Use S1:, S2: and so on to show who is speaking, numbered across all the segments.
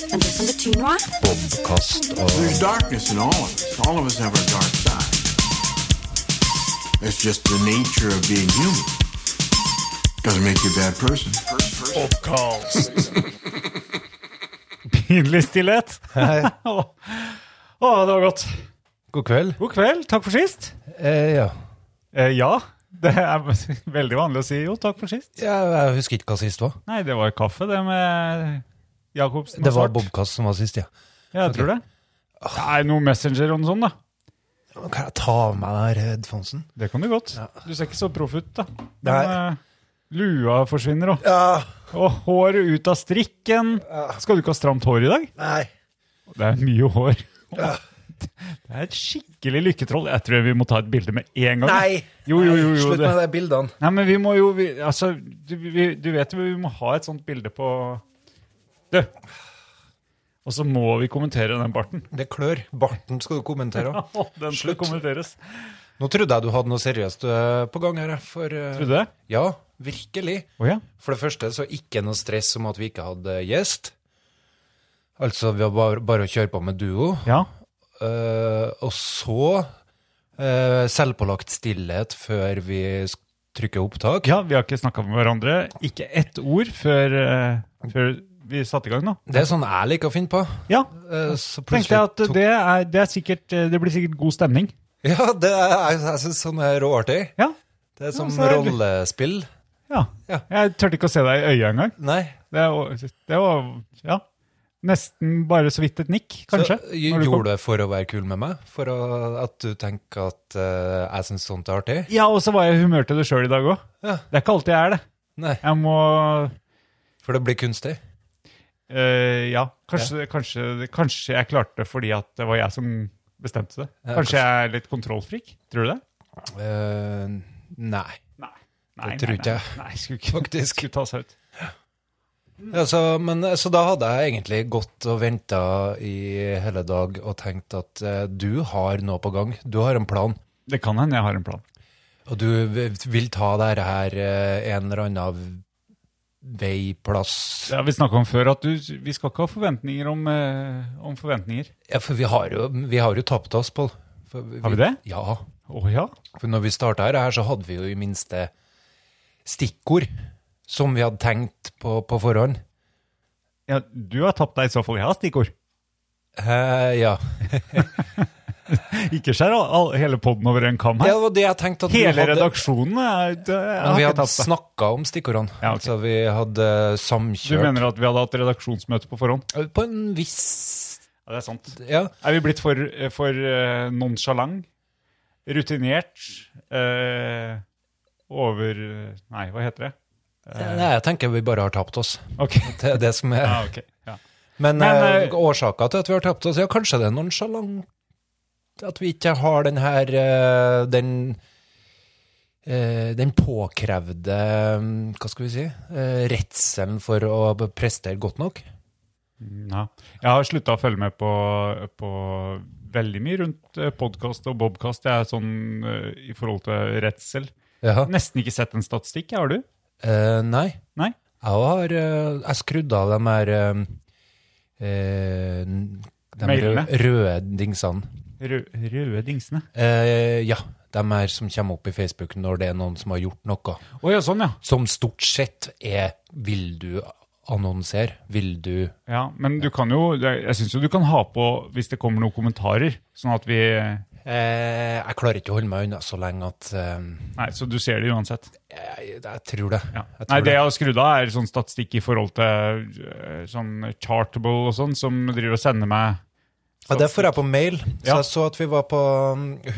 S1: til noe.
S2: Podkast og
S3: There's darkness in all of us. All of us have our dark side. That's just the nature of being human. Doesn't make you a bad person.
S4: Pinlig stillhet.
S5: Hei.
S4: Å, å, det var godt.
S5: God kveld.
S4: God kveld. Takk for sist.
S5: Eh, ja.
S4: Eh, ja. Det er veldig vanlig å si jo, takk for sist.
S5: ja. Jeg husker ikke hva sist var.
S4: Nei, det var kaffe, det med Jacobsen. og
S5: Det var
S4: Svart.
S5: Bobkast som var sist, ja.
S4: Ja, jeg tror det. Nei, noe Messenger og noe sånt, da.
S5: Kan jeg ta av meg headphonesen?
S4: Det kan du godt. Du ser ikke så proff ut, da. Men,
S5: Nei.
S4: eh, lua forsvinner, og,
S5: Ja.
S4: og håret ut av strikken. Skal du ikke ha stramt hår i dag?
S5: Nei.
S4: Det er mye hår. Det er et skikkelig lykketroll. Jeg tror vi må ta et bilde med en gang.
S5: Nei.
S4: Jo, jo, jo, jo,
S5: Slutt
S4: det.
S5: med de bildene.
S4: Nei, men vi må jo vi, Altså, du, vi, du vet jo vi må ha et sånt bilde på Du! Og så må vi kommentere den barten.
S5: Det klør. Barten skal du kommentere. også.
S4: Å, den skal kommenteres.
S5: Nå trodde jeg du hadde noe seriøst eh, på gang her. jeg, For, eh,
S4: Tror du det?
S5: Ja, virkelig.
S4: Å ja.
S5: For det første så ikke noe stress om at vi ikke hadde gjest. Altså, vi var bare, bare å kjøre på med duo.
S4: ja.
S5: Eh, og så eh, selvpålagt stillhet før vi sk- trykker opptak.
S4: Ja, vi har ikke snakka med hverandre. Ikke ett ord før, eh, før vi satte i gang, da.
S5: Det er sånn jeg liker å finne på.
S4: Ja.
S5: Eh, så
S4: Tenkte jeg
S5: plutselig
S4: at det, er, det, er sikkert, eh, det blir sikkert god stemning.
S5: Ja, det er, jeg, jeg syns sånn er råartig.
S4: Ja.
S5: Det er som
S4: så er det-
S5: rollespill.
S4: ja.
S5: Ja.
S4: Jeg turte ikke å se deg i øya engang.
S5: Nei.
S4: Det var, det var ja. nesten bare så vidt et nikk, kanskje.
S5: Så, jeg
S4: når du kom.
S5: gjorde det for å være kul med meg? For å, at du tenker at eh, jeg syns sånt er artig?
S4: Ja, og så var jeg i humør til det sjøl i dag òg.
S5: Ja.
S4: Det er ikke alltid jeg er det.
S5: Nei,
S4: Jeg må
S5: for det blir kunstig.
S4: øh, Ja, kanskje, Kanskje, kanskje jeg klarte det fordi at det var jeg som bestemte det.
S5: Ja,
S4: Kanskje jeg er litt kontrollfrik? Tror du det?
S5: Eh, nei.
S4: Nei. nei
S5: Det tror
S4: nei,
S5: ikke jeg.
S4: Nei, nei skulle ikke
S5: Faktisk.
S4: Skulle ta seg ut.
S5: Ja, så, men, så da hadde jeg egentlig gått og venta i hele dag og tenkt at eh, du har noe på gang. Du har en plan.
S4: Det kan hende jeg har en plan.
S5: Og du v- vil ta dette her eh, en eller annen veiplass.
S4: Det har vi snakka om før, at du, vi skal ikke ha forventninger om, eh, om forventninger.
S5: Ja, for vi har jo, vi har jo tapt oss, Pål. For
S4: Har vi det?
S5: Ja.
S4: Å ja?
S5: For når vi starta her, her, så hadde vi jo i minste stikkord som vi hadde tenkt på på forhånd.
S4: ja? Du har tapt deg i så fall. Jeg har stikkord.
S5: Eh, ja.
S4: Ikke skjær all, all, hele poden over en kam
S5: ja.
S4: her.
S5: Det var det jeg tenkte at vi
S4: Hele
S5: hadde.
S4: redaksjonen er, det, jeg
S5: Men
S4: har
S5: vi
S4: ikke
S5: hadde
S4: tapt deg.
S5: snakka om stikkordene.
S4: Ja, ok.
S5: Altså vi hadde
S4: Du
S5: samkjørt
S4: mener at vi hadde hatt redaksjonsmøte på forhånd?
S5: På en viss
S4: Ja, det er sant.
S5: Ja.
S4: Er vi blitt for, eh, for eh, nonchalant? Rutinert? Eh, over Nei, hva heter det?
S5: Nei, jeg tenker vi bare har tapt oss.
S4: Ok.
S5: Det er det som er
S4: Ja, ok. Ja.
S5: Men,
S4: Men,
S5: eh, årsaken til at vi har tapt oss, ja, kanskje det er nonchalant at vi ikke har den her eh, den eh, den påkrevde mm, hva skal vi si, eh, redselen for å b- prestere godt nok.
S4: Ja. Jeg har slutta å følge med på, på veldig mye rundt podkast og bobkast. Jeg er sånn eh, i forhold til redsel.
S5: Ja.
S4: Nesten ikke sett en statistikk, jeg, har du?
S5: Eh, nei,
S4: Nei?
S5: jeg har eh, jeg skrudd av de her eh, eh, n- de
S4: Mailene.
S5: rø- røde dingsene.
S4: Rø røde dingsene.
S5: Eh, ja, de her som kommer opp i Facebook når det er noen som har gjort noe.
S4: Å ja, sånn, ja.
S5: som stort sett er vil du annonsere, vil du
S4: ja. Men du kan jo Jeg syns jo du kan ha på hvis det kommer noen kommentarer, sånn at vi
S5: eh, Jeg klarer ikke å holde meg unna så lenge at eh,
S4: Nei, så du ser det uansett.
S5: jeg, jeg tror det.
S4: Ja.
S5: Jeg tror
S4: Nei, det jeg har skrudd av, er sånn statistikk i forhold til øh, sånn chartable og sånn, som driver og sender meg
S5: Ja, det får jeg på mail. Så
S4: Ja.
S5: jeg så at vi var på mm,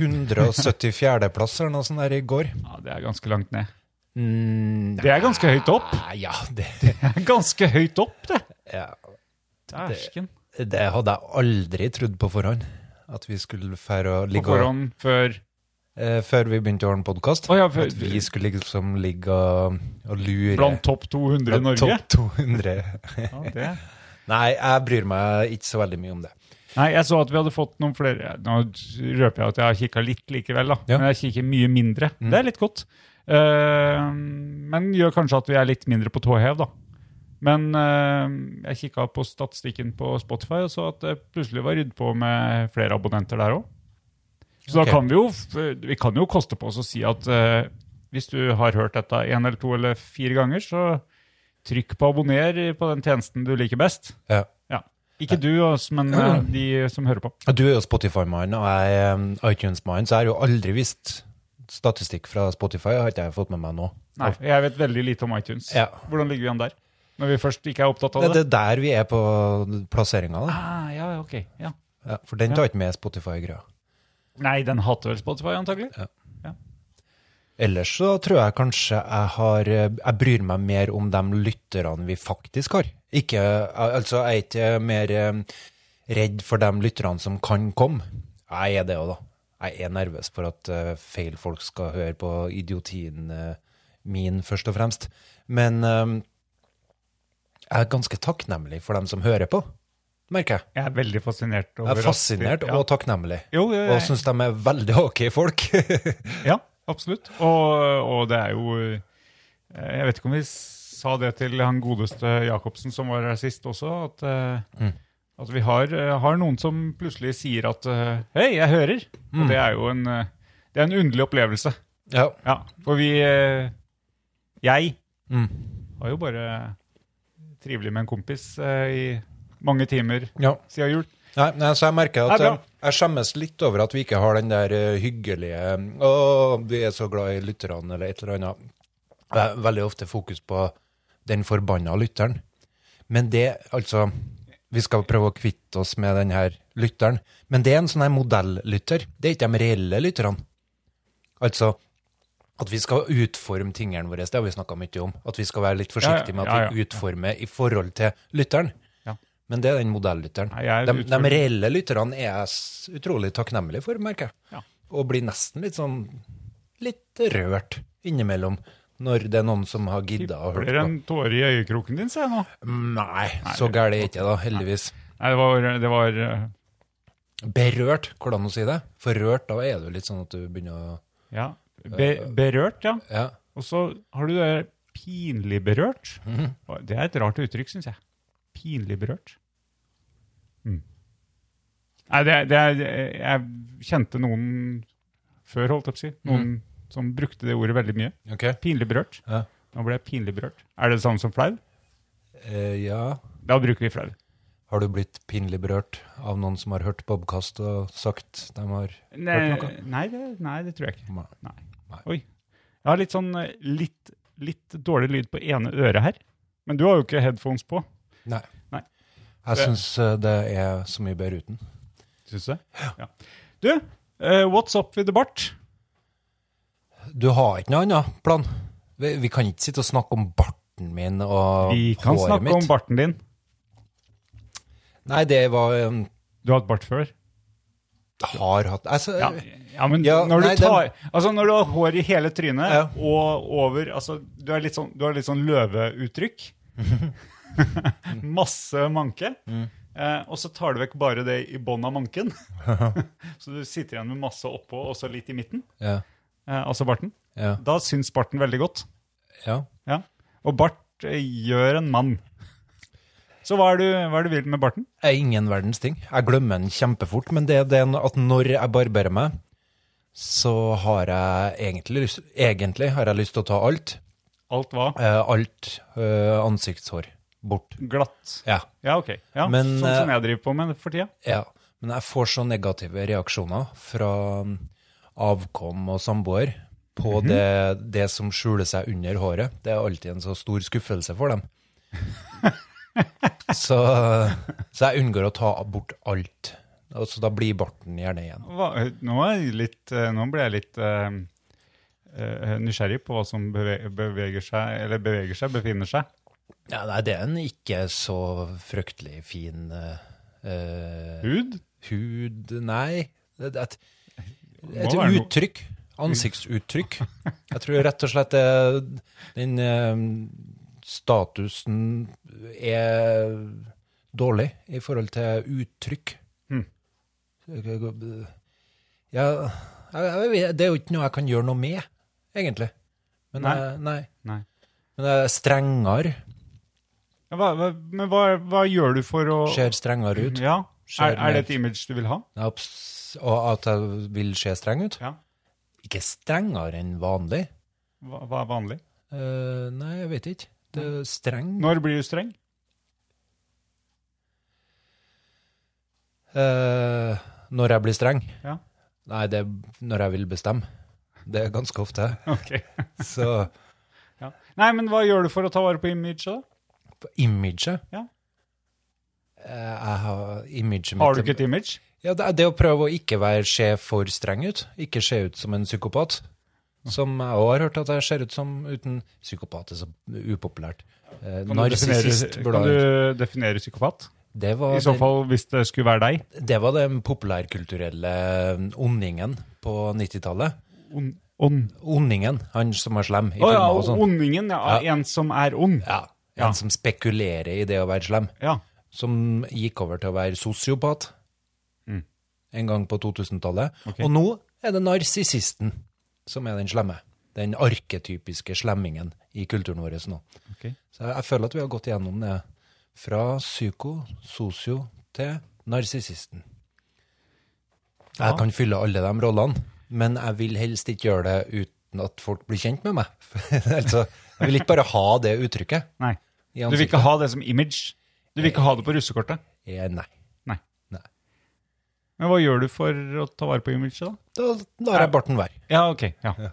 S5: 174.-plass eller noe sånt der i går.
S4: Ja, det er ganske langt ned.
S5: Mm,
S4: Det er ganske høyt opp.
S5: nei, ja, det,
S4: Det er ganske høyt opp, det.
S5: ja,
S4: Dæsken.
S5: det hadde jeg aldri trodd på forhånd. At vi skulle fære å
S4: På
S5: ligge og-
S4: forhånd før
S5: eh, Før vi begynte å ordne podkast.
S4: Å ja, før-
S5: at vi skulle liksom ligge og, og lure
S4: blant topp 200 i
S5: blant
S4: Norge.
S5: topp 200.
S4: Ja, det.
S5: Nei, jeg bryr meg ikke så veldig mye om det.
S4: Nei, jeg så at vi hadde fått noen flere Nå røper jeg at jeg har kikka litt likevel, da.
S5: Ja. Mm.
S4: Men jeg kikker mye mindre. Det er litt godt. Eh, men gjør kanskje at vi er litt mindre på tå hev, da. Men eh, jeg kikka på statistikken på Spotify og så at det plutselig var rydd på med flere abonnenter der òg. Så
S5: Ok.
S4: da kan vi jo f- vi kan jo koste på oss å si at eh, hvis du har hørt dette én eller to eller fire ganger, så trykk på abonner i- på den tjenesten du liker best.
S5: Ja.
S4: Ja. Ikke du, altså, men eh, de som hører på.
S5: Du er jo Spotify-mann, og jeg er um, iTunes-mann, så jeg har jo aldri visst statistikk fra Spotify. har ikke jeg fått med meg nå.
S4: Nei, jeg vet veldig lite om iTunes.
S5: Ja.
S4: Hvordan ligger vi an der? Når vi først ikke er opptatt av
S5: Det
S4: det?
S5: det er der vi er på plasseringa, da.
S4: Ah, ja, ok. Ja.
S5: Ja, for den tar ikke med Spotify-greia.
S4: Nei, den hater vel Spotify, antagelig.
S5: Ellers så tror jeg kanskje jeg har Jeg bryr meg mer om de lytterne vi faktisk har. Ikke, altså, jeg er ikke mer eh, redd for de lytterne som kan komme. Jeg er det òg, da. Jeg er nervøs for at eh, feil folk skal høre på idiotien eh, min, først og fremst. Men eh, jeg er ganske takknemlig for dem som hører på, merker jeg.
S4: Jeg er veldig fascinert. Over
S5: Jeg er
S4: at-
S5: fascinert
S4: ja.
S5: og takknemlig.
S4: Jo, jo,
S5: Og
S4: jeg-
S5: syns de er veldig ok folk.
S4: ja, absolutt. Og, og det er jo eh, Jeg vet ikke om vi sa det til han godeste Jacobsen som var her sist også, at, eh,
S5: Mm.
S4: at vi har, eh, har noen som plutselig sier at eh, Hei, jeg hører!
S5: Mm.
S4: Og det er jo en, eh, det er en underlig opplevelse.
S5: ja.
S4: Ja, for vi eh, Jeg
S5: Mm.
S4: var jo bare trivelig med en kompis eh, i mange timer
S5: ja.
S4: siden jul.
S5: Nei, nei, så jeg merker at
S4: Det er bra.
S5: eh, jeg skjemmes litt over at vi ikke har den der eh, hyggelige Å, vi er så glad i lytterne, eller et eller annet. Det er veldig ofte fokus på den forbanna lytteren. Men det, altså Vi skal prøve å kvitte oss med den her lytteren. Men det er en sånn her modellytter. Det er ikke de reelle lytterne. Altså at vi skal utforme tingene våre, det har vi snakka mye om. At vi skal være litt forsiktige med at
S4: Ja, ja, ja.
S5: vi utformer i forhold til lytteren.
S4: Ja.
S5: Men det er den modellytteren.
S4: Nei, jeg er
S5: De, de
S4: utfor-
S5: reelle lytterne er jeg s- utrolig takknemlig for, merker jeg.
S4: Ja.
S5: Og blir nesten litt sånn litt rørt innimellom når det er noen som har gidda å
S4: Blir det
S5: høre på.
S4: en tåre i øyekroken din, ser jeg nå.
S5: Nei, så gæren er ikke jeg da, heldigvis.
S4: Nei, det var, det var eh,
S5: Berørt, hvordan å si det? Forrørt, da er du litt sånn at du begynner å
S4: Ja. Be, berørt, ja.
S5: Ja.
S4: Og så har du det der pinlig berørt. Og Det er et rart uttrykk, syns jeg. Pinlig berørt. Mm. Nei, det, er- det er Jeg kjente noen før, holdt jeg på å si. Noen som brukte det ordet veldig mye.
S5: Ok.
S4: Pinlig berørt.
S5: Ja.
S4: Nå ble jeg pinlig berørt. Er det det samme som flau?
S5: Eh, ja.
S4: Da bruker vi flau.
S5: Har du blitt pinlig berørt av noen som har hørt Bobkast og sagt de har
S4: Nei,
S5: hørt noe?
S4: nei, det, nei, det tror jeg ikke.
S5: Nei.
S4: Nei.
S5: Nei.
S4: Oi. Jeg har litt sånn eh, litt, litt dårlig lyd på ene øret her. Men du har jo ikke headphones på.
S5: Nei.
S4: Nei.
S5: Jeg syns eh, det er så mye bedre uten.
S4: Syns du? Ja. Du, eh, what's up with the bart?
S5: Du har ikke noen annen plan? Vi, vi kan ikke sitte og snakke om barten min og
S4: Vi kan
S5: håret
S4: snakke
S5: mitt.
S4: om barten din.
S5: Nei, det var um,
S4: Du har hatt bart før?
S5: Har hatt altså,
S4: Ja, ja men
S5: Ja,
S4: når,
S5: nei,
S4: du tar, altså når du har hår i hele trynet
S5: Ja.
S4: og over altså, du, er litt sånn, du har litt sånn løveuttrykk. Masse manke.
S5: Mm.
S4: Eh, og så tar du vekk bare det i bånn av manken. så du sitter igjen med masse oppå og så litt i midten,
S5: Ja,
S4: eh, altså barten.
S5: ja,
S4: Da syns barten veldig godt.
S5: ja.
S4: Ja. Og bart eh, gjør en mann. Så hva er, du, hva er du vil med barten?
S5: Det er ingen verdens ting. Jeg glemmer den kjempefort, men det, det er no- at når jeg barberer meg, så har jeg egentlig lyst, egentlig har jeg lyst til å ta alt.
S4: Alt hva?
S5: eh, alt eh, ansiktshår bort.
S4: Glatt.
S5: Ja,
S4: Ja, ok. Ja,
S5: Men, eh,
S4: sånn som jeg driver på med for tida.
S5: ja. Men jeg får så negative reaksjoner fra um, avkom og samboer på det, det som skjuler seg under håret. Det er alltid en så stor skuffelse for dem. så, så jeg unngår å ta bort alt. Og Så da blir barten gjerne igjen.
S4: Hva, nå, er jeg litt, eh, nå ble jeg litt eh, eh, nysgjerrig på hva som beve- beveger seg, eller beveger seg, befinner seg.
S5: Ja, nei, det er en ikke så fryktelig fin eh, eh,
S4: Hud?
S5: hud Nei. Det, det,
S4: Må
S5: Et
S4: være noe-
S5: uttrykk. Ansiktsuttrykk. Jeg tror rett og slett det, den eh, statusen er dårlig i forhold til uttrykk.
S4: Hmm.
S5: Ja, jeg, jeg, vet- det er jo ikke noe jeg kan gjøre noe med, egentlig. Men
S4: Nei.
S5: Jeg, nei.
S4: Nei.
S5: Men jeg er strengere.
S4: Ja, hva, hva, men hva, hva gjør du for å Mm,
S5: Ser strengere ut.
S4: Ja.
S5: Ser
S4: Er, er det
S5: mer-
S4: et image du vil ha?
S5: Abs- Og at jeg vil se streng ut.
S4: Ja.
S5: Ikke strengere enn vanlig.
S4: Hva, hva er vanlig?
S5: Eh, nei, jeg vet ikke. Det er streng
S4: Når blir du streng?
S5: Eh, Når jeg blir streng?
S4: Ja.
S5: Nei, det er når jeg vil bestemme. Det er ganske ofte.
S4: Ok.
S5: Så
S4: Ja. Nei, men hva gjør du for å ta vare på imaget, da?
S5: på imaget
S4: Ja.
S5: Eh, Jeg har imaget mitt
S4: Har du ikke et image?
S5: Ja, det, er det å prøve å ikke være se for streng ut. Ikke se ut som en psykopat. Som jeg også har hørt at jeg ser ut som uten psykopat. er så upopulært. Eh,
S4: Kan du
S5: Narsissist
S4: definere-
S5: burde
S4: Kan
S5: jeg
S4: du definere psykopat?
S5: det, var
S4: I så
S5: den-
S4: fall hvis det skulle være deg.
S5: det var den populærkulturelle eh, ondingen på 90-tallet.
S4: On, on.
S5: Ondingen, han som er slem i
S4: Å ja,
S5: filmer og sånn.
S4: ondingen. Ja, En som er ond.
S5: Ja, en
S4: Ja.
S5: som spekulerer i det å være slem.
S4: Ja.
S5: Som gikk over til å være sosiopat
S4: Mm.
S5: en gang på 2000-tallet.
S4: Ok.
S5: Og nå er det narsissisten som er den slemme. Den arketypiske slemmingen i kulturen vår nå.
S4: Ok.
S5: Så jeg, jeg føler at vi har gått igjennom det fra psyko, sosio til narsissisten.
S4: Ja.
S5: Jeg kan fylle alle de rollene, men jeg vil helst ikke gjøre det uten at folk blir kjent med meg. altså, jeg vil ikke bare ha det uttrykket.
S4: Nei.
S5: i
S4: Du vil
S5: ansiktet.
S4: ikke ha det som image? Du vil ikke ha det på russekortet?
S5: Eh, Nei.
S4: Nei.
S5: Nei.
S4: Men hva gjør du for å ta vare på imaget, da?
S5: Da lar jeg barten være.
S4: Ja, ok. Ja.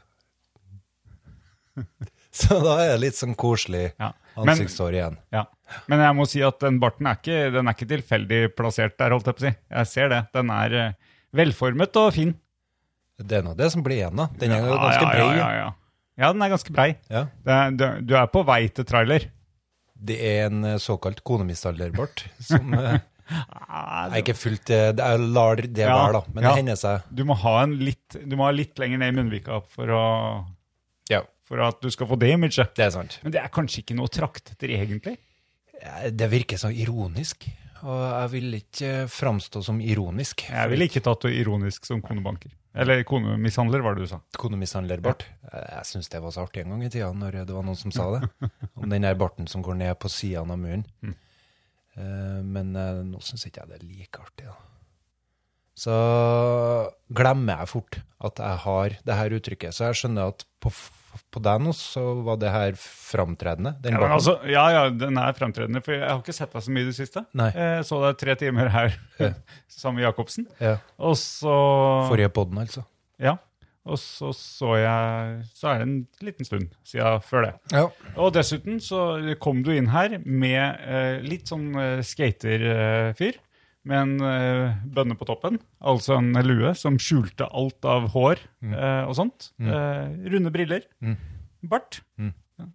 S5: Så da er det litt sånn koselig
S4: Ja. Men-
S5: ansiktshår igjen.
S4: Ja. Men jeg må si at den barten er ikke, den er ikke tilfeldig plassert der, holdt jeg på å si. Jeg ser det. Den er eh, velformet og fin.
S5: Det er nå det som blir igjen, da. Den er jo
S4: Ja,
S5: ganske
S4: ja,
S5: brei.
S4: Ja, ja, ja. ja, den er ganske brei.
S5: Ja.
S4: Det er, du, du er på vei til trailer.
S5: Det er en eh, såkalt konemistalderbart som eh,
S4: Ah,
S5: er ikke fullt eh, det er, lar det
S4: Ja,
S5: være, da. Men
S4: ja.
S5: det hender seg.
S4: Du må ha en litt, du må ha litt lenger ned i munnvika for, å,
S5: Ja,
S4: for at du skal få det imaget.
S5: det er sant.
S4: Men det er kanskje ikke noe å trakte etter, egentlig?
S5: Eh, Det virker så ironisk. Og jeg vil ikke eh, framstå som ironisk.
S4: Jeg ville ikke tatt det ironisk som konebanker. Eller konemishandler, var det du sa.
S5: Konemishandlerbart. Eh, Jeg syns det var så artig en gang i tida når det var noen som sa det. Om den der barten som går ned på sidene av munnen.
S4: Mm.
S5: Eh, Men eh, nå syns ikke jeg det er like artig, da. Så glemmer jeg fort at jeg har det her uttrykket. Så jeg skjønner at på, f- på deg nå så var det her framtredende. Den
S4: Ja, men
S5: barten.
S4: altså, ja, ja, den er fremtredende, for jeg har ikke sett deg så mye i det siste.
S5: Nei.
S4: Jeg så deg tre timer her
S5: Ja.
S4: sammen med Jacobsen.
S5: ja,
S4: Og så
S5: forrige podden, altså.
S4: Ja. Og så så jeg Så er det en liten stund siden før det.
S5: Ja.
S4: Og dessuten så kom du inn her med eh, litt sånn eh, skaterfyr. Med en eh, bønne på toppen, altså en lue som skjulte alt av hår eh, og sånt. Eh, runde briller. Bart.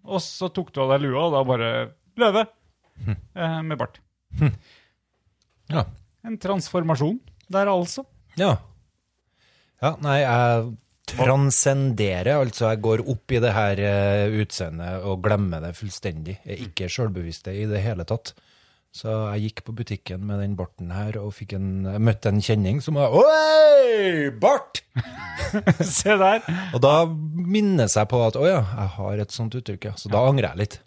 S4: Og så tok du av deg lua, og da bare løve eh, med bart.
S5: ja.
S4: En transformasjon der, altså.
S5: Ja. ja nei, jeg transcenderer, altså jeg går opp i det her eh, utseendet og glemmer det fullstendig. Jeg er ikke sjølbevisst i det hele tatt. Så jeg gikk på butikken med den barten her og fikk en, jeg møtte en kjenning som var Oi, bart!
S4: Se der.
S5: Og da minnes jeg på at å ja, jeg har et sånt uttrykk, ja. Så da angrer jeg litt.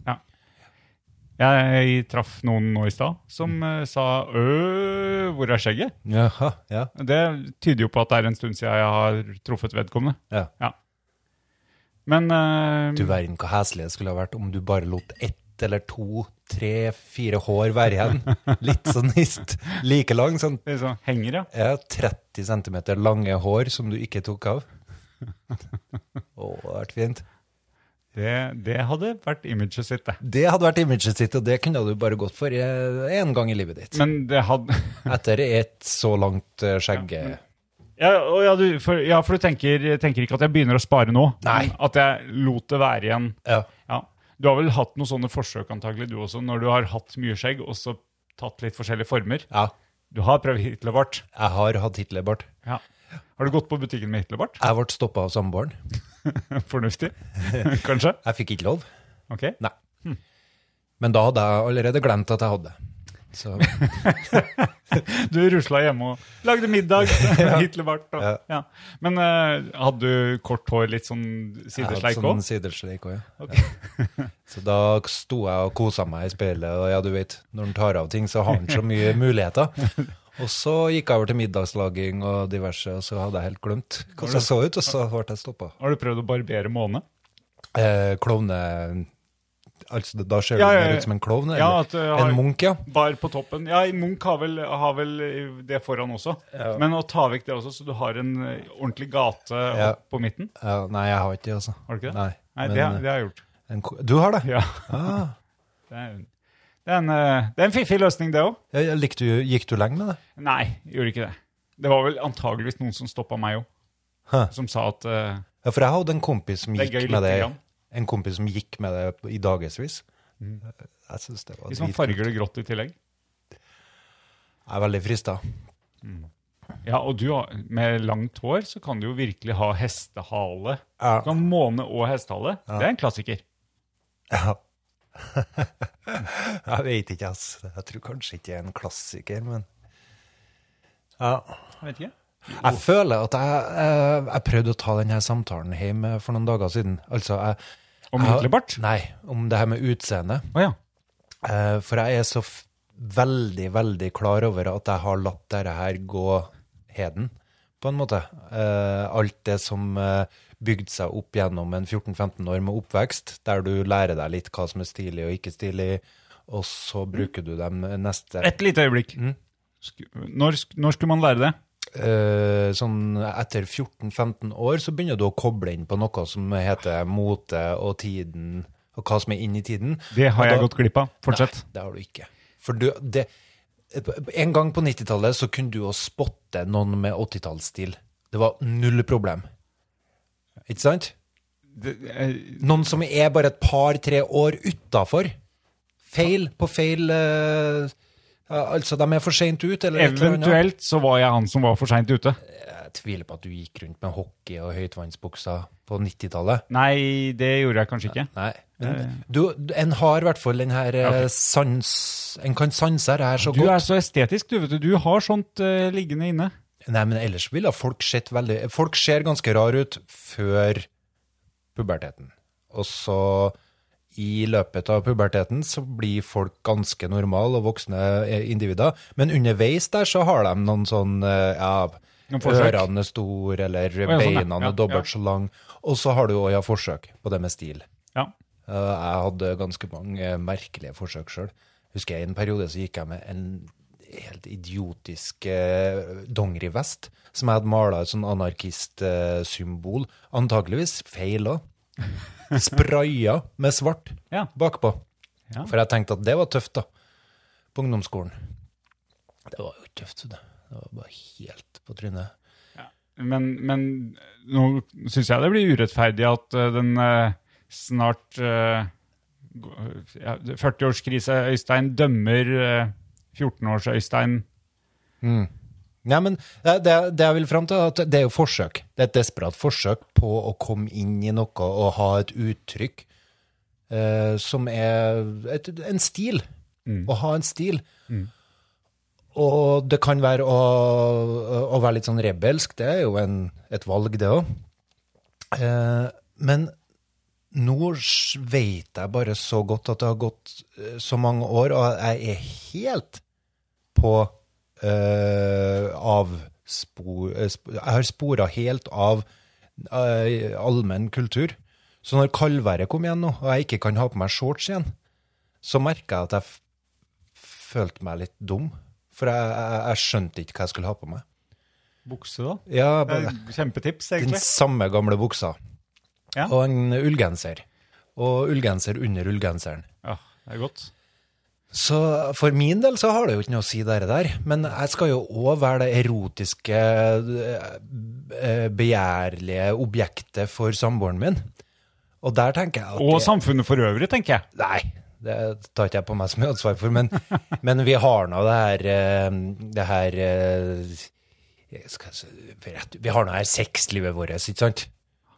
S4: Jeg traff noen nå i stad som eh, sa 'øh, hvor er skjegget?'
S5: Jaha, ja.
S4: Det tyder jo på at det er en stund siden jeg har truffet vedkommende.
S5: ja.
S4: Men eh,
S5: Du verden hva heslig det skulle ha vært om du bare lot ett eller to, tre, fire hår være igjen. Litt sånn hist. Like lang, sånn
S4: det er sånn, henger, ja.
S5: ja, 30 cm lange hår som du ikke tok av. Å, det hadde vært fint.
S4: Det, det hadde vært imaget sitt, det.
S5: Det hadde vært imaget sitt, og det kunne du bare gått for én gang i livet ditt.
S4: Men det hadde
S5: Etter et så langt eh, skjegg eh,
S4: ja, og ja, du, for, ja, for du tenker, tenker ikke at jeg begynner å spare nå?
S5: Nei.
S4: men At jeg lot det være igjen?
S5: Ja.
S4: Ja. Du har vel hatt noen sånne forsøk antagelig, du også, når du har hatt mye skjegg og så tatt litt forskjellige former?
S5: ja.
S4: Du har prøvd Hitlerbart?
S5: Jeg har hatt Hitlerbart.
S4: Ja. Har du gått på butikken med Hitlerbart?
S5: Jeg ble stoppa av samboeren.
S4: Fornuftig? Kanskje?
S5: Jeg fikk ikke lov.
S4: Ok.
S5: Nei. Men da hadde jeg allerede glemt at jeg hadde det. Så,
S4: Du rusla hjemme og lagde middag. Hitlerbart. Og, ja.
S5: Ja.
S4: Men eh, hadde du kort hår, litt sånn sidesleik òg?
S5: Jeg hadde sånn sidesleik også, ja. ja. Så da sto jeg og kosa meg i speilet, og ja, du vet, når han tar av ting, så har han så mye muligheter. Og så gikk jeg over til middagslaging og diverse, og så hadde jeg helt glemt hvordan jeg så ut, og så ble jeg stoppa.
S4: Har du prøvd å barbere måne?
S5: Eh, klovne... Altså, da ser du
S4: Ja, ja, ja.
S5: mer ut som en klovn, eller
S4: Ja, at du har-
S5: en munk, ja.
S4: Bar på toppen. Ja, Munch har vel, har vel det foran også. Men å ta vekk det også, så du har en eh, ordentlig gate
S5: Ja.
S4: opp på midten.
S5: ja. Nei, jeg har ikke det, altså.
S4: Har du ikke det?
S5: Nei,
S4: Nei,
S5: men,
S4: det, har- det har jeg gjort.
S5: eh, en, ko- Du har det?
S4: Ja.
S5: Ah.
S4: Det er, det er, en, eh, det er en fiffig løsning, det òg.
S5: Ja, ja, likte du, gikk du lenge med det?
S4: Nei, gjorde ikke det. Det var vel antageligvis noen som stoppa meg òg,
S5: Hæ.
S4: som sa at eh,
S5: Ja, for jeg hadde en kompis som
S4: Det er
S5: gikk
S4: gøy
S5: med
S4: lite
S5: det
S4: grann.
S5: En kompis som gikk med det i dagevis. Jeg synes det var
S4: Hvis man
S5: dritkult.
S4: Mm. farger det grått i tillegg
S5: Jeg er veldig frista.
S4: Ja, og du har, med langt hår så kan du jo virkelig ha hestehale.
S5: Ja.
S4: Du kan måne og hestehale. Det er en klassiker.
S5: Ja. jeg vet ikke, ass. Jeg tror kanskje ikke det er en klassiker, men ja.
S4: Jeg vet ikke.
S5: Jeg føler at jeg, jeg, jeg prøvde å ta denne samtalen hjemme for noen dager siden. Altså, jeg,
S4: Om
S5: jeg-
S4: Hitlerbart? Å
S5: Nei, om det her med utseende.
S4: ja.
S5: Eh, For jeg er så f veldig, veldig klar over at jeg har latt dette her gå heden, på en måte. Eh, Alt det som eh, bygde seg opp gjennom en 14-15 år med oppvekst, der du lærer deg litt hva som er stilig og ikke stilig, og så
S4: Mm.
S5: bruker du dem neste
S4: Et lite øyeblikk. Sku, når, sk- når skulle man lære det?
S5: Eh, Sånn etter 14-15 år så begynner du å koble inn på noe som heter mote og tiden, og hva som er inn i tiden.
S4: Det har
S5: Og
S4: jeg
S5: da-
S4: gått glipp av. Fortsett.
S5: Nei, det har du ikke. For du, det, en gang på 90-tallet så kunne du jo spotte noen med 80-tallsstil. Det var null problem. Ikke sant?
S4: Det- eh,
S5: Noen som er bare et par-tre år utafor. Feil på feil eh, ja, Altså, de er for seint ut, eller et eller annet.
S4: Eventuelt så var jeg han som var for seint ute.
S5: Jeg tviler på at du gikk rundt med hockey og høytvannsbukser på 90-tallet.
S4: Nei, det gjorde jeg kanskje ikke.
S5: Nei. Men du, en har i hvert fall den her eh, sans En kan sanse det her så
S4: Du
S5: godt.
S4: er så estetisk, du. vet du. Du har sånt eh, liggende inne.
S5: Nei, men ellers ville folk sett veldig Folk ser ganske rar ut før puberteten. Og så i løpet av puberteten så blir folk ganske normale og voksne eh, individer. Men underveis der så har de noen sånn eh,
S4: Noen
S5: ja,
S4: forsøk?
S5: ørene store, eller
S4: ja, sånn, ja.
S5: beina
S4: Ja,
S5: er dobbelt så lang. Og så har du òg ja, forsøk på det med stil.
S4: Ja.
S5: Eh, Jeg hadde ganske mange eh, merkelige forsøk sjøl. Husker jeg i en periode så gikk jeg med en helt idiotisk eh, dongerivest som jeg hadde mala et sånn anarkistsymbol. Antakeligvis feil òg. Spraya med svart
S4: Ja.
S5: bakpå.
S4: Ja.
S5: For jeg tenkte at det var tøft, da. På ungdomsskolen. Det var jo tøft, det. Det var bare helt på trynet.
S4: Men, men nå syns jeg det blir urettferdig at eh, den eh, snart eh, gå- ja, 40-årskrise-Øystein dømmer eh, 14-års-Øystein.
S5: Nei, men det, det, det jeg vil frem til, er at det er jo forsøk. Det er et desperat forsøk på å komme inn i noe og ha et uttrykk eh, som er et, en stil. Å ha en stil. Og det kan være å, å være litt sånn rebelsk. Det er jo en, et valg, det òg. Eh, men nå s- vet jeg bare så godt at det har gått eh, så mange år, og jeg er helt på eh, av spor, eh, sp- Jeg har spora helt av eh, allmenn kultur. Så når kaldværet kom igjen nå, og jeg ikke kan ha på meg shorts igjen, så merka jeg at jeg f følte meg litt dum. For jeg, jeg, jeg skjønte ikke hva jeg skulle ha på meg.
S4: Bukse, da?
S5: Ja,
S4: Det
S5: bare,
S4: er et kjempetips,
S5: den
S4: egentlig.
S5: samme gamle buksa.
S4: Ja.
S5: Og en ullgenser. Og ullgenser under ullgenseren.
S4: Ja, det er godt.
S5: Så for min del så har det jo ikke noe å si det der, men jeg skal jo òg være det erotiske, eh, begjærlige objektet for samboeren min. Og der tenker jeg at
S4: Og
S5: det-
S4: samfunnet for øvrig, tenker jeg.
S5: Nei, det tar ikke jeg på meg som ansvar for, men, men vi har nå det her, eh, det her eh, jeg skal, si- rett- Vi har nå det her sexlivet vårt, ikke sant?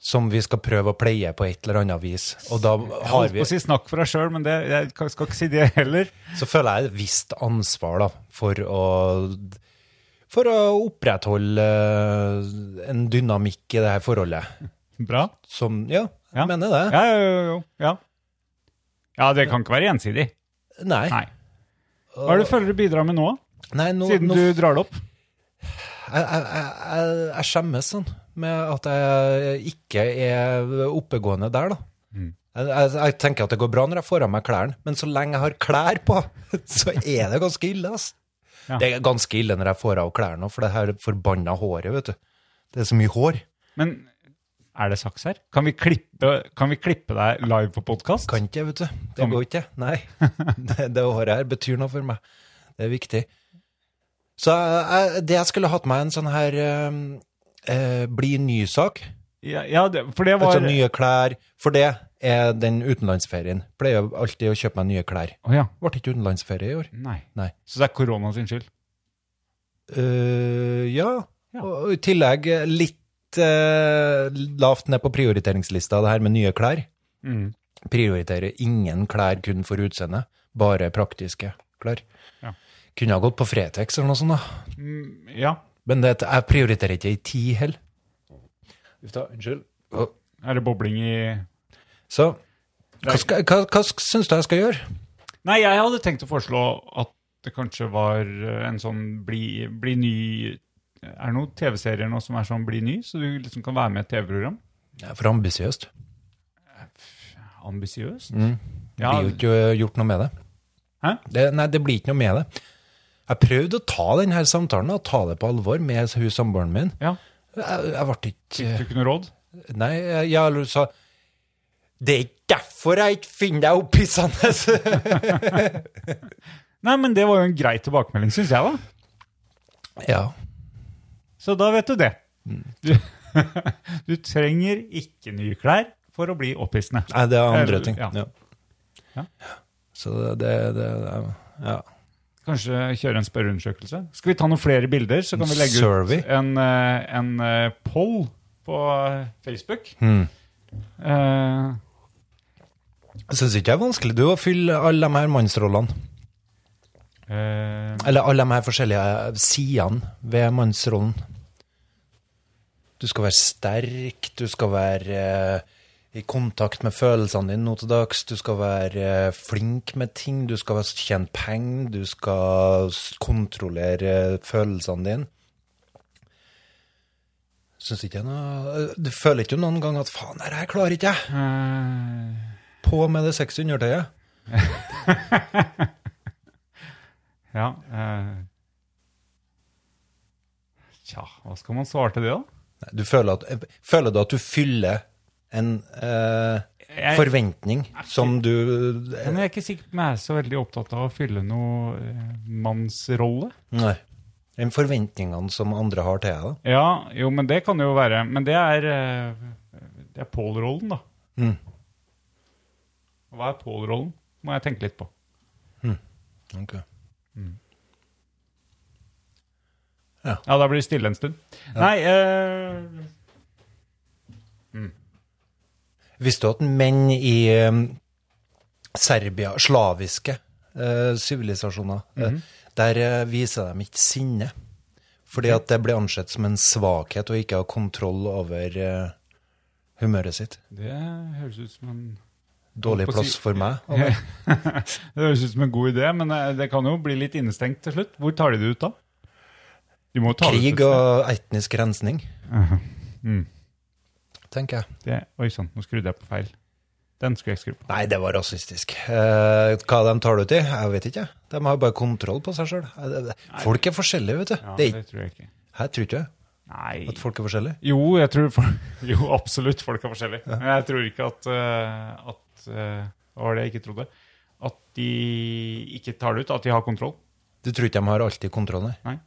S5: som vi skal prøve å pleie på et eller annet vis. Og da
S4: Jeg
S5: har
S4: holdt
S5: vi
S4: på å si snakk for deg sjøl, men det, jeg kan- skal ikke si det heller.
S5: så føler jeg et visst ansvar da, for å, for å opprettholde eh, en dynamikk i det her forholdet.
S4: Bra.
S5: Som, ja,
S4: Ja.
S5: jeg mener det.
S4: Ja, jo, jo, jo. Ja. ja, det kan ikke være gjensidig.
S5: Nei.
S4: Nei. Hva er det du føler du bidrar med nå,
S5: Nei, nå,
S4: siden
S5: nå
S4: du drar det opp?
S5: jeg, jeg, jeg- jeg, jeg skjemmes sånn med at jeg ikke er oppegående der, da.
S4: Mm.
S5: Jeg, jeg, jeg tenker at det går bra når jeg får av meg klærne, men så lenge jeg har klær på, så er det ganske ille, ass.
S4: Ja.
S5: Det er ganske ille når jeg får av klærne òg, for det her forbanna håret, vet du. Det er så mye hår.
S4: Men er det saks her? Kan vi klippe, kan vi klippe deg live på podkast?
S5: Kan ikke, vet du. Det
S4: Kan-
S5: går ikke. Nei. Det, det håret her betyr noe for meg. Det er viktig. Så jeg, jeg- det jeg skulle hatt meg en sånn her eh, eh, bli ny-sak.
S4: Ja, ja det, for det var
S5: Altså nye klær. For det er den utenlandsferien. Pleier jo alltid å kjøpe meg nye klær.
S4: Å ja.
S5: Ble ikke utenlandsferie i år.
S4: Nei.
S5: Nei.
S4: Så det er korona sin skyld?
S5: Eh, ja.
S4: Ja.
S5: Og og i tillegg litt eh, lavt ned på prioriteringslista, det her med nye klær.
S4: Mm.
S5: prioriterer ingen klær kun for utseende, bare praktiske klær.
S4: Ja.
S5: Kunne ha gått på Fretex eller noe sånt, da.
S4: Mm, ja.
S5: Men det, jeg prioriterer ikke ei tid heller. Uff da, unnskyld. Å,
S4: Er det bobling i
S5: Så hva, skal, hva, hva syns du jeg skal gjøre?
S4: Nei, jeg hadde tenkt å foreslå at det kanskje var eh, en sånn bli, bli ny Er det noen TV-serier nå som er sånn bli ny, så du liksom kan være med i et TV-program?
S5: Det er for ambisiøst.
S4: Ambisiøst?
S5: Det
S4: Ja,
S5: Mm. Blir jo ikke øh, gjort noe med det.
S4: Hæ?
S5: det. Nei, det blir ikke noe med det. Jeg prøvde å ta denne samtalen og ta det på alvor med hun samboeren min.
S4: ja.
S5: Jeg, jeg ble ikke
S4: Fikk du ikke noe råd?
S5: Nei, jeg, jeg sa Det er ikke derfor jeg ikke finner deg opphissende!
S4: Nei, men det var jo en grei tilbakemelding, syns jeg, da.
S5: ja.
S4: Så da vet du det.
S5: Mm.
S4: Du, du trenger ikke nye klær for å bli opphissende.
S5: Nei, det er andre ting.
S4: Ja.
S5: Ja.
S4: Ja.
S5: Så det, det, det, det ja.
S4: Kanskje kjøre en spørreundersøkelse. Skal vi ta noen flere bilder, så kan vi legge
S5: Survey.
S4: ut en, eh, en eh, poll på eh, Facebook.
S5: Hmm.
S4: Eh,
S5: Jeg syns ikke det er vanskelig du, å fylle alle de her mannsrollene.
S4: eh,
S5: Eller alle de her forskjellige sidene ved mannsrollen. Du skal være sterk, du skal være eh, i kontakt med følelsene dine nå til dags, du skal være eh, flink med ting, du skal være- tjene penger, du skal s- kontrollere eh, følelsene dine. Syns ikke jeg noe Du føler ikke noen gang at 'faen, det her klarer ikke jeg'?
S4: eh,
S5: På med det sexy undertøyet.
S4: ja eh. Tja, hva skal man svare til det, da?
S5: Nei, Du føler, at, føler du at du fyller en eh,
S4: Jeg-
S5: forventning som du
S4: Men jeg er ikke sikker på om jeg er så veldig opptatt av å fylle noe eh, mannsrolle.
S5: Nei. Den forventningene som andre har til deg. da.
S4: Ja, jo, men det kan jo være Men det er, eh, det er Paul-rollen, da.
S5: Mm.
S4: Hva er Paul-rollen? Må jeg tenke litt på. Ja, da blir det stille en stund. Nei eh,
S5: Visste du at menn i eh, Serbia, slaviske eh, sivilisasjoner, eh,
S4: Mhm.
S5: der eh, viser de ikke sinne? Fordi at det blir ansett som en svakhet å ikke ha kontroll over eh, humøret sitt.
S4: Det høres ut som en
S5: Dårlig
S4: Holdt på å si-
S5: plass for meg.
S4: Det høres ut som en god idé, men eh, det kan jo bli litt innestengt til slutt. Hvor tar de det ut, da? De må jo ta
S5: Krig
S4: det ut. et
S5: og etnisk rensning,
S4: sted. Mm.
S5: tenker jeg.
S4: Det, oi sann, nå skrudde jeg på feil. Den skulle jeg skru på.
S5: Nei, det var rasistisk. Eh, hva de tar det ut i? Jeg vet ikke. De har bare kontroll på seg sjøl. Folk er forskjellige, vet du.
S4: Ja,
S5: det
S4: det
S5: er, ikke-
S4: tror jeg ikke.
S5: jeg tror ikke
S4: Nei
S5: at folk er forskjellige.
S4: Jo, jeg tror for, jo, absolutt folk er forskjellige. Men jeg tror ikke at, eh, at eh, Hva var det jeg ikke trodde? At de ikke tar det ut, at de har kontroll.
S5: Du tror ikke de har alltid kontroll, nei?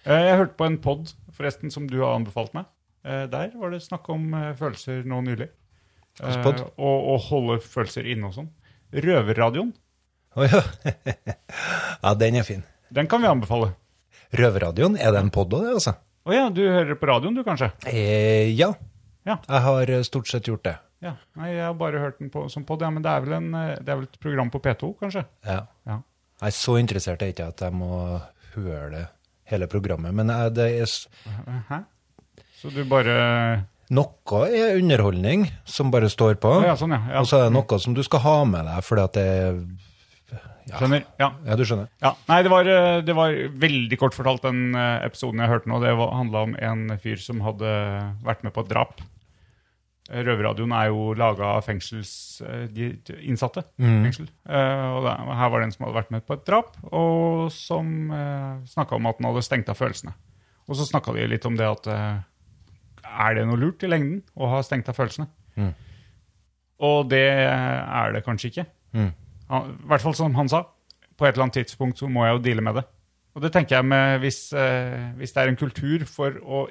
S4: Eh, Jeg hørte på en pod forresten som du har anbefalt meg. Eh, Der var det snakk om eh, følelser nå nylig.
S5: Hvilken podd?
S4: Eh, Og, og holde følelser inne og sånn. Røverradioen,
S5: Å ja. ja, den er fin.
S4: den kan vi anbefale.
S5: Røverradioen, er det en pod òg, det, altså?
S4: Å ja, du hører på radioen du, kanskje?
S5: Eh, ja.
S4: Ja.
S5: Jeg har eh, stort sett gjort det.
S4: Ja, nei, Jeg har bare hørt den på, som podd, ja, men det er, vel en, eh, det er vel et program på P2, kanskje?
S5: Ja.
S4: Ja.
S5: Jeg er så interessert er ikke jeg at jeg må høre det hele programmet, men jeg, det er s-
S4: Hæ? Så du bare
S5: noe er underholdning som bare står på,
S4: Å, Ja, sånn, ja. ja.
S5: og så er det noe som du skal ha med deg, fordi at det er
S4: Skjønner. Ja.
S5: Ja, du skjønner.
S4: ja. Nei, det var, eh, det var veldig kort fortalt den eh, episoden jeg hørte nå. Det handla om en fyr som hadde vært med på et drap. Eh, Røverradioen er jo laga av fengselsinnsatte.
S5: Mm.
S4: fengsel. Eh, og da, her var det en som hadde vært med på et drap, og som uh, snakka om at han hadde stengt av følelsene. Og så snakka de litt om det at eh, Er det noe lurt i lengden å ha stengt av følelsene?
S5: Mm.
S4: Og det eh, er det kanskje ikke.
S5: Mm.
S4: Han, I hvert fall som han sa. På et eller annet tidspunkt så må jeg jo deale med det. Og det tenker jeg med hvis, eh, hvis det er en kultur for å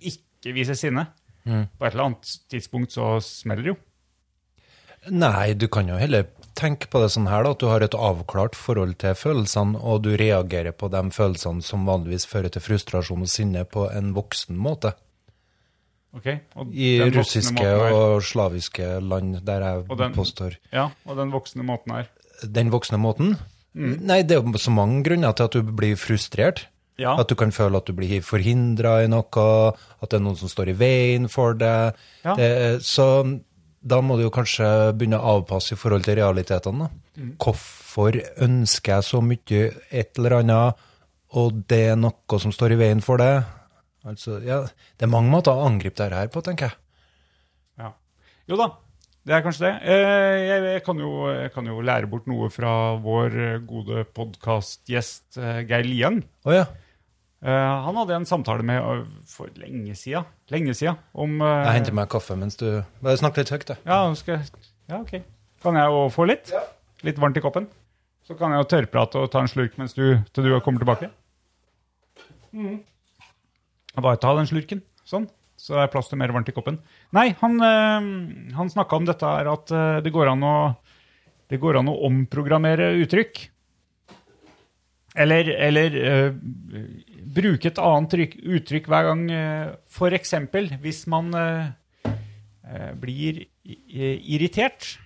S4: ikke vise sinne,
S5: Mm.
S4: på et eller annet tidspunkt så smeller det jo.
S5: Nei, du kan jo heller tenke på det sånn her, da, at du har et avklart forhold til følelsene, og du reagerer på de følelsene som vanligvis fører til frustrasjon og sinne på en voksen måte.
S4: Ok? Og
S5: I
S4: den voksne
S5: russiske
S4: måten er-
S5: og slaviske land, der jeg
S4: Og den-
S5: påstår
S4: Ja, og den voksne måten her.
S5: Den voksne måten?
S4: Mm.
S5: Nei, det er jo så mange grunner til at du blir frustrert.
S4: Ja.
S5: At du kan føle at du blir forhindra i noe, at det er noen som står i veien for deg.
S4: Ja.
S5: Det, så da må du jo kanskje begynne å avpasse i forhold til realitetene. da.
S4: Mm.
S5: Hvorfor ønsker jeg så mye et eller annet, og det er noe som står i veien for det? Altså, ja, det er mange måter å angripe dette her på, tenker jeg.
S4: Ja. Jo da, det er kanskje det. Eh, Jeg, jeg, kan jo, jeg kan jo lære bort noe fra vår eh, gode podkastgjest Geir Lien.
S5: Å ja,
S4: Eh, Han hadde en samtale med eh, for lenge sida, lenge sida om eh,
S5: jeg henter meg kaffe mens du Bare snakk litt høyt, da.
S4: Ja, nå skal jeg Ja, OK. Kan jeg jo få litt? Litt varmt i koppen? Så kan jeg jo tørrprate og ta en slurk mens du, til du kommer tilbake. Bare ta den slurken, sånn. Så det er plass til mer varmt i koppen. Nei, han, øh, han snakka om dette her, at øh, det går, an å, det går an å omprogrammere uttrykk. Eller, eller øh, bruke et annet trykk, uttrykk hver gang. øh, for eksempel hvis man øh, øh, blir i, i- irritert.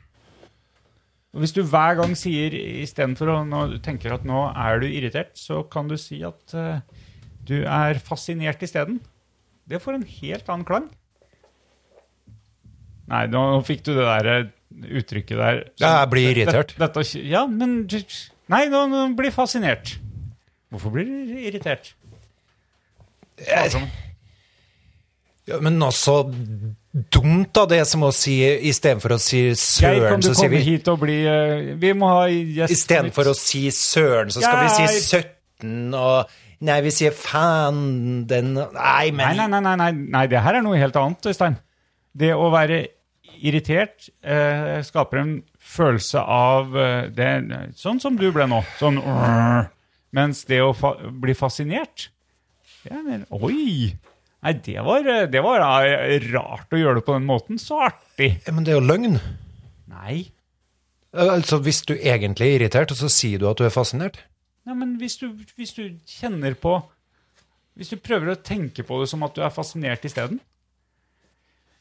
S4: Og hvis du hver gang sier istedenfor å nå, du tenker at nå er du irritert, så kan du si at øh, du er fascinert isteden. Det får en helt annen klang. Nei, nå fikk du det der eh, uttrykket der.
S5: Ja, jeg blir irritert.
S4: Dette, dette, ja, men du- Nei, nå, nå blir fascinert. Hvorfor blir du irritert? Altså,
S5: Ja, men altså Dumt, da, det er som å si Istedenfor å si
S4: Geir, kan
S5: søren,
S4: du
S5: så sier
S4: komme
S5: vi
S4: hit og bli eh, Vi må ha gjest
S5: Istedenfor å si søren, så skal vi si 17, og Nei, vi sier faen den Nei,
S4: Nei,
S5: men
S4: nei, nei, nei, nei, nei, det her er noe helt annet, Øystein. Det å være irritert eh, skaper en følelse av eh, det, Sånn som du ble nå. Sånn «Åh». Mens det å fa bli fascinert det er mer, Oi! Nei, det var, eh, det var eh, rart å gjøre det på den måten. Så artig!
S5: Ja, Men det er jo løgn.
S4: Nei.
S5: Altså, Hvis du egentlig er irritert, og så sier du at du er fascinert
S4: Nei, men hvis du, hvis du kjenner på Hvis du prøver å tenke på det som at du er fascinert isteden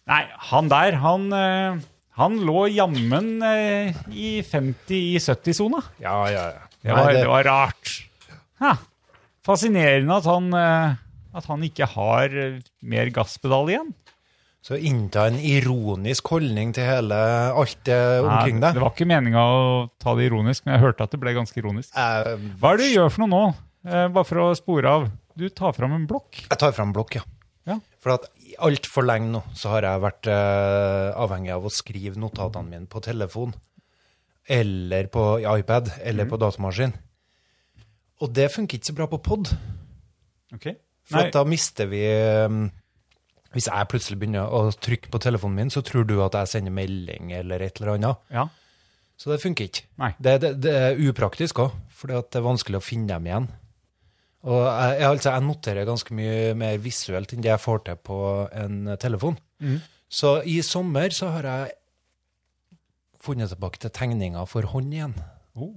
S4: Nei, han der, han, eh, han lå jammen eh, i 50-70-sona.
S5: Ja, ja, ja.
S4: Det, var- det var rart. Ha, fascinerende at han, eh, at han ikke har eh, mer gasspedal igjen.
S5: Så innta en ironisk holdning til hele alt det omkring
S4: Nei,
S5: deg.
S4: det var ikke meninga å ta det ironisk, men jeg hørte at det ble ganske ironisk.
S5: Jeg,
S4: Hva er det du gjør for noe nå? Eh, bare for å spore av. Du tar fram en blokk.
S5: jeg tar fram blokk, ja.
S4: Ja.
S5: For at altfor lenge nå så har jeg vært eh, avhengig av å skrive notatene mine på telefon, eller på i iPad, eller på datamaskin. Og det funker ikke så bra på pod,
S4: Ok.
S5: for at da mister vi eh, Hvis jeg plutselig begynner å trykke på telefonen min, så tror du at jeg sender melding eller et eller annet.
S4: Ja.
S5: Så det funker ikke.
S4: Nei.
S5: Det, det, det er upraktisk òg, for det er vanskelig å finne dem igjen. Og jeg, jeg, altså, jeg noterer ganske mye mer visuelt enn det jeg får til på en telefon.
S4: Mm.
S5: Så i sommer så har jeg funnet tilbake til tegninger for hånd igjen.
S4: Oh.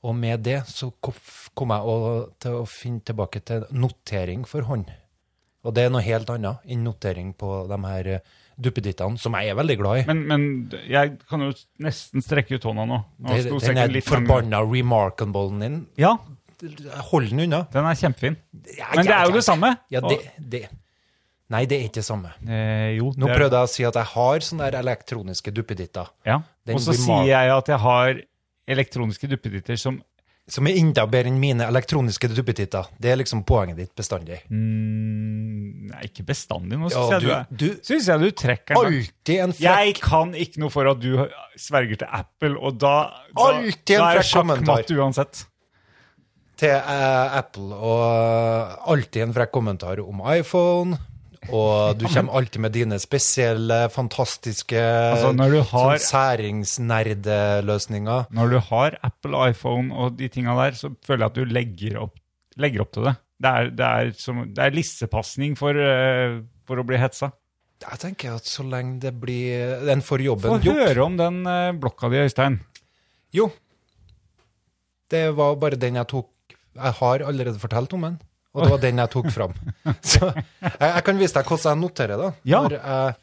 S5: Og med det så kom, kom jeg å, til å finne tilbake til notering for hånd. Og det er noe helt annet enn notering på de her eh, duppedittene, som jeg er veldig glad i.
S4: Men, men jeg kan jo nesten strekke ut hånda nå. nå
S5: Den,
S4: skulle
S5: den
S4: sekken
S5: er
S4: litt lang-
S5: forbanna remarkable-en din.
S4: Ja,
S5: Hold den unna.
S4: den er kjempefin.
S5: Ja,
S4: Men det
S5: ja,
S4: er jo
S5: ja.
S4: det samme.
S5: Ja, det, det. Nei, det er ikke det samme.
S4: Og, eh, jo,
S5: Nå
S4: det er-
S5: prøvde jeg å si at jeg har sånne der elektroniske duppeditter.
S4: ja.
S5: den
S4: Og så
S5: blir
S4: sier
S5: mal-
S4: jeg at jeg har elektroniske duppeditter som
S5: Som er enda bedre enn mine elektroniske duppetitter. Det er liksom poenget ditt bestandig.
S4: mm, Nei, ikke bestandig. Nå syns
S5: Ja,
S4: jeg, du,
S5: du, du
S4: synes jeg du trekker den.
S5: Alltid en frekk
S4: Jeg kan ikke noe for at du sverger til Apple, og da, da,
S5: Alltid en
S4: da er
S5: frekk kommentar.
S4: sjakkmatt uansett.
S5: til eh, Apple, og eh, alltid en frekk kommentar om iPhone. Og du kommer alltid med dine spesielle, fantastiske
S4: Altså, når du har-
S5: sånn særingsnerdeløsninger.
S4: Når du har Apple, iPhone og de tinga der, så føler jeg at du legger opp, legger opp til det. Det er, det er, som, det er lissepasning for, eh, for å bli hetsa.
S5: Jeg tenker at så lenge det blir Den får jobben
S4: Få
S5: gjort.
S4: høre om den eh, blokka di, Øystein.
S5: Jo. Det var bare den jeg tok Jeg har allerede fortalt om den, og det var den jeg tok fram. Så jeg, jeg kan vise deg hvordan jeg noterer, da.
S4: Ja.
S5: Når, jeg,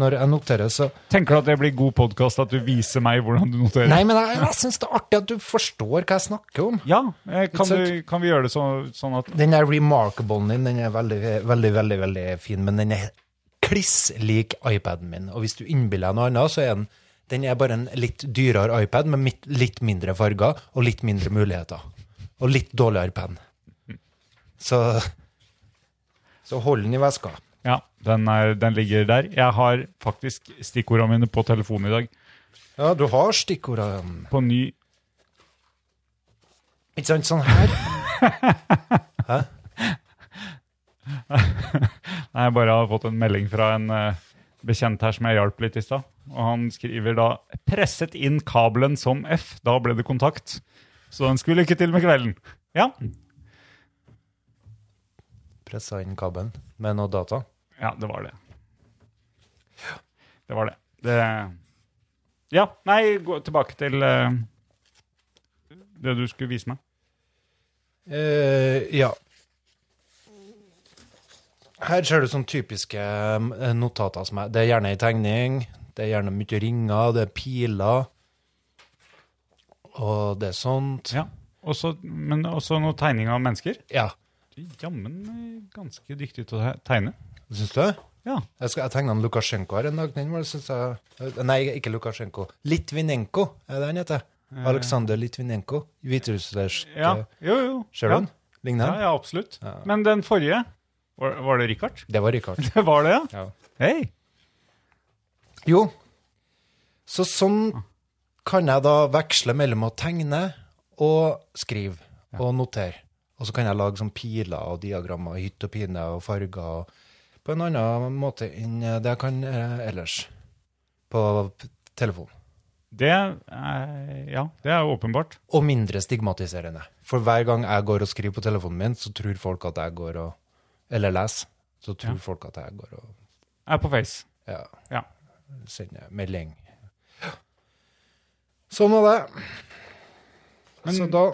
S5: når jeg noterer, så
S4: Tenker du at det blir god podkast at du viser meg hvordan du noterer?
S5: Nei, men jeg, jeg syns det er artig at du forstår hva jeg snakker om.
S4: Ja, eh, kan,
S5: sant?
S4: du, kan vi gjøre det så, sånn at
S5: Den der remarkable din, den er veldig, veldig, veldig, veldig fin, men den er kliss lik iPaden min. Og hvis du innbiller deg noe annet, så er den, den er bare en litt dyrere iPad med mitt- litt mindre farger og litt mindre muligheter. Og litt dårligere penn. Så, så hold den i veska.
S4: Ja, den, er, den ligger der. Jeg har faktisk stikkordene mine på telefonen i dag.
S5: Ja, du har stikkordene.
S4: På ny
S5: Ikke sant, sånn her.
S4: Nei, jeg bare har fått en melding fra en eh, bekjent her som jeg hjalp litt i stad. Og han skriver da 'presset inn kabelen som F'. Da ble det kontakt. Så den skulle lykke til med kvelden. Ja,
S5: Pressa inn kabelen med noe data.
S4: ja det var det. Det var det. det ja, nei, gå tilbake til eh, det du skulle vise meg.
S5: Eh, ja. Her ser du sånne typiske um, notater som er Det er gjerne ei tegning, det er gjerne mye ringer, det er piler, og det er sånt.
S4: Ja. Også, men også noen tegning av mennesker.
S5: Ja.
S4: Du er jammen eh, ganske dyktig til å tegne.
S5: Syns du? Jeg,
S4: Ja.
S5: skal, jeg tegna en Lukasjenko her en dag. Den var, synes jeg, nei, ikke Lukasjenko. Litvinenko er det han heter. Aleksandr Litvinenko. Hviterussers
S4: Eh. ja. Jo, jo.
S5: Ser
S4: ja.
S5: du den? Ligner
S4: Ja,
S5: den?
S4: ja, absolutt. Men den forrige, var, var det Richard?
S5: Det var Rikard.
S4: Det var det, ja?
S5: Ja.
S4: Hei!
S5: Jo. Så sånn kan jeg da veksle mellom å tegne og skrive og notere. Og så kan jeg lage sånn piler og diagrammer, hytt og pine og farger og på en annen måte enn det jeg kan eh, ellers på p- telefon.
S4: Det er, ja, det er jo åpenbart.
S5: Og mindre stigmatiserende. For hver gang jeg går og skriver på telefonen min, så tror folk at jeg går og Eller leser, så tror folk at jeg går og
S4: Er på Face.
S5: ja,
S4: Ja.
S5: sender melding. Sånn var det. så da,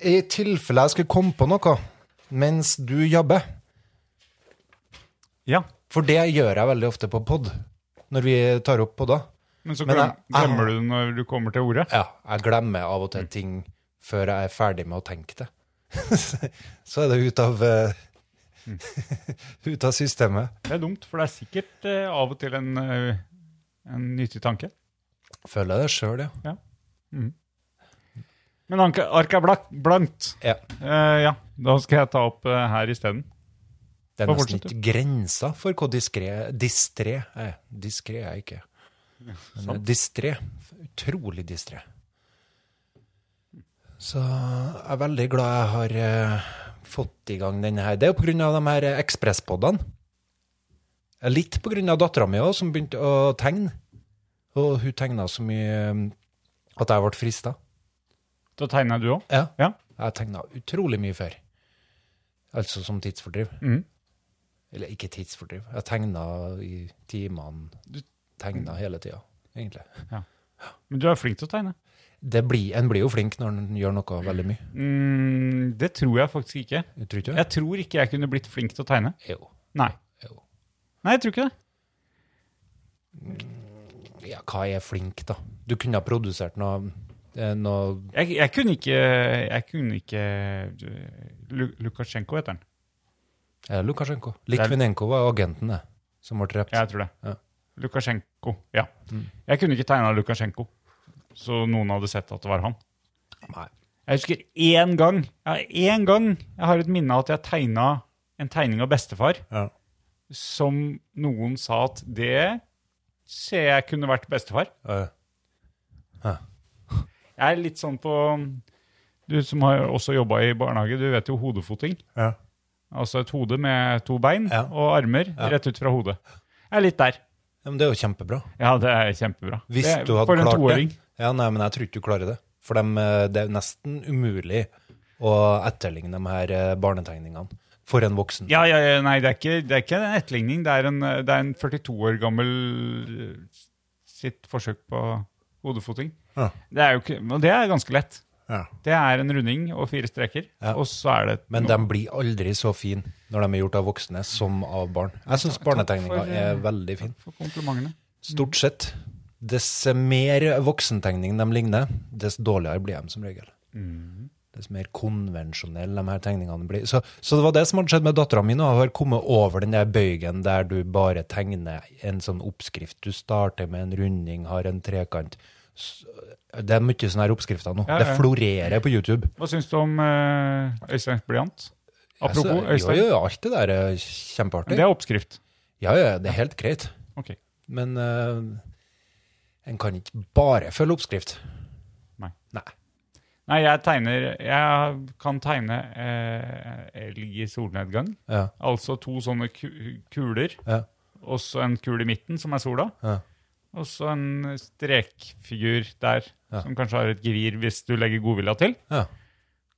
S5: i tilfelle jeg skulle komme på noe mens du jobber,
S4: ja.
S5: for det gjør jeg veldig ofte på pod, når vi tar opp podda,
S4: Men så
S5: Men
S4: glem,
S5: jeg- jeg-
S4: glemmer du det ah. når du kommer til ordet.
S5: ja, Mm. jeg glemmer av og til ting før jeg er ferdig med å tenke det. så er det ut av, eh, ut av systemet.
S4: Det er dumt, for det er sikkert eh, av og til en, eh, en nyttig tanke.
S5: Føler jeg det sjøl, ja.
S4: Men anke- arket er blak- blankt.
S5: ja.
S4: Eh, ja, da skal jeg ta opp eh, her isteden.
S5: Det er
S4: Bare
S5: nesten
S4: fortsett,
S5: ikke grensa for hvor diskré Distré er jeg. Diskré er jeg ikke. Men jeg er distré. Utrolig distré. Så jeg er veldig glad jeg har eh, fått i gang denne her. Det er jo på grunn av de her eh, ekspresspoddene. Eh, Litt på grunn av dattera mi òg, som begynte å tegne. Og hun tegna så mye eh, at jeg ble frista.
S4: Da tegner du òg.
S5: Ja.
S4: Ja.
S5: Jeg tegna utrolig mye før. Altså som tidsfordriv.
S4: Mhm.
S5: Eller ikke tidsfordriv. Jeg tegna i timene. Du tegna hele tida, egentlig.
S4: Men du er flink til å tegne.
S5: Det blir, en blir jo flink når en gjør noe veldig mye.
S4: Mm, det tror jeg faktisk ikke.
S5: Tror ikke du?
S4: Jeg tror ikke jeg kunne blitt flink til å tegne.
S5: Jo.
S4: Nei.
S5: jo.
S4: Nei, jeg tror ikke det.
S5: ja, hva er flink, da? Du kunne ha produsert noe, eh, noe
S4: Jeg, jeg kunne ikke, jeg kunne ikke eh, Lu- Lukasjenko heter han.
S5: eh, Lukasjenko. Litvinenko var agenten, det, som ble drept.
S4: Jeg tror det.
S5: Ja.
S4: Lukasjenko, ja. Jeg kunne ikke tegna Lukasjenko, så noen hadde sett at det var han.
S5: Nei.
S4: Jeg husker én gang ja, én gang jeg har et minne av at jeg tegna en tegning av bestefar
S5: Ja.
S4: som noen sa at det ser jeg kunne vært bestefar.
S5: Eh,
S4: Jeg er litt sånn på Du som har også jobba i barnehage, du vet jo hodefoting.
S5: ja.
S4: Altså et hode med to bein
S5: Ja.
S4: og armer rett ut fra hodet. Jeg er litt der.
S5: Ja, men det er jo kjempebra.
S4: Ja, det er kjempebra.
S5: Hvis
S4: Det er-
S5: du hadde
S4: for en
S5: klart
S4: toåring.
S5: det. Ja, nei, men jeg tror ikke du klarer det. For dem, eh, det er jo nesten umulig å etterligne de her eh, barnetegningene for en voksen.
S4: Ja, ja, ja, nei, det er ikke, det er ikke en etterligning. Det er en, eh, det er en 42 år gammel eh, sitt forsøk på hodefoting.
S5: Ja.
S4: Det er jo ikke, og det er ganske lett.
S5: Ja.
S4: Det er en runding og fire streker,
S5: Ja.
S4: og så er det
S5: Men de blir aldri så fine når de er gjort av voksne som av barn. Jeg syns barnetegninga
S4: for, eh,
S5: er veldig fin.
S4: for komplimentene.
S5: Stort
S4: Mm.
S5: sett. Dess mer voksentegning de ligner, dess dårligere blir de som regel.
S4: Mm.
S5: Dess mer konvensjonelle de her tegningene blir. Så, så det var det som hadde skjedd med dattera mi. Hun har kommet over den der bøygen der du bare tegner en sånn oppskrift. Du starter med en runding, har en trekant. S- Det er mye sånne her oppskrifter nå.
S4: Ja, ja.
S5: Det florerer på YouTube.
S4: Hva syns du om eh, Øystein Blyant? Apropos
S5: altså,
S4: Øystein,
S5: jo, jo, alt det der er kjempeartig.
S4: det er oppskrift.
S5: Ja, ja, det er helt greit.
S4: Ok.
S5: Men eh, en kan ikke bare følge oppskrift.
S4: Nei.
S5: Nei.
S4: Nei, jeg tegner Jeg kan tegne eh, elg i solnedgang.
S5: Ja.
S4: Altså to sånne ku kuler.
S5: Ja.
S4: Og så en kul i midten, som er sola.
S5: Ja.
S4: Og så en strekfigur der,
S5: Ja.
S4: som kanskje har et gevir hvis du legger godvilja til.
S5: Ja.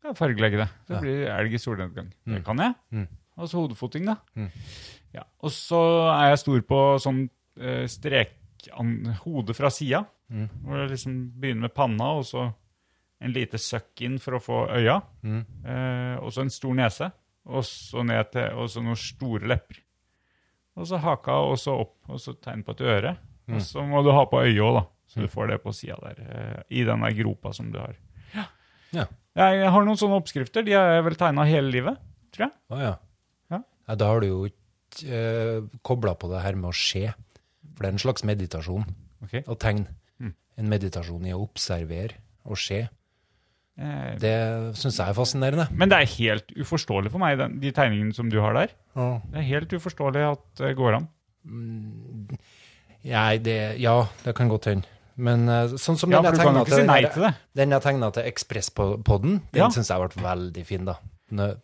S4: Kan jeg fargelegge det. Så
S5: Ja.
S4: blir det elg i solnedgang. Det
S5: Mm.
S4: kan jeg.
S5: Mm.
S4: Og så hodefoting, da.
S5: Mm.
S4: Ja. Og så er jeg stor på sånn eh, strek... an- Hode fra sida.
S5: Mm.
S4: Hvor jeg liksom begynner med panna, og så en lite søkk inn for å få øya.
S5: Mm.
S4: Eh, og så en stor nese, og så ned til, og så noen store lepper. Og så haka, og så opp, og så tegn på et øre.
S5: Mm.
S4: Og så må du ha på øyet òg, da. Så du får det på sida der, eh, i den der gropa som du har.
S5: Ja.
S4: Jeg har noen sånne oppskrifter. De har jeg vel tegna hele livet, tror jeg.
S5: Å ja.
S4: Ja.
S5: Nei, da har du jo ikke uh, kobla på det her med å se. For det er en slags meditasjon
S4: Ok.
S5: å tegne.
S4: Mm.
S5: En meditasjon i å observere og se.
S4: Eh,
S5: Det syns jeg er fascinerende.
S4: men det er helt uforståelig for meg, den, de tegningene som du har der. Det er helt uforståelig at det går an.
S5: Mm, Nei, det Ja, det kan godt hende. Men eh, sånn som
S4: Ja,
S5: den
S4: for
S5: jeg
S4: du kan jo
S5: tegnet
S4: ikke si
S5: den
S4: nei
S5: her-
S4: til det.
S5: Den jeg tegna til Ekspresspodden, den
S4: Ja.
S5: synes syns jeg ble veldig fin, da. Nå-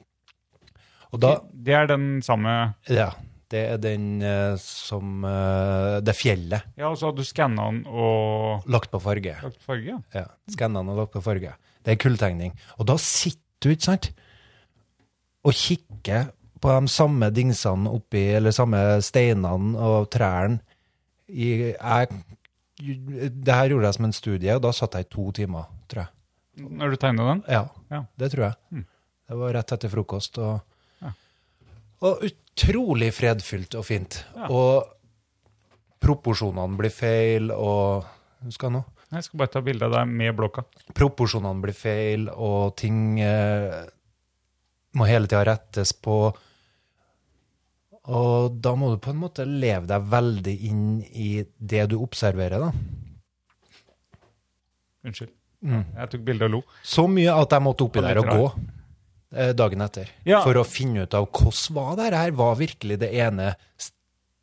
S5: Og da
S4: Det er den samme
S5: Ja. Det er den eh, som eh, Det fjellet.
S4: Ja, og så hadde du skanna den og
S5: Lagt på farge.
S4: lagt farge, ja.
S5: Ja. Skanna den og lagt på farge. Det er kulltegning. Og da sitter du, ikke sant, og kikker på de samme dingsene oppi, eller samme steinene og trærne i jeg, Det her gjorde jeg som en studie, og da satt jeg i to timer, tror jeg.
S4: Når du tegna den.
S5: Ja,
S4: Ja.
S5: det tror jeg.
S4: Mm.
S5: Det var rett etter frokost. Og,
S4: Ja.
S5: og utrolig fredfylt og fint.
S4: Ja.
S5: Og proporsjonene blir feil, og Husk hva nå?
S4: Jeg skal bare ta bilde av deg med blokka.
S5: Proporsjonene blir feil, og ting eh, må hele tida rettes på. Og da må du på en måte leve deg veldig inn i det du observerer, da.
S4: Unnskyld.
S5: Mm.
S4: Jeg tok bilde og lo.
S5: Så mye at jeg måtte oppi
S4: Og
S5: der
S4: litt
S5: og gå eh, dagen etter.
S4: Ja.
S5: For å finne ut av hvordan var det her. Var virkelig det ene s-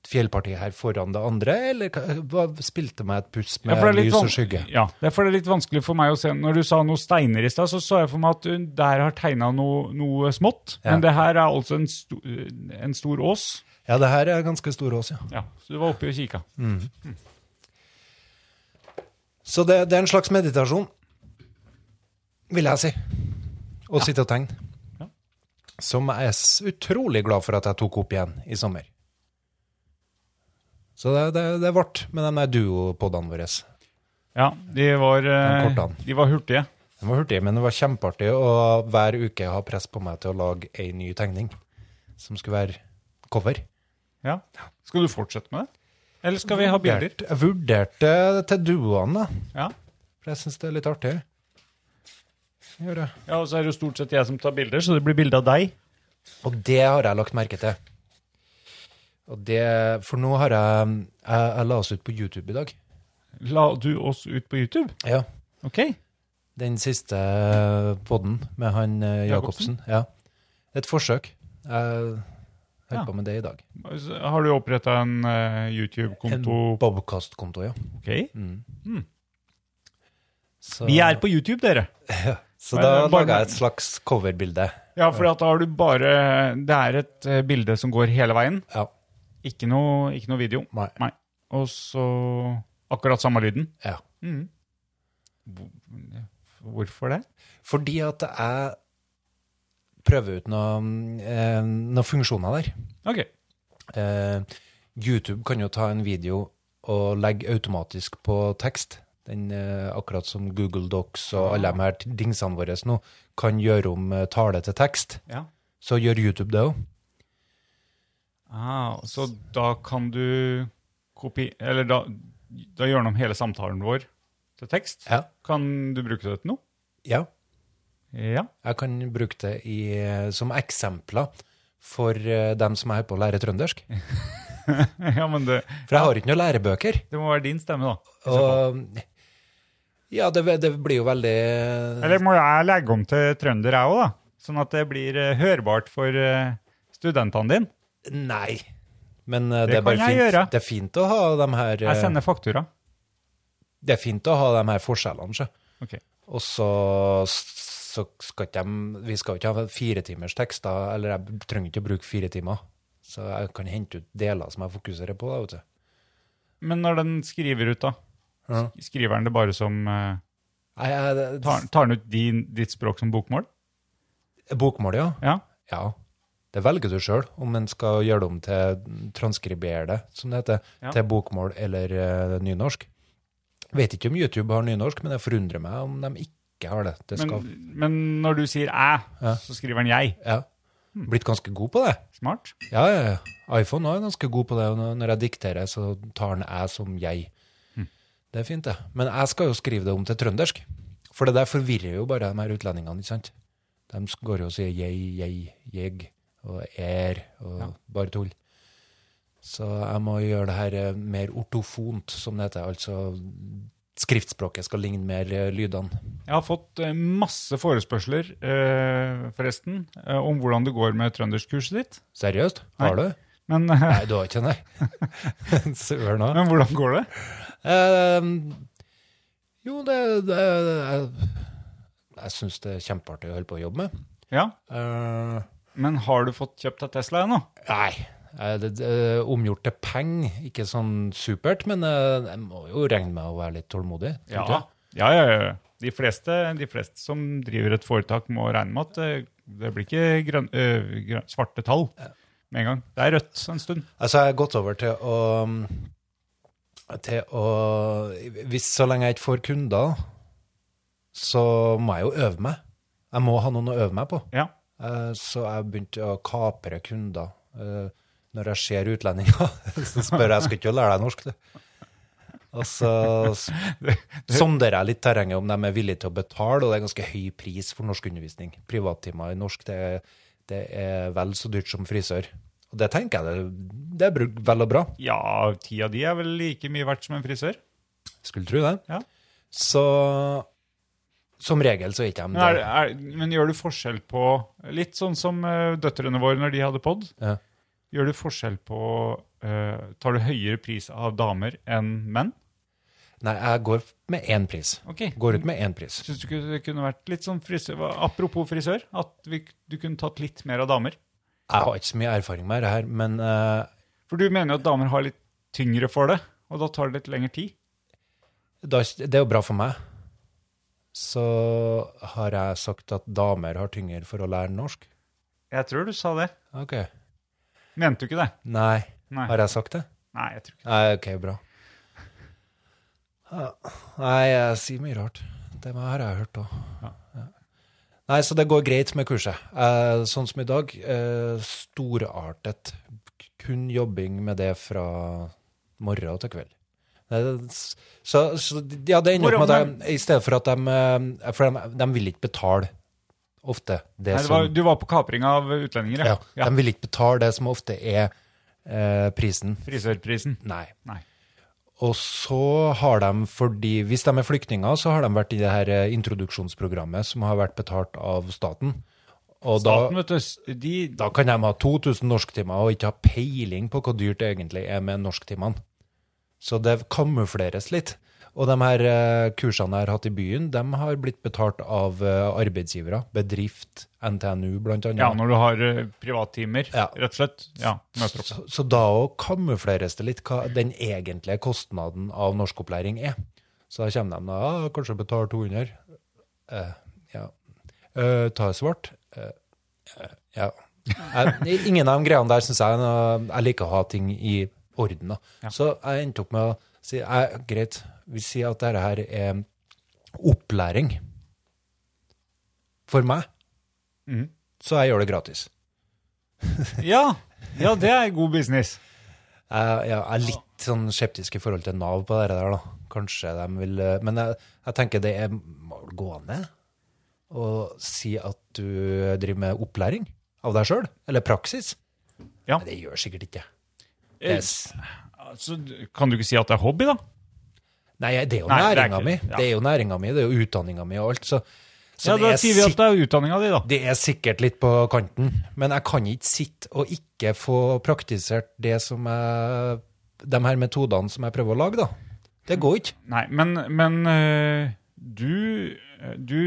S5: fjellpartiet her foran det andre, eller hva- hva- spilte meg et puss med
S4: for det er litt sånn-
S5: lys og
S4: van-
S5: skygge?
S4: Ja, derfor er det litt vanskelig for meg å se. Når du sa noe steiner i stad, så så jeg for meg at du der har tegna noe, noe smått.
S5: Ja.
S4: Men det her er altså en, sto, en stor ås.
S5: Ja, det her er ganske stor ås, ja.
S4: Ja, så du var oppe og kikka.
S5: Så det, det er en slags meditasjon, vil jeg si. Å sitte og tegne.
S4: Ja.
S5: Som jeg er s- utrolig glad for at jeg tok opp igjen i sommer. Så det, det, det ble med de der duopodene våre.
S4: Ja, de var, eh,
S5: Den kortene.
S4: de var hurtige.
S5: Den var hurtig, men det var kjempeartig å hver uke ha press på meg til å lage ei ny tegning som skulle være cover.
S4: Ja. Skal du fortsette med det? Eller skal vi ha bilder?
S5: Jeg vurderte det til duoene, da.
S4: Ja.
S5: for jeg syns det er litt artig. Gjør jeg.
S4: ja, Og så er det jo stort sett jeg som tar bilder, så det blir bilde av deg.
S5: Og det har jeg lagt merke til. Og det, for nå har jeg Jeg, jeg la oss ut på YouTube i dag.
S4: La du oss ut på YouTube?
S5: Ja.
S4: Ok.
S5: Den siste eh, podden med han eh, Jacobsen.
S4: Jacobsen?
S5: Ja. Et forsøk. Jeg holdt
S4: Ja.
S5: på med det i dag.
S4: Har du oppretta en eh,
S5: En
S4: YouTube-konto?
S5: Bobcast-konto, ja.
S4: Ok.
S5: Mm.
S4: Mm.
S5: Så,
S4: Vi er på YouTube, dere!
S5: så da
S4: Eh, bare-
S5: laga jeg et slags coverbilde.
S4: Ja, for da har du bare Det er et eh, bilde som går hele veien.
S5: Ja.
S4: Ikke noe, ikke noe video.
S5: Nei.
S4: Og så akkurat samme lyden.
S5: Ja.
S4: Mhm. Hvor- Hvorfor det?
S5: Fordi at jeg prøver ut noen eh, noe funksjoner der.
S4: Ok.
S5: Eh, YouTube kan jo ta en video og legge automatisk på tekst. Den, eh, akkurat som Google Docs og alle de her dingsene våre nå kan gjøre om eh, tale til tekst,
S4: Ja.
S5: så gjør YouTube det òg.
S4: Ah, så da kan du kopi... Eller da, da gjør den om hele samtalen vår til tekst.
S5: Ja.
S4: Kan du bruke det til noe?
S5: ja.
S4: Ja.
S5: Jeg kan bruke det i, eh, som eksempler for eh, dem som er på å lære trøndersk.
S4: ja, men det,
S5: For jeg har ikke noen lærebøker.
S4: det må være din stemme, da. i så fall.
S5: Og, eh, ja, det, det blir jo veldig eh,
S4: Eller må jeg legge om til trønder, jeg òg, da? Sånn at det blir eh, hørbart for eh, studentene dine.
S5: Nei. Men eh, det,
S4: Det
S5: er bare
S4: kan jeg
S5: fint.
S4: gjøre.
S5: Det er fint å ha de her eh,
S4: Jeg sender faktura.
S5: Det er fint å ha de her forskjellene, sjø.
S4: Ok.
S5: Og så, så skal ikke de Vi skal jo ikke ha firetimers tekster, eller jeg trenger ikke å bruke fire timer. Så jeg kan hente ut deler som jeg fokuserer på, da, vet du.
S4: Men når den skriver ut, da?
S5: Ja.
S4: sk- Skriver den det bare som eh,
S5: Nei, jeg-
S4: Tar, tar den ut din, ditt språk som bokmål?
S5: Bokmål, ja.
S4: Ja.
S5: Ja. Det velger du sjøl, om en skal gjøre det om til transkribere det, som det heter,
S4: Ja.
S5: til bokmål eller eh, nynorsk. Vet ikke om YouTube har nynorsk, men jeg forundrer meg om de ikke har det. det
S4: Men,
S5: skal,
S4: men når du sier 'æ', så skriver den 'jeg'.
S5: ja.
S4: Hmm.
S5: Blitt ganske god på det.
S4: Smart.
S5: Ja, ja, ja. iPhone er ganske god på det. og Når når jeg dikterer, så tar den jeg som jeg. Det er fint, det. Men jeg skal jo skrive det om til trøndersk. For det der forvirrer jo bare de her utlendingene, ikke sant? De går jo og sier jeg, jeg, jeg, og er, og bare tull. Så jeg må gjøre det her eh, mer ortofont, som det heter. Altså skriftspråket skal ligne mer eh, lydene.
S4: Jeg har fått eh, masse forespørsler, eh, forresten, eh, om hvordan det går med trønderskurset ditt.
S5: Seriøst? Har
S4: Nei.
S5: du?
S4: Men, eh,
S5: Nei, du har ikke, nei. Søren òg.
S4: men hvordan går det?
S5: Eh, jo, det, det Jeg, jeg syns det er kjempeartig å holde på å jobbe med.
S4: Ja.
S5: Eh,
S4: Men har du fått kjøpt deg Tesla ennå?
S5: nei. eh, det, det, er omgjort til penger, ikke sånn supert, men eh, jeg må jo regne med å være litt tålmodig. tror
S4: Ja.
S5: ikke jeg.
S4: Ja, ja, ja. De fleste, de fleste som driver et foretak, må regne med at det, det blir ikke grønn, øh, grønn, svarte tall med en gang. Det er rødt en stund.
S5: Altså, jeg har gått over til å til å, hvis Så lenge jeg ikke får kunder, så må jeg jo øve meg. Jeg må ha noen å øve meg på.
S4: Ja.
S5: Eh, Så jeg begynte å kapre kunder. Eh, Når jeg ser utlendinger, så spør jeg skal ikke du lære deg norsk. Du. Og så s- sonderer jeg litt terrenget om de er villige til å betale, og det er ganske høy pris for norskundervisning. Privattimer i norsk det, er- det er vel så dyrt som frisør. Og det tenker jeg det, det er bruk- vel og bra.
S4: Ja, ti av de er vel like mye verdt som en frisør.
S5: Skulle tro det.
S4: Ja.
S5: Så som regel så er ikke de
S4: Men, er, er, men gjør du forskjell på Litt sånn som øh, døtrene våre når de hadde pod.
S5: Ja.
S4: Gjør du forskjell på øh, Tar du høyere pris av damer enn menn?
S5: Nei, jeg går med én pris.
S4: Ok.
S5: Går ut med én pris.
S4: Syns du ikke det kunne vært litt sånn frisør Apropos frisør, at vi, du kunne tatt litt mer av damer?
S5: Jeg har ikke så mye erfaring med det her, men eh,
S4: For du mener jo at damer har litt tyngre for det, og da tar det litt lengre tid.
S5: da, det er jo bra for meg. Så har jeg sagt at damer har tyngre for å lære norsk.
S4: Jeg tror du sa det.
S5: Ok.
S4: Mente du ikke det?
S5: Nei.
S4: Nei.
S5: Har jeg sagt det?
S4: Nei, jeg tror ikke det.
S5: Nei, ok, bra. Ja, Nei, jeg sier mye rart. Det her har jeg hørt òg. Nei, så det går greit med kurset. Eh, sånn som i dag, eh, storartet. Kun jobbing med det fra morgen til kveld. Nei, det- Så, så ja, det ender opp med at de, i stedet for at de, eh, for de, de vil ikke betale ofte det
S4: Nei, det
S5: som
S4: var, du var på kapring av utlendinger,
S5: ja,
S4: ja. ja.
S5: De vil ikke betale det som ofte er eh, prisen.
S4: Frisørprisen.
S5: Nei.
S4: Nei.
S5: Og så har de, fordi hvis de er flyktninger, så har de vært i det her eh, introduksjonsprogrammet som har vært betalt av staten. Og
S4: Staten,
S5: da,
S4: vet du, s- de
S5: da kan de ha 2000 norsktimer og ikke ha peiling på hvor dyrt det egentlig er med norsktimene. Så det kamufleres litt. Og de her eh, kursene jeg har hatt i byen, de har blitt betalt av eh, arbeidsgivere. Bedrift, NTNU blant annet.
S4: Ja, når du har eh, privattimer,
S5: Ja.
S4: rett og slett. Ja, møter opp.
S5: Så, så da òg kamufleres det litt hva den egentlige kostnaden av norskopplæring er. Så da kommer de da ah, kanskje betaler 200. Eh, ja. Eh, ta svart. Eh, eh, ja. Jeg, ingen av de greiene der syns jeg er noe- Jeg liker å ha ting i orden. Da. Så jeg endte opp med å si eh, greit, vi sier at dette her er opplæring for meg,
S4: Mhm.
S5: så jeg gjør det gratis.
S4: Ja, ja, det er god business.
S5: Jeg, jeg er litt sånn skeptisk i forhold til Nav på det der, da. Kanskje de vil eh, Men jeg, jeg tenker det er må vel gå ned å si at du driver med opplæring av deg sjøl, eller praksis.
S4: Ja.
S5: Men det gjør sikkert ikke.
S4: Eh,
S5: Yes.
S4: Så d- kan du ikke si at det er hobby, da?
S5: Nei, det er jo
S4: Nei, det er
S5: næringa
S4: ikke-
S5: mi.
S4: ja.
S5: Det er jo næringa mi, det er jo utdanninga mi og alt, så, så
S4: ja, da
S5: det, er
S4: sier vi at
S5: sikk-
S4: det er utdanninga di, da.
S5: det er sikkert litt på kanten. Men jeg kan ikke sitte og ikke få praktisert det som jeg De her metodene som jeg prøver å lage, da. Det går ikke.
S4: Nei, men, men eh, du, eh, du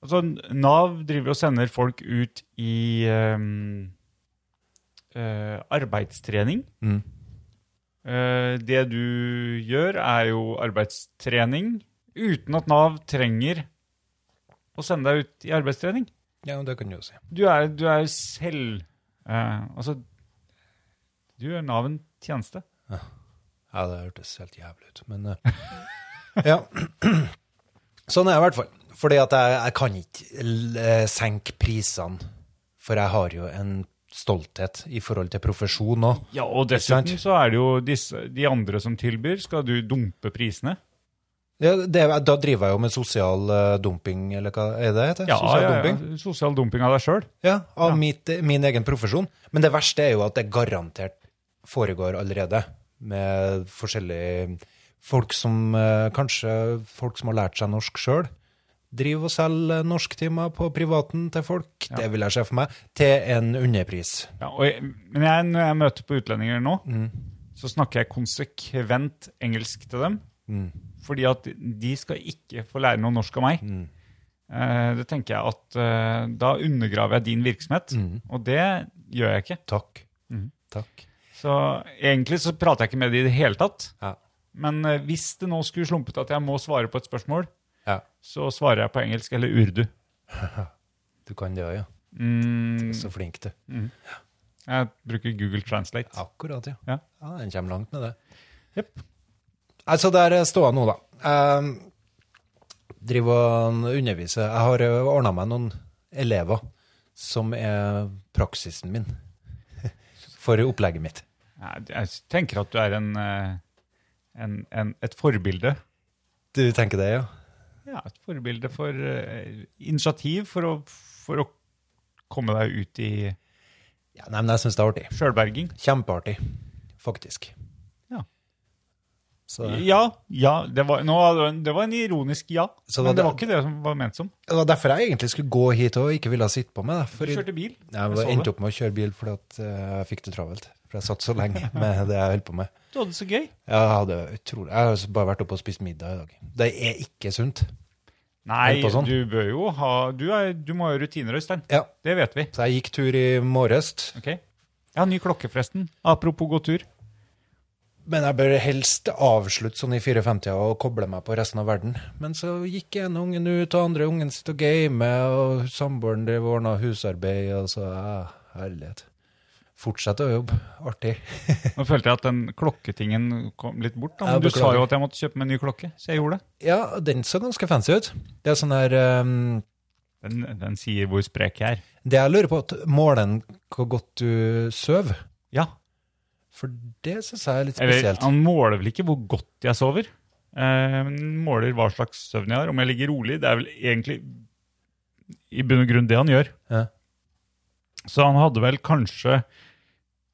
S4: Altså, Nav driver og sender folk ut i eh, eh, arbeidstrening.
S5: Mm.
S4: Eh, det du gjør, er jo arbeidstrening uten at Nav trenger å sende deg ut i arbeidstrening.
S5: Ja, det kan du jo si.
S4: Du er, du er selv eh, Altså, du gjør Nav en tjeneste.
S5: Ja, det hørtes helt jævlig ut, men eh, Ja. Sånn er jeg i hvert fall. Fordi at jeg, jeg kan ikke l- eh, senke prisene, for jeg har jo en stolthet i forhold til profesjon òg.
S4: Ja, og
S5: sant?
S4: dessuten så er det jo disse, de andre som tilbyr. Skal du dumpe prisene?
S5: Ja, det er- da driver jeg jo med sosial eh, dumping, eller hva er det heter? sosial dumping.
S4: ja. Sosial dumping av deg sjøl.
S5: Ja, av mitt, min egen profesjon. Men det verste er jo at det garantert foregår allerede, med forskjellige folk som eh, Kanskje folk som har lært seg norsk sjøl. Driver og selger norsktimer på privaten til folk, det vil jeg se for meg, til en underpris.
S4: Ja, og jeg- men jeg, når jeg møter på utlendinger nå,
S5: Mm.
S4: så snakker jeg konsekvent engelsk til dem.
S5: Mm.
S4: Fordi at de skal ikke få lære noe norsk av meg.
S5: Mm.
S4: Eh, det tenker jeg at eh, da undergraver jeg din virksomhet,
S5: Mm.
S4: og det gjør jeg ikke.
S5: Takk. Takk.
S4: Så egentlig så prater jeg ikke med de i det hele tatt.
S5: Ja.
S4: Men eh, hvis det nå skulle slumpe til at jeg må svare på et spørsmål,
S5: ja.
S4: så svarer jeg på engelsk eller urdu.
S5: Du kan det òg, ja. Du
S4: Mm,
S5: er så flink, du.
S4: jeg bruker Google Translate.
S5: Akkurat, ja.
S4: Ja.
S5: ja den kommer langt med det.
S4: Jepp.
S5: Altså, der står jeg nå, da. Jeg driver og underviser. Jeg har ordna meg noen elever som er praksisen min for opplegget mitt.
S4: Nei, Jeg tenker at du er en, eh, en, en, et forbilde.
S5: Du tenker det, ja?
S4: Ja, et forbilde for eh, initiativ for å, for å komme deg ut i
S5: ja nei, men jeg syns det er artig.
S4: sjølberging.
S5: Kjempeartig, faktisk.
S4: Ja.
S5: Så det
S4: Ja, ja det, var, nå, hadde- det var en ironisk ja.
S5: Så
S4: men
S5: det-
S4: det var ikke det som var ment som.
S5: det var derfor jeg egentlig skulle gå hit og ikke ville sitte på meg. da,
S4: Du
S5: For
S4: kjørte bil.
S5: jeg
S4: så
S5: var-
S4: det.
S5: endte opp med å kjøre bil fordi at eh, jeg fikk det travelt. For jeg satt så lenge med det jeg holdt på med.
S4: Du hadde det så gøy.
S5: Jeg, hadde utrolig, jeg har bare vært oppe og spist middag i dag. Det er ikke sunt.
S4: Nei,
S5: Holdt på sånn.
S4: du bør jo ha Du, er, du må ha rutiner, Øystein.
S5: Ja,
S4: Det vet vi.
S5: så jeg gikk tur i morgest.
S4: ok? Jeg har ny klokke, forresten. Apropos gå tur.
S5: Men jeg bør helst avslutte sånn i 54-tida og koble meg på resten av verden. Men så gikk ene ungen ut, og andre ungen sitter og gamer, og samboeren driver og ordner husarbeid, og så ja, Herlighet. Fortsette å jobbe. Artig.
S4: Nå følte jeg at den klokketingen kom litt bort. Da.
S5: Ja,
S4: Men du sa
S5: beklager.
S4: jo at jeg måtte kjøpe meg en ny klokke, så jeg gjorde det.
S5: Ja, den så ganske fancy ut. Det er sånn her ehm,
S4: Den, den sier hvor sprek jeg er.
S5: Det jeg lurer på, at måler den hvor godt du sover?
S4: Ja.
S5: For det syns jeg er litt
S4: Eller,
S5: spesielt.
S4: han måler vel ikke hvor godt jeg sover. Eh, men måler hva slags søvn jeg har, om jeg ligger rolig. Det er vel egentlig i bunn og grunn det han gjør.
S5: Ja.
S4: Så han hadde vel kanskje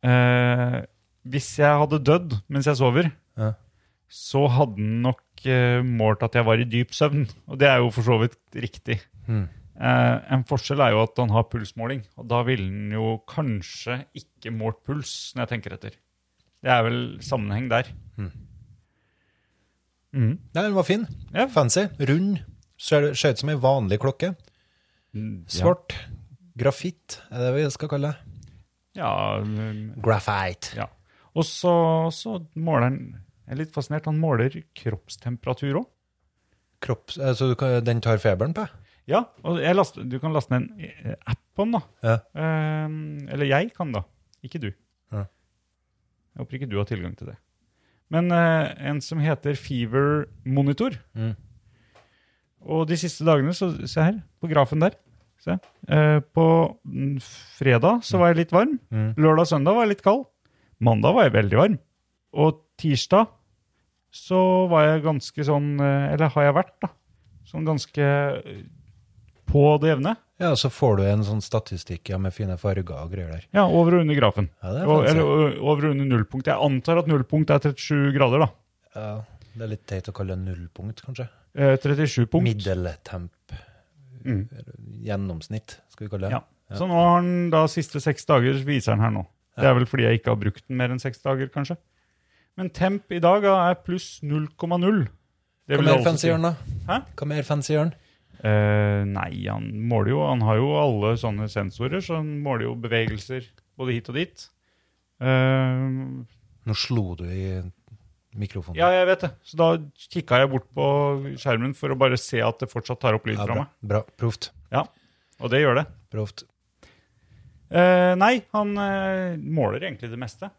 S4: eh, Hvis jeg hadde dødd mens jeg sover,
S5: Ja.
S4: så hadde han nok eh, målt at jeg var i dyp søvn. Og det er jo for så vidt riktig.
S5: Mm.
S4: Eh, en forskjell er jo at han har pulsmåling, og da ville han jo kanskje ikke målt puls, når jeg tenker etter. Det er vel sammenheng der. Mhm.
S5: Nei, den var fin.
S4: Ja.
S5: Fancy. Rund. Ser ser ut som ei vanlig klokke. Svart. Grafitt, er det vi skal kalle det.
S4: Ja, mm,
S5: Graphite.
S4: ja. Og så, så måler han Jeg er litt fascinert. Han måler kroppstemperatur òg.
S5: Kropps... eh, Så du kan, den tar feberen på?
S4: Ja, og jeg last, du kan laste ned en eh, app på den, da.
S5: Ja.
S4: Eh, eller jeg kan, da. Ikke du.
S5: Ja.
S4: Jeg håper ikke du har tilgang til det. Men eh, en som heter Fever Monitor.
S5: Mm.
S4: Og de siste dagene, så, se her, på grafen der. Se. Eh, på mm, fredag så var jeg litt varm.
S5: Mm.
S4: Lørdag og søndag var jeg litt kald. Mandag var jeg veldig varm. Og tirsdag så var jeg ganske sånn eh, Eller har jeg vært, da. Sånn ganske eh, på det jevne.
S5: Ja, så får du en sånn statistikk ja, med fine farger og greier der.
S4: Ja, over og under grafen.
S5: Ja, det er
S4: Og, eller
S5: fancy.
S4: ø, over og under nullpunkt. Jeg antar at nullpunkt er 37 grader, da.
S5: Ja, det er litt teit å kalle det nullpunkt, kanskje.
S4: Eh, 37 punkt.
S5: Middeltemp.
S4: Mm.
S5: Gjennomsnitt, skal vi kalle det.
S4: Ja. Så nå har den da siste seks dager, så viser den her nå. Det er vel fordi jeg ikke har brukt den mer enn seks dager, kanskje. Men temp i dag da, er pluss 0,0. Det
S5: Hva
S4: vil
S5: mer
S4: altså
S5: fancy
S4: si-
S5: gjør den, da?
S4: Hæ?
S5: Hva mer fancy gjør den?
S4: Eh, nei, han måler jo Han har jo alle sånne sensorer, så han måler jo bevegelser både hit og dit. Eh,
S5: Nå slo du i mikrofonen.
S4: ja, jeg vet det. Så da kikka jeg bort på skjermen for å bare se at det fortsatt tar opp lyd fra
S5: bra.
S4: meg.
S5: bra. Proft.
S4: Og det gjør det.
S5: Proft.
S4: Eh, nei, han eh, måler egentlig det meste.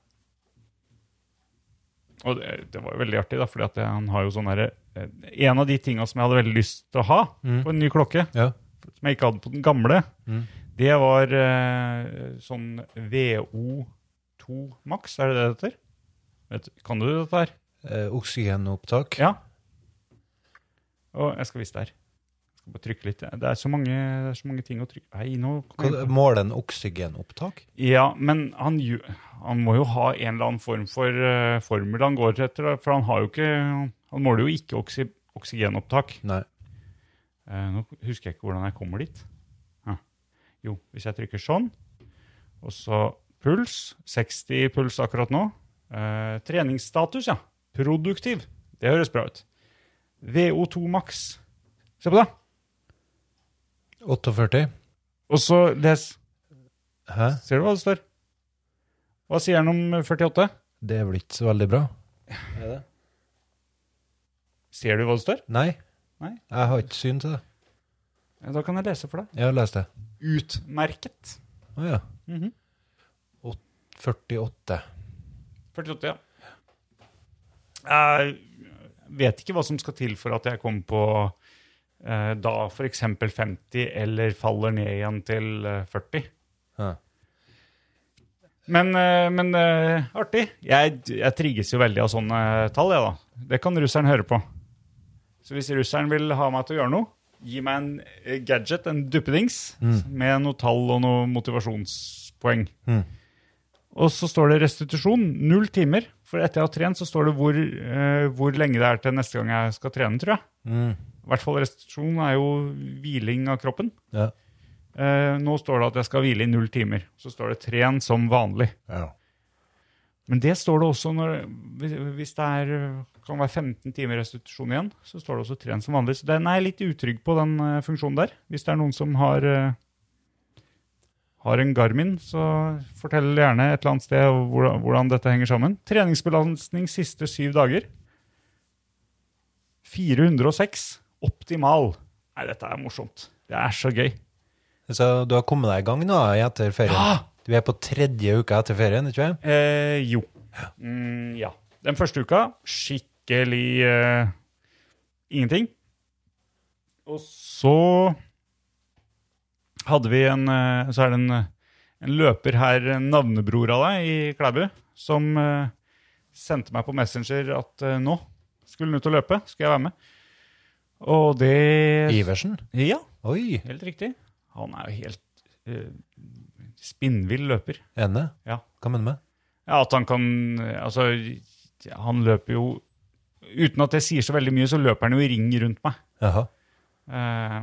S4: Og det, det var jo veldig artig, da, fordi at jeg, han har jo sånn herre eh, En av de tinga som jeg hadde veldig lyst til å ha
S5: Mm.
S4: på en ny klokke,
S5: Ja.
S4: som jeg ikke hadde på den gamle,
S5: Mm.
S4: det var eh, sånn VO2 Max, er det det det heter? Vet, kan du dette her?
S5: Eh, oksygenopptak.
S4: Ja. Og jeg skal vise det her. Jeg skal bare trykke litt. Det er så mange, det er så mange ting å trykke Nei, nå
S5: Hva-
S4: kom jeg på-
S5: Måler den oksygenopptak?
S4: Ja, men han, ju- han må jo ha en eller annen form for eh, formel han går etter, da, for han har jo ikke Han måler jo ikke oksy, oksygenopptak.
S5: Nei.
S4: Eh, nå husker jeg ikke hvordan jeg kommer dit. Hæ. Jo, hvis jeg trykker sånn, og så puls 60 puls akkurat nå. Eh, treningsstatus, ja. Produktiv. Det høres bra ut. VO2 maks. Se på det.
S5: 48?
S4: Og så les.
S5: Hæ?
S4: Ser du hva det står? Hva sier han om 48?
S5: Det er vel ikke så veldig bra?
S4: Ser du hva det står?
S5: Nei.
S4: Nei.
S5: Jeg har ikke syn til det.
S4: Ja, Da kan jeg lese for deg.
S5: Jeg har lest det.
S4: Utmerket.
S5: Å ja.
S4: Mhm.
S5: 48.
S4: 48, ja. Jeg vet ikke hva som skal til for at jeg kommer på eh, da f.eks. 50, eller faller ned igjen til eh, 40.
S5: Ja.
S4: Men, eh, men eh, artig. Jeg, jeg trigges jo veldig av sånne tall, jeg, da. Det kan russeren høre på. Så hvis russeren vil ha meg til å gjøre noe, gi meg en eh, gadget, en duppedings, med noe tall og noe motivasjonspoeng.
S5: Mm.
S4: Og så står det restitusjon. Null timer. For etter jeg har trent, så står det hvor, eh, hvor lenge det er til neste gang jeg skal trene, tror jeg.
S5: Mm.
S4: I hvert fall restitusjon er jo hviling av kroppen.
S5: Ja.
S4: Eh, nå står det at jeg skal hvile i null timer. Så står det 'tren som vanlig'.
S5: ja.
S4: Men det står det også når, hvis- hvis det er, kan være 15 timer restitusjon igjen, så står det også tren som vanlig. Så den er jeg litt utrygg på, den eh, funksjonen der. Hvis det er noen som har, eh, har en Garmin, så fortell gjerne et eller annet sted hvordan, hvordan dette henger sammen. Treningsbelastning siste syv dager. 406. Optimal. Nei, dette er morsomt. Det er så gøy.
S5: Så du har kommet deg i gang nå etter ferien?
S4: Ja!
S5: Du er på tredje uka etter ferien, ikke sant?
S4: Eh, jo. Mm, ja. Den første uka skikkelig eh, ingenting. Og så hadde vi en eh, Så er det en, en løper her, en navnebror av deg, i Klæbu, som eh, sendte meg på Messenger at eh, nå skulle han ut og løpe, skulle jeg være med. Og det
S5: Iversen?
S4: Ja,
S5: Oi,
S4: helt riktig. Han er jo helt eh, spinnvill løper.
S5: ene.
S4: Ja.
S5: Hva mener du med?
S4: Ja, at han kan Altså, han løper jo Uten at jeg sier så veldig mye, så løper han jo i ring rundt meg.
S5: Jaha.
S4: Eh,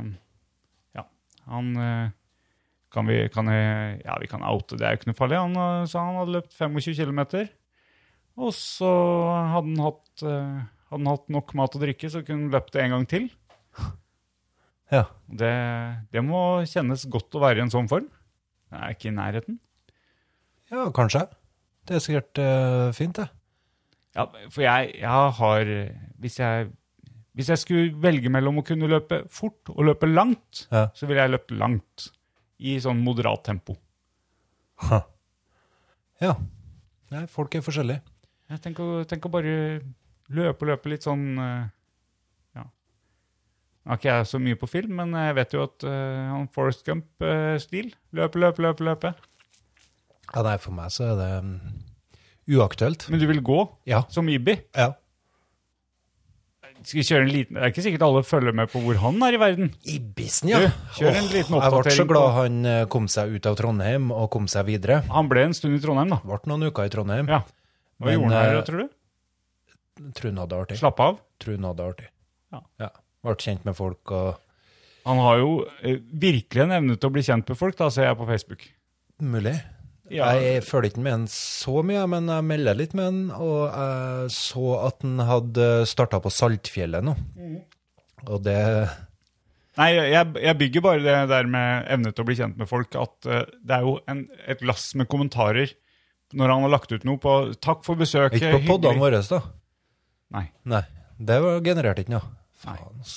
S4: ja, han eh, kan vi, kan jeg, ja, vi kan oute, det er jo ikke noe farlig. Han eh, sa han hadde løpt 25 km. Og så hadde han hatt, eh, hadde han hatt nok mat og drikke, så kunne han løpt det en gang til.
S5: Ja.
S4: Det, det må kjennes godt å være i en sånn form. Jeg er ikke i nærheten.
S5: ja, kanskje. Det er sikkert eh, fint, det.
S4: Ja, for jeg, jeg har hvis jeg, hvis jeg skulle velge mellom å kunne løpe fort og løpe langt,
S5: Ja.
S4: så ville jeg løpt langt. I sånn moderat tempo.
S5: Ha. Ja. Nei, folk er forskjellige.
S4: Jeg tenker, å- tenker å bare løpe og løpe litt sånn eh, Ja. Nå er ikke jeg så mye på film, men jeg vet jo at eh, han Forest Gump-stil Løpe, løpe, løpe, løpe.
S5: Ja, nei, for meg så er det mm, uaktuelt.
S4: Men du vil gå,
S5: Ja.
S4: som Ibi.
S5: ja.
S4: Skal vi kjøre en liten Det er ikke sikkert alle følger med på hvor han er i verden.
S5: Ibisen, ja.
S4: Du, kjør en
S5: Åh,
S4: liten
S5: Jeg ble så
S4: oppdatering
S5: glad
S4: på-
S5: han eh, kom seg ut av Trondheim og kom seg videre.
S4: Han ble en stund i Trondheim, da.
S5: Ble noen uker i Trondheim.
S4: Ja. Hva
S5: Men,
S4: gjorde han her,
S5: eh,
S4: da, tror du?
S5: Tror han hadde det artig.
S4: Slapp av.
S5: Tror han hadde det artig.
S4: Ja.
S5: Ble kjent med folk og
S4: Han har jo eh, virkelig en evne til å bli kjent med folk, da ser jeg på Facebook.
S5: mulig.
S4: Ja.
S5: Jeg følger ikke med han så mye, men jeg melder litt med han, og jeg så at han hadde starta på Saltfjellet nå.
S4: Mm.
S5: Og det
S4: Nei, jeg, jeg bygger bare det der med evne til å bli kjent med folk, at eh, det er jo en, et lass med kommentarer når han har lagt ut noe på 'takk for besøket',
S5: Ikke på podene våre, da.
S4: Nei.
S5: Nei. Det var- genererte ikke noe.
S4: Nei.
S5: Faen, ass.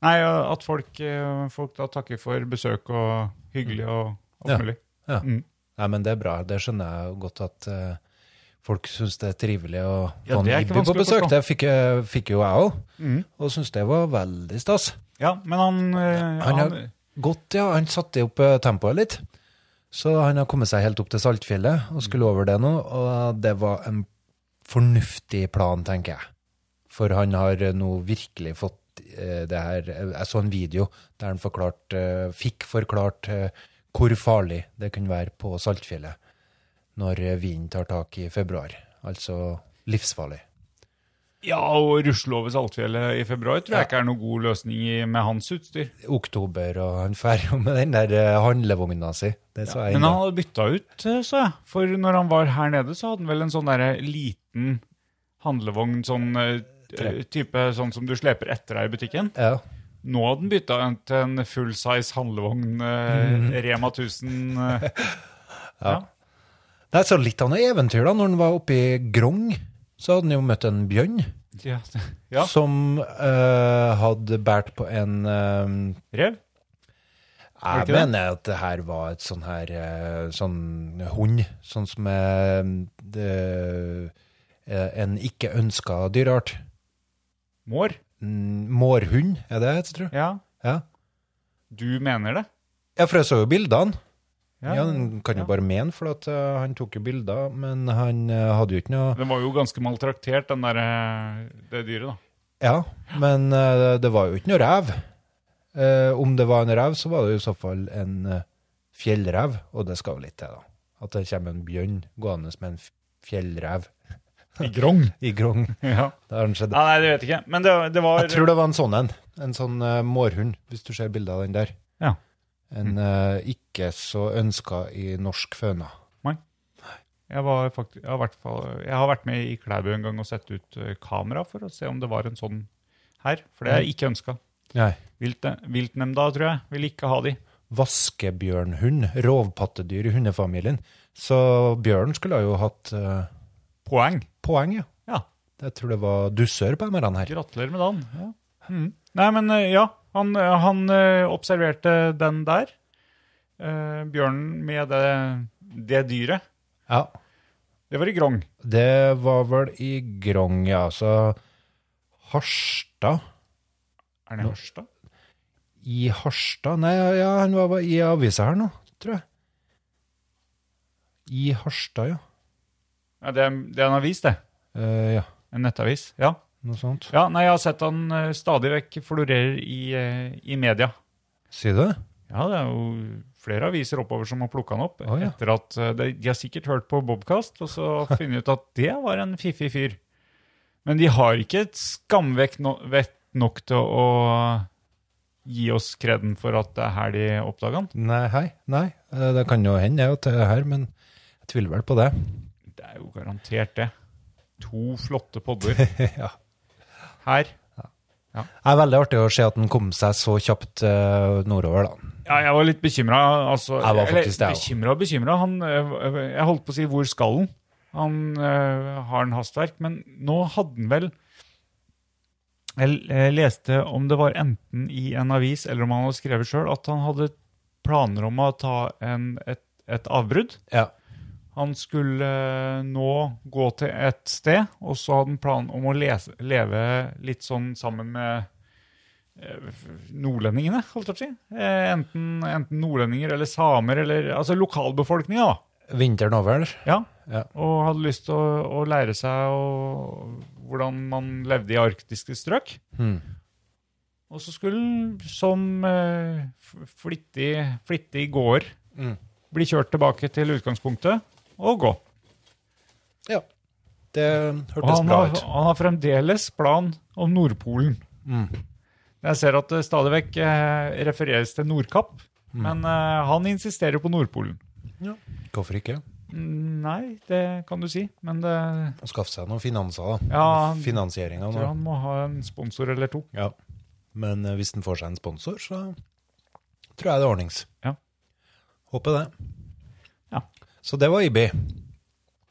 S4: Nei, at folk, eh, folk da takker for besøk og hyggelig og alt
S5: Ja.
S4: mulig.
S5: Ja.
S4: Mm.
S5: Nei, men det er bra. Det skjønner jeg jo godt at eh, folk syns det er trivelig å
S4: Ja,
S5: få en
S4: det er ikke
S5: Ibbi på
S4: vanskelig å
S5: besøk.
S4: forstå.
S5: Det fikk, jeg- fikk jo jeg òg,
S4: Mm.
S5: og syns det var veldig stas.
S4: Ja, men han, eh,
S5: Han
S4: han,
S5: har gått, ja. Han satte opp eh, tempoet litt. Så han har kommet seg helt opp til Saltfjellet og skulle over det nå, og det var en fornuftig plan, tenker jeg. For han har eh, nå virkelig fått eh, det her eh, Jeg så en video der han forklart, eh, fikk forklart eh, hvor farlig det kunne være på Saltfjellet når eh, vinden tar tak i februar. Altså livsfarlig.
S4: ja, og rusle over Saltfjellet i februar tror
S5: Ja.
S4: jeg ikke er noen god løsning i, med hans utstyr.
S5: Oktober, og han drar jo med den der eh, handlevogna si. Det sa jeg
S4: Men
S5: ennå.
S4: han hadde bytta ut, eh, så jeg. For når han var her nede, så hadde han vel en sånn derre liten handlevogn, sånn eh,
S5: Tre.
S4: type sånn som du sleper etter deg i butikken.
S5: Ja.
S4: Nå hadde han bytta en til en full size handlevogn,
S5: Mm.
S4: eh, Rema 1000. eh. ja.
S5: Nei, så litt av noe eventyr da, når han var oppe i Grong, så hadde han jo møtt en bjønn,
S4: Ja. ja.
S5: som eh, hadde bært på en... eh,
S4: Rev? Var det ikke
S5: jeg
S4: det?
S5: mener at det her var et sånn her, eh, sånn hund, sånn som er eh, eh, en ikke ønsket dyreart.
S4: Mår?
S5: Mm, Mårhund, er det jeg tror?
S4: Ja.
S5: Ja.
S4: Du mener det?
S5: Ja, for jeg så jo bildene.
S4: Ja.
S5: Ja, han kan jo
S4: ja.
S5: bare mene, for at, eh, han tok jo bilder, men han eh, hadde jo ikke noe...
S4: Den var jo ganske maltraktert, den der, eh, det dyret, da.
S5: Ja, men eh, det var jo ikke noe rev. Eh, om det var en rev, så var det jo i så fall en eh, fjellrev, og det skal vel litt til, da. At det kommer en bjørn gående med en f- fjellrev
S4: I grong.
S5: i grong.
S4: Ja.
S5: Det har skjedd.
S4: Ja, nei, det vet jeg ikke. Men det, det var
S5: Jeg tror det var en sånn en. En sånn eh, mårhund, hvis du ser bildet av den der.
S4: Ja. Mm.
S5: En eh, ikke så ønska i norsk føna.
S4: Jeg, var faktisk, jeg, har hvert fall, jeg har vært med i Klæbu en gang og sett ut eh, kamera for å se om det var en sånn her, for det er ikke ønska.
S5: Nei.
S4: Viltnemnda, tror jeg, vil ikke ha de.
S5: Vaskebjørnhund, rovpattedyr i hundefamilien. Så bjørn skulle jo hatt eh,
S4: Poeng.
S5: poeng, ja.
S4: Ja,
S5: Jeg tror det var dusør på MRN her.
S4: gratulerer med dagen. Ja. Mm. Nei, men eh, ja, han, eh, han eh, observerte den der, eh, bjørnen med det, det dyret.
S5: Ja.
S4: Det var i Grong.
S5: Det var vel i Grong, ja. Så Harstad
S4: Er det i Harstad?
S5: I Harstad Nei, ja, han var bare i avisa her nå, tror jeg. I Harstad, ja.
S4: Ja, det, er, det er en avis, det.
S5: Eh, ja,
S4: En nettavis. Ja.
S5: noe sånt.
S4: ja. Nei, jeg har sett han eh, stadig vekk florerer i, eh, i media.
S5: Sier du det?
S4: Ja, det er jo flere aviser oppover som har plukka han opp.
S5: Å, ja.
S4: etter at eh, de, de har sikkert hørt på Bobkast og så funnet ut at det var en fiffig fyr. Men de har ikke et skamvett no, vett nok til å gi oss kreden for at det er her de oppdaga han.
S5: Nei, hei. Nei, Eh, det kan jo hende jeg at det er her, men jeg tviler vel på det.
S4: Det er jo garantert det. To flotte podder
S5: ja.
S4: her.
S5: Det er veldig artig å se at den kom seg så kjapt eh, nordover, da.
S4: Ja, jeg var litt bekymra. Altså,
S5: Jeg var faktisk det,
S4: eller,
S5: jeg også.
S4: bekymra og bekymra. Han, øh, jeg holdt på å si 'hvor skal han?' Han øh, har en hastverk, men nå hadde han vel jeg, jeg leste om det var enten i en avis eller om han hadde skrevet sjøl, at han hadde planer om å ta en, et, et avbrudd.
S5: Ja.
S4: Han skulle eh, nå gå til et sted, og så hadde han planen om å lese, leve litt sånn sammen med eh, nordlendingene, holdt jeg på å si. Eh, Enten, enten nordlendinger eller samer, eller altså lokalbefolkninga, da.
S5: Vinteren over.
S4: Ja.
S5: Ja.
S4: Og hadde lyst til å, å lære seg å, hvordan man levde i arktiske strøk.
S5: Hmm.
S4: Og så skulle han som eh, f- flittig, flittig gåer
S5: Mm.
S4: bli kjørt tilbake til utgangspunktet og gå.
S5: Ja. Det
S4: Og
S5: hørtes
S4: han
S5: bra
S4: har,
S5: ut.
S4: han har fremdeles plan om Nordpolen. Jeg ser at det stadig vekk eh, refereres til Nordkapp, men eh, han insisterer på Nordpolen.
S5: Hvorfor ikke?
S4: Mm, Nei, det kan du si, men det,
S5: Å skaffe seg noen finanser, da.
S4: ja, han,
S5: Finansiering av
S4: tror
S5: noe.
S4: han må ha en sponsor eller to.
S5: Ja. Men eh, hvis den får seg en sponsor, så tror jeg det er ordnings.
S4: Ja.
S5: Håper det.
S4: Ja.
S5: Så det var IB.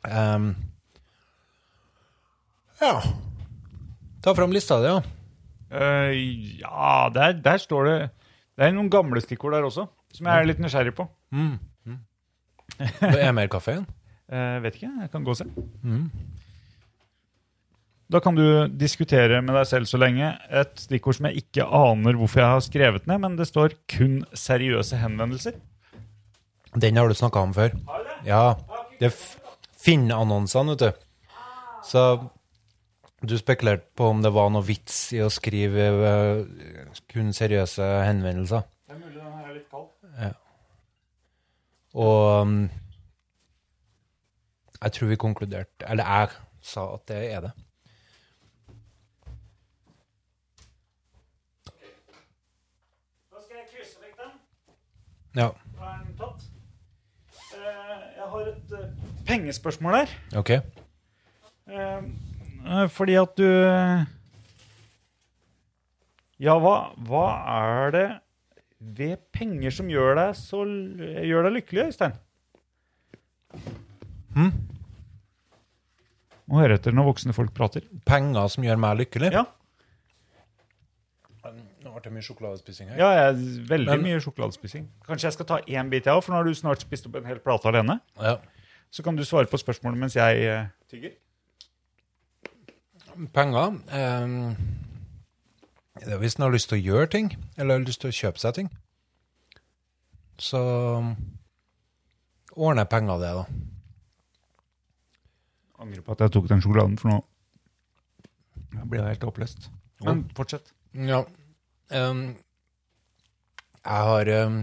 S5: Ehm, ja. Ta fram lista di, ja.
S4: Eh, ja, der, der står det Det er noen gamle stikkord der også, som jeg er litt nysgjerrig på.
S5: Mm. Det er mer kaffe igjen.
S4: Eh, vet ikke, jeg kan gå og se.
S5: Mm.
S4: Da kan du diskutere med deg selv så lenge et stikkord som jeg ikke aner hvorfor jeg har skrevet ned, men det står kun seriøse henvendelser.
S5: Den har du snakka om før. Ja. Det er f- Finn-annonsene, vet du. Så du spekulerte på om det var noe vits i å skrive eh, kun seriøse henvendelser.
S4: Det er mulig den her er litt kald.
S5: Og um, jeg tror vi konkluderte Eller jeg sa at det er det.
S4: Da skal jeg krysse vekk den.
S5: Ja.
S4: Da er den tatt. Eh, jeg har et eh, pengespørsmål her.
S5: OK.
S4: Eh, eh, fordi at du eh, Ja, hva, hva er det ved penger som gjør deg, så, l- gjør deg lykkelig, Øystein?
S5: Hm?
S4: Må høre etter når voksne folk prater.
S5: Penger som gjør meg lykkelig?
S4: Ja,
S5: Nå ble det mye sjokoladespising her.
S4: ja jeg er veldig
S5: Men-
S4: mye sjokoladespising. Kanskje jeg skal ta én bit, jeg òg, for nå har du snart spist opp en hel plate alene.
S5: Ja.
S4: Så kan du svare på spørsmålet mens jeg eh, tygger.
S5: Penger um, det er Hvis en har lyst til å gjøre ting, eller har lyst til å kjøpe seg ting, så um, ordner penger av det, da.
S4: Angrer på at jeg tok den sjokoladen, for nå jeg blir jeg helt oppløst. Men fortsett.
S5: Ja. Um, jeg har um,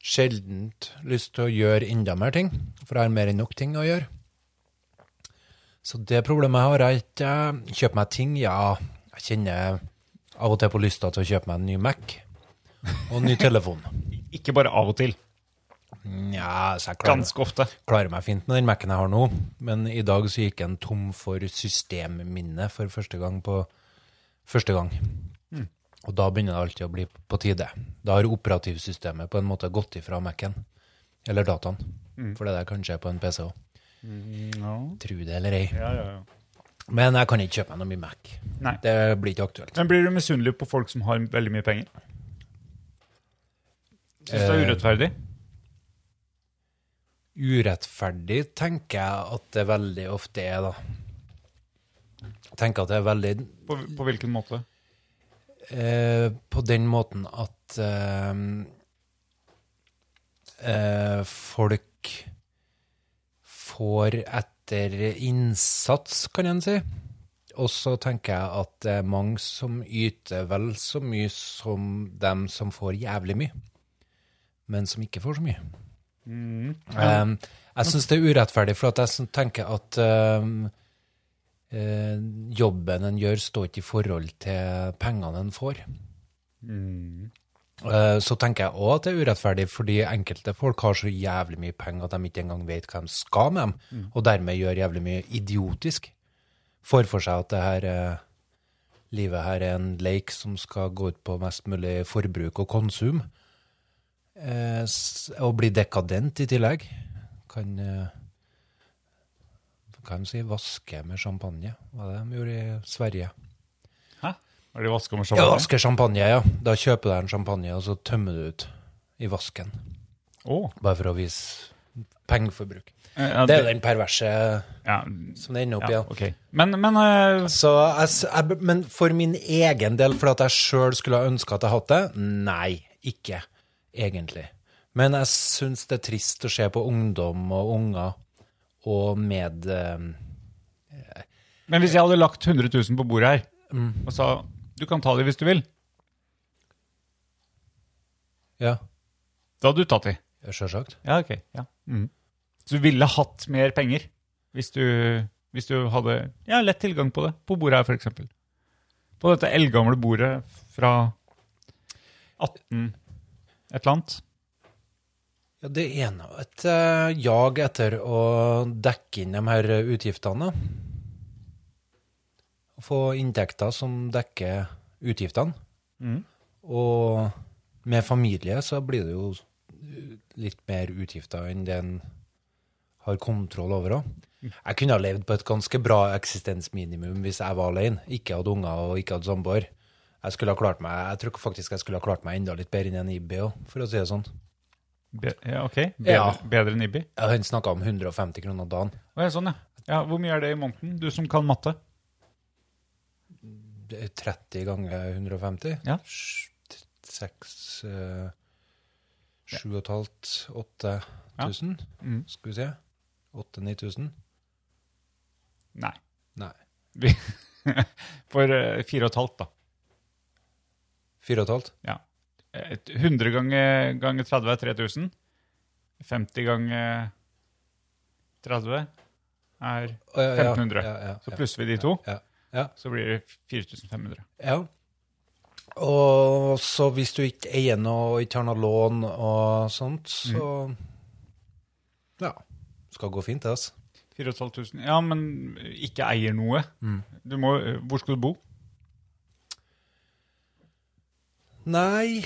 S5: sjeldent lyst til å gjøre enda mer ting, for jeg har mer enn nok ting å gjøre. Så det problemet har jeg ikke. Kjøpe meg ting, ja. Jeg kjenner av og til på lysta til å kjøpe meg en ny Mac og en ny telefon.
S4: Ikke bare av og til.
S5: Nja, så jeg klarer,
S4: Ganske ofte.
S5: klarer meg fint med den Mac-en jeg har nå, men i dag så gikk den tom for systemminne for første gang på første gang.
S4: Mm.
S5: Og da begynner det alltid å bli på tide. Da har operativsystemet på en måte gått ifra Mac-en, eller dataen,
S4: Mm.
S5: for det der kan skje på en PC òg. Tro det eller ei.
S4: Ja, ja, ja.
S5: Men jeg kan ikke kjøpe meg noe mye Mac.
S4: Nei.
S5: Det blir ikke aktuelt.
S4: Men blir du misunnelig på folk som har veldig mye penger? Eh. Syns du det er urettferdig?
S5: Urettferdig tenker jeg at det veldig ofte er, da. Jeg tenker at det er veldig
S4: På, på hvilken måte?
S5: Eh, på den måten at eh, eh, folk får et innsats, kan en si. Og så tenker jeg at det er mange som yter vel så mye som dem som får jævlig mye, men som ikke får så mye. Um, jeg syns det er urettferdig, for at jeg syn- tenker at um, eh, jobben en gjør, står ikke i forhold til pengene en får. Eh, Så tenker jeg òg at det er urettferdig, fordi enkelte folk har så jævlig mye penger at de ikke engang vet hva de skal med dem, og dermed gjør jævlig mye idiotisk. Får for seg at det her eh, livet her er en leik som skal gå ut på mest mulig forbruk og konsum. Eh, s- og bli dekadent i tillegg. Kan eh, Hva kan de si? Vaske med champagne. Hva er det de gjorde i Sverige?
S4: Hæ? Har de vaska med
S5: Ja,
S4: sjampanje?
S5: vasker champagne, ja. Da kjøper du deg en champagne, og så tømmer du ut i vasken.
S4: Å.
S5: Bare for å vise pengeforbruk.
S4: Ja,
S5: Det er jo den perverse
S4: ja,
S5: som det ender opp i.
S4: ja,
S5: Ja.
S4: ok. Men, men eh,
S5: Så jeg, s- jeg, b- men for min egen del, for at jeg sjøl skulle ha ønska at jeg hadde det? Nei, ikke egentlig. Men jeg syns det er trist å se på ungdom og unger og med eh,
S4: Men hvis jeg hadde lagt 100 000 på bordet her,
S5: Mm.
S4: og sa du kan ta de hvis du vil,
S5: Ja,
S4: da hadde du tatt de.
S5: sjølsagt.
S4: Ja, ok. Ja. Mm. Så du ville hatt mer penger hvis du, hvis du hadde ja, lett tilgang på det, på bordet her f.eks. På dette eldgamle bordet fra 18 et eller annet.
S5: Ja, det er nå et eh, jag etter å dekke inn de her utgiftene. Å Få inntekter som dekker utgiftene.
S4: Mhm.
S5: Og med familie så blir det jo litt mer utgifter enn det en har kontroll over òg. Jeg kunne ha levd på et ganske bra eksistensminimum hvis jeg var alene, ikke hadde unger og ikke hadde samboer. Jeg skulle ha klart meg, jeg tror faktisk jeg skulle ha klart meg enda litt bedre enn en IB òg, for å si det sånn.
S4: Be ja, ok. Bedre,
S5: Ja.
S4: bedre enn Ibbi.
S5: Ja, Han snakka om 150 kroner dagen.
S4: Å, ja, sånn, ja. ja. Hvor mye er det i måneden, du som kan matte?
S5: Det er 30 ganger 150?
S4: Ja.
S5: 6 7500-8000,
S4: Ja. Mm.
S5: skal vi se. 8000-9000?
S4: Nei.
S5: Nei.
S4: Vi- For eh, fire og et halvt, da.
S5: 4500?
S4: Ja. Et 100 ganger, ganger 30 er 3000. 50 ganger 30 er
S5: Å, ja, ja,
S4: 1500.
S5: Ja, ja,
S4: Så
S5: ja.
S4: plusser vi de to,
S5: Ja. ja.
S4: så blir det 4500.
S5: ja. Og så hvis du ikke eier noe og ikke har noe lån og sånt, så
S4: Mm.
S5: Ja. Skal gå fint, det, altså.
S4: 4500 Ja, men ikke eier noe.
S5: Mm.
S4: Du må, hvor skal du bo?
S5: Nei.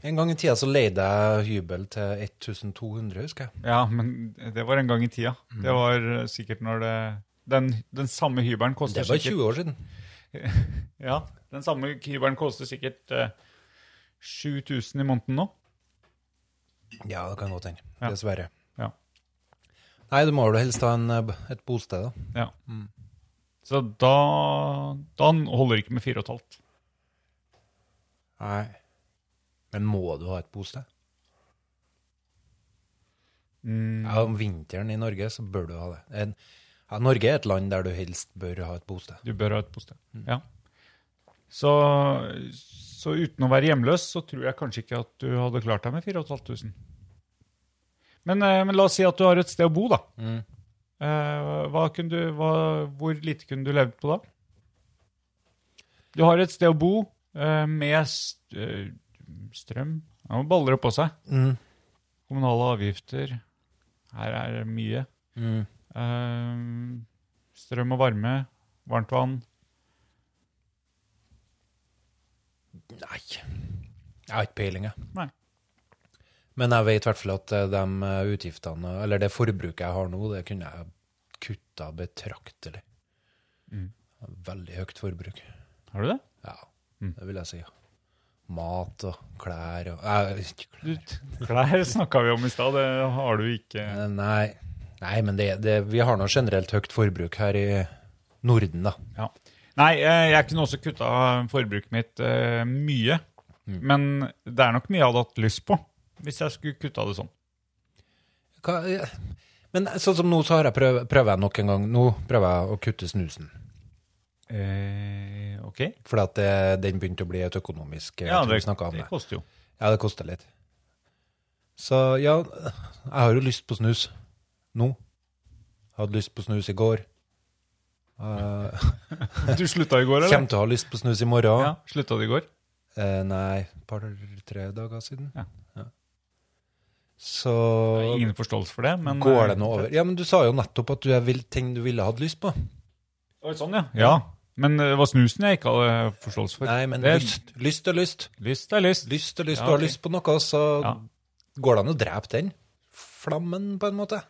S5: En gang i tida så leide jeg hybel til 1200, husker jeg.
S4: Ja, men det var en gang i tida.
S5: Mm.
S4: Det var eh, sikkert når det Den, den samme hybelen koster
S5: Det var
S4: sikkert
S5: 20 år siden.
S4: Ja, Den samme hybelen koster sikkert eh, 7000 i måneden nå.
S5: Ja, det kan godt hende.
S4: Ja.
S5: Dessverre.
S4: Ja.
S5: Nei, du må jo helst ha en, eh, b- et bosted, da.
S4: Ja.
S5: Mm.
S4: Så da, da holder det ikke med fire og et halvt.
S5: Nei. Men må du ha et bosted? Ja, om vinteren i Norge så bør du ha det. En, ja, Norge er et land der du helst bør ha et bosted.
S4: Du bør ha et bosted.
S5: Mm.
S4: Ja. Så, så uten å være hjemløs, så tror jeg kanskje ikke at du hadde klart deg med 4500. Men, eh, men la oss si at du har et sted å bo, da.
S5: Mm.
S4: Eh, Hva kunne du, hva, hvor lite kunne du levd på da? Du har et sted å bo eh, med st eh, strøm Ja, baller det på seg.
S5: Mm.
S4: Kommunale avgifter. Her er det mye.
S5: Mm.
S4: Eh, strøm og varme. Varmt vann.
S5: Nei. Jeg har ikke peiling, jeg.
S4: Nei.
S5: Men jeg vet i hvert fall at eh, de eh, utgiftene, eller det forbruket jeg har nå, det kunne jeg kutta betraktelig.
S4: Mm.
S5: Veldig høyt forbruk.
S4: Har du det?
S5: Ja,
S4: Mm.
S5: det vil jeg si. Mat og klær og Nei, ikke klær.
S4: Klær snakka vi om i stad, det har du ikke.
S5: Eh, Nei. Nei, men det, det, vi har nå generelt høyt forbruk her i Norden, da.
S4: Ja. Nei, eh, jeg kunne også kutta forbruket mitt eh, mye.
S5: Mm.
S4: Men det er nok mye jeg hadde hatt lyst på hvis jeg skulle kutta det sånn.
S5: Hva, eh, Men sånn som nå, så har jeg prøv, prøver jeg nok en gang Nå prøver jeg å kutte snusen.
S4: Eh, ok.
S5: Fordi at det, den begynte å bli et økonomisk eh, jeg
S4: Ja,
S5: tror vi
S4: det,
S5: snakket om
S4: det
S5: det.
S4: koster jo.
S5: Ja, det koster litt. Så ja, jeg har jo lyst på snus nå. Jeg hadde lyst på snus i går. Uh,
S4: Du slutta i går, eller?
S5: kommer til å ha lyst på snus i morgen.
S4: Ja, slutta det i går?
S5: Eh, nei, et par-tre dager siden.
S4: Ja.
S5: Så
S4: Jeg har Ingen forståelse for det, men eh,
S5: går det nå over. Ja, men du sa jo nettopp at du er vil, ting du ville hatt lyst på.
S4: Oi, Sånn, ja. ja. Men eh, det var snusen jeg ikke hadde forståelse for.
S5: Nei, men
S4: det,
S5: lyst, lyst og lyst.
S4: lyst er lyst.
S5: Lyst og lyst.
S4: Ja,
S5: Du har
S4: ok.
S5: lyst på noe, så
S4: Ja.
S5: går det an å drepe den flammen, på en måte.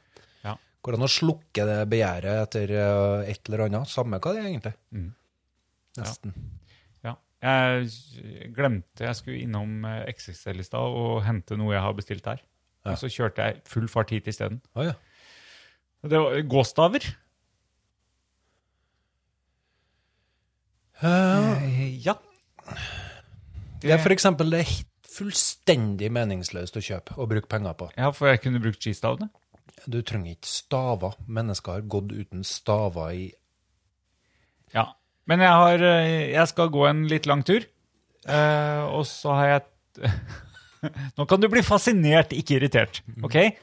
S4: Ja.
S5: Går det an å slukke det begjæret etter eh, et eller annet? Samme hva det er, egentlig.
S4: Mm.
S5: Nesten.
S4: Ja. Jeg glemte jeg skulle innom eh, XXL i stad og hente noe jeg har bestilt der.
S5: Ja.
S4: Og så kjørte jeg full fart hit isteden.
S5: Å ja.
S4: Det var gåstaver.
S5: Eh,
S4: Eh, Ja.
S5: Det er for eksempel det er helt fullstendig meningsløst å kjøpe og bruke penger på.
S4: Ja, for jeg kunne brukt skistavene.
S5: Du trenger ikke staver. Mennesker har gått uten staver i
S4: Ja. Men jeg, har, eh, jeg skal gå en litt lang tur. Eh, og så har jeg Nå kan du bli fascinert, ikke irritert. OK?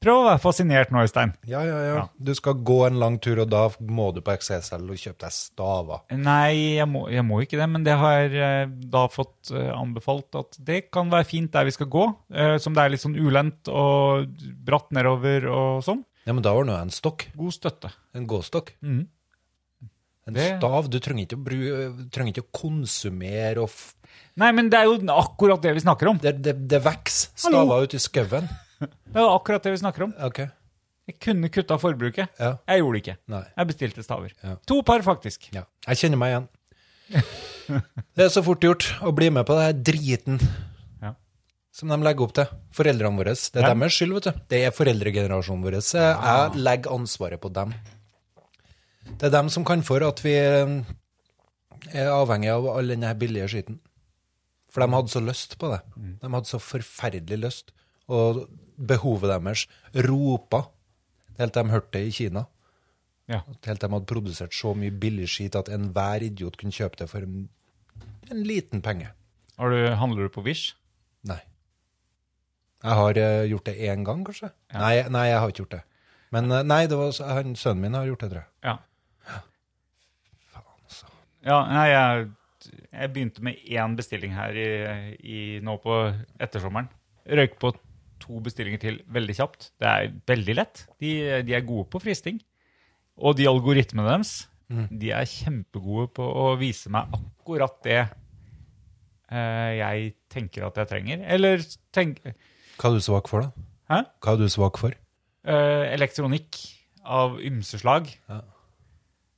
S4: Prøv å være fascinert nå, Øystein.
S5: Ja, ja, ja.
S4: Ja.
S5: Du skal gå en lang tur, og da må du på XSL og kjøpe deg staver.
S4: Nei, jeg må, jeg må ikke det, men det har eh, da fått eh, anbefalt at det kan være fint der vi skal gå, eh, som det er litt sånn ulendt og bratt nedover og sånn.
S5: Ja, men da ordner jeg en stokk.
S4: God støtte.
S5: En gåstokk.
S4: Mhm.
S5: En
S4: Det-
S5: stav. Du trenger ikke å, bru, trenger ikke å konsumere og f
S4: Nei, men det er jo akkurat det vi snakker om.
S5: Det, det, det vokser
S4: Hallo.
S5: staver ute i skauen.
S4: Det er jo akkurat det vi snakker om.
S5: OK.
S4: Jeg kunne kutta forbruket.
S5: Ja.
S4: Jeg gjorde det ikke.
S5: Nei.
S4: Jeg bestilte staver.
S5: Ja.
S4: To par, faktisk.
S5: Ja. Jeg kjenner meg igjen. Det er så fort gjort å bli med på den driten
S4: Ja.
S5: som de legger opp til. Foreldrene våre. Det er
S4: Ja.
S5: deres skyld, vet du. Det er foreldregenerasjonen vår. Så jeg legger ansvaret på dem. Det er dem som kan for at vi eh, er avhengig av all denne her billige skiten. For de hadde så lyst på det.
S4: Mm.
S5: De hadde så forferdelig lyst. Og behovet deres ropa helt til de hørte det i Kina.
S4: Ja.
S5: Helt til de hadde produsert så mye billig skit at enhver idiot kunne kjøpe det for en, en liten penge.
S4: Har du, handler du på Wish?
S5: Nei. Jeg har eh, gjort det én gang, kanskje?
S4: Ja.
S5: Nei, nei, jeg har ikke gjort det. Men eh, nei, det var, s- han, sønnen min har gjort det, tror jeg.
S4: Ja. Ja, nei, jeg, jeg begynte med én bestilling her i, i, nå på ettersommeren. Røyk på to bestillinger til veldig kjapt. Det er veldig lett. De, de er gode på fristing. Og de algoritmene deres, de er kjempegode på å vise meg akkurat det eh, jeg tenker at jeg trenger. Eller tenk...
S5: Hva er du svak for, da?
S4: Hæ?
S5: Hva er du svak for?
S4: Eh, elektronikk av ymse slag.
S5: Ja.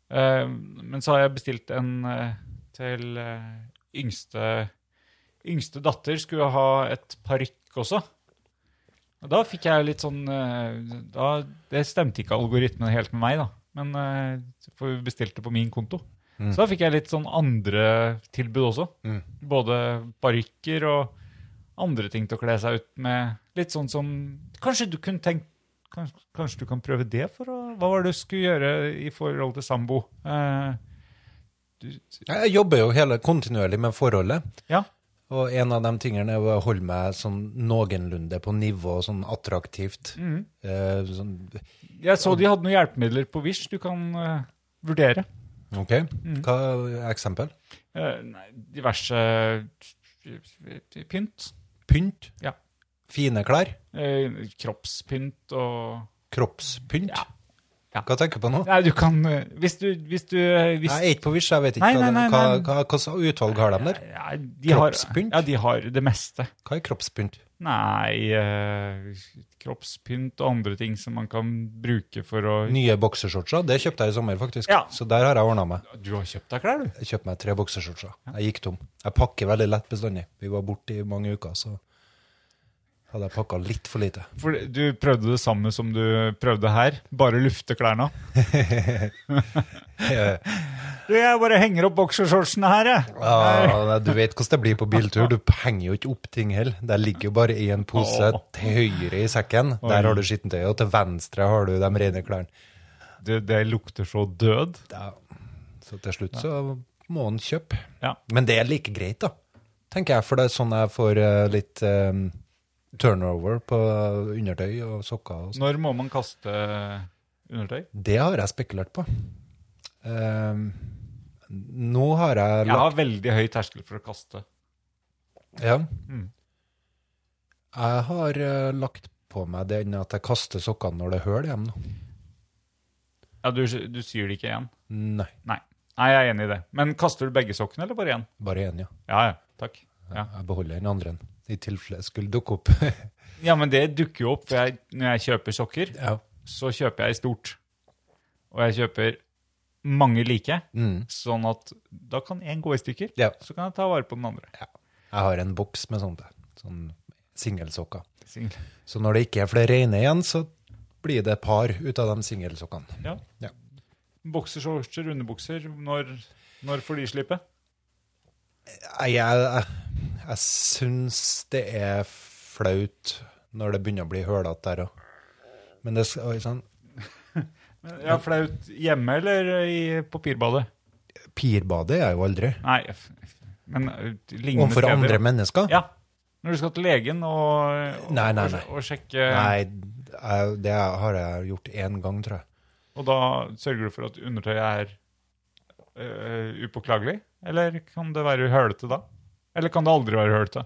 S4: Eh, men så har jeg bestilt en eh, til eh, yngste Yngste datter skulle ha et parykk også. Og da fikk jeg litt sånn eh, da, Det stemte ikke algoritmen helt med meg, da. Men eh, for vi bestilte på min konto.
S5: Mm.
S4: Så da fikk jeg litt sånn andre tilbud også.
S5: Mm.
S4: Både parykker og andre ting til å kle seg ut med. Litt sånn som Kanskje du kunne tenkt Kanskje, kanskje du kan prøve det? for å, Hva var det du skulle gjøre i forhold til sambo? Eh,
S5: Jeg jobber jo hele kontinuerlig med forholdet.
S4: ja.
S5: Og en av de tingene er å holde meg sånn noenlunde på nivå, sånn attraktivt.
S4: Mhm.
S5: Eh, sånn,
S4: Jeg så de hadde noen hjelpemidler på Wish du kan eh, vurdere.
S5: OK.
S4: Mm.
S5: Hva er eksempel?
S4: Eh, nei, diverse eh, pynt.
S5: Pynt?
S4: Ja.
S5: Fine klær?
S4: Eh, kroppspynt og
S5: Kroppspynt?
S4: Ja. Ja.
S5: Hva tenker du på nå?
S4: Nei, du kan eh, Hvis du, hvis du eh, hvis,
S5: Jeg er ikke på Wish, jeg vet ikke
S4: Nei,
S5: hva-
S4: nei, nei, nei.
S5: hva, hva, hva slags utvalg har de der.
S4: ja, de har,
S5: Kroppspynt?
S4: Ja, de har det meste.
S5: Hva er kroppspynt?
S4: Nei eh, Kroppspynt og andre ting som man kan bruke for å
S5: Nye boksershortser, det kjøpte jeg i sommer faktisk.
S4: Ja.
S5: Så der har jeg ordna meg.
S4: Du har kjøpt deg klær, du?
S5: Jeg kjøpte meg tre boksershortser. Jeg gikk tom. Jeg pakker veldig lett bestandig. Vi var borte i mange uker, så hadde jeg pakka litt for lite.
S4: For du prøvde det samme som du prøvde her, bare lufte klærne.
S5: Jeg
S4: Du, jeg bare henger opp boksershortsene her, jeg.
S5: Ja, nei, du vet hvordan det blir på biltur. Du henger jo ikke opp ting heller. Der ligger jo bare én pose
S4: Åh.
S5: til høyre i sekken. Der har du skittentøyet, og til venstre har du de rene klærne.
S4: Det, det lukter så død.
S5: Ja. Så til slutt så må han kjøpe.
S4: Ja.
S5: Men det er like greit, da, tenker jeg, for det er sånn jeg får eh, litt eh, turnover på eh, undertøy og sokker. og sånt.
S4: Når må man kaste undertøy?
S5: Det har jeg spekulert på. Ehm, nå har jeg
S4: Jeg har veldig høy terskel for å kaste.
S5: Ja.
S4: Mm.
S5: Jeg har eh, lagt på meg den at jeg kaster sokkene når det er hull hjemme nå.
S4: Ja, Du, du syr det ikke igjen?
S5: Nei,
S4: Nei. Nei, jeg er enig i det. Men kaster du begge sokkene, eller bare én?
S5: bare én, ja.
S4: Ja, ja. Takk. Ja.
S5: Jeg beholder den andre i tilfelle jeg skulle dukke opp.
S4: ja, men det dukker jo opp. For jeg, når jeg kjøper sokker,
S5: ja.
S4: så kjøper jeg stort. Og jeg kjøper mange like,
S5: Mm.
S4: sånn at da kan én gå i stykker.
S5: ja.
S4: Så kan jeg ta vare på den andre.
S5: Jeg har en boks med sånt. der. Sånn singelsokker.
S4: Single.
S5: Så når det ikke er flere rene igjen, så blir det par ut av de singelsokkene.
S4: Ja.
S5: Ja.
S4: Boksershortser, underbukser. Når, når får de slippe?
S5: Jeg, jeg, jeg syns det er flaut når det begynner å bli hølete der òg. Men det skal oi, sånn,
S4: Ja, flaut hjemme eller i, på pirbadet?
S5: Pirbadet er jeg jo aldri.
S4: Nei, f- f- men uh, lignende
S5: Overfor
S4: steder.
S5: andre mennesker?
S4: Ja. Når du skal til legen og, og,
S5: Nei, nei, nei.
S4: og, og sjekke
S5: Nei, jeg, det har jeg gjort én gang, tror jeg.
S4: Og da sørger du for at undertøyet er øh, upåklagelig? Eller kan det være hølete da? Eller kan det aldri være hølete?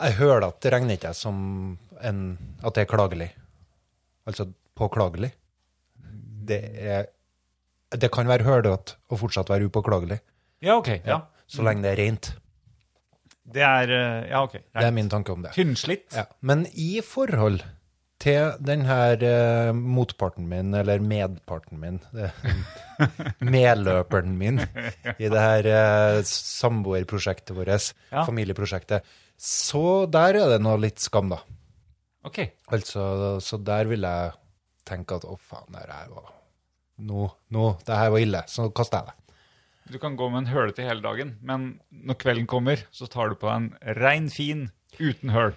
S5: Jeg hører at det regner ikke jeg som en, at det er klagelig. Altså påklagelig. Det er Det kan være hølete og fortsatt være upåklagelig,
S4: Ja, OK. Ja,
S5: så lenge det er rent.
S4: det er øh, Ja, OK.
S5: Det er min tanke om det.
S4: Tynnslitt.
S5: Ja. Men i forhold til den her eh, motparten min, eller medparten min, det- medløperen min, i det her eh, samboerprosjektet vårt,
S4: Ja.
S5: familieprosjektet, så der er det noe litt skam, da.
S4: OK.
S5: Altså, så der vil jeg tenke at å, faen, det her var Nå, nå, det her var ille, så kaster jeg det.
S4: Du kan gå med en hølete hele dagen, men når kvelden kommer, så tar du på deg en rein, fin uten høl.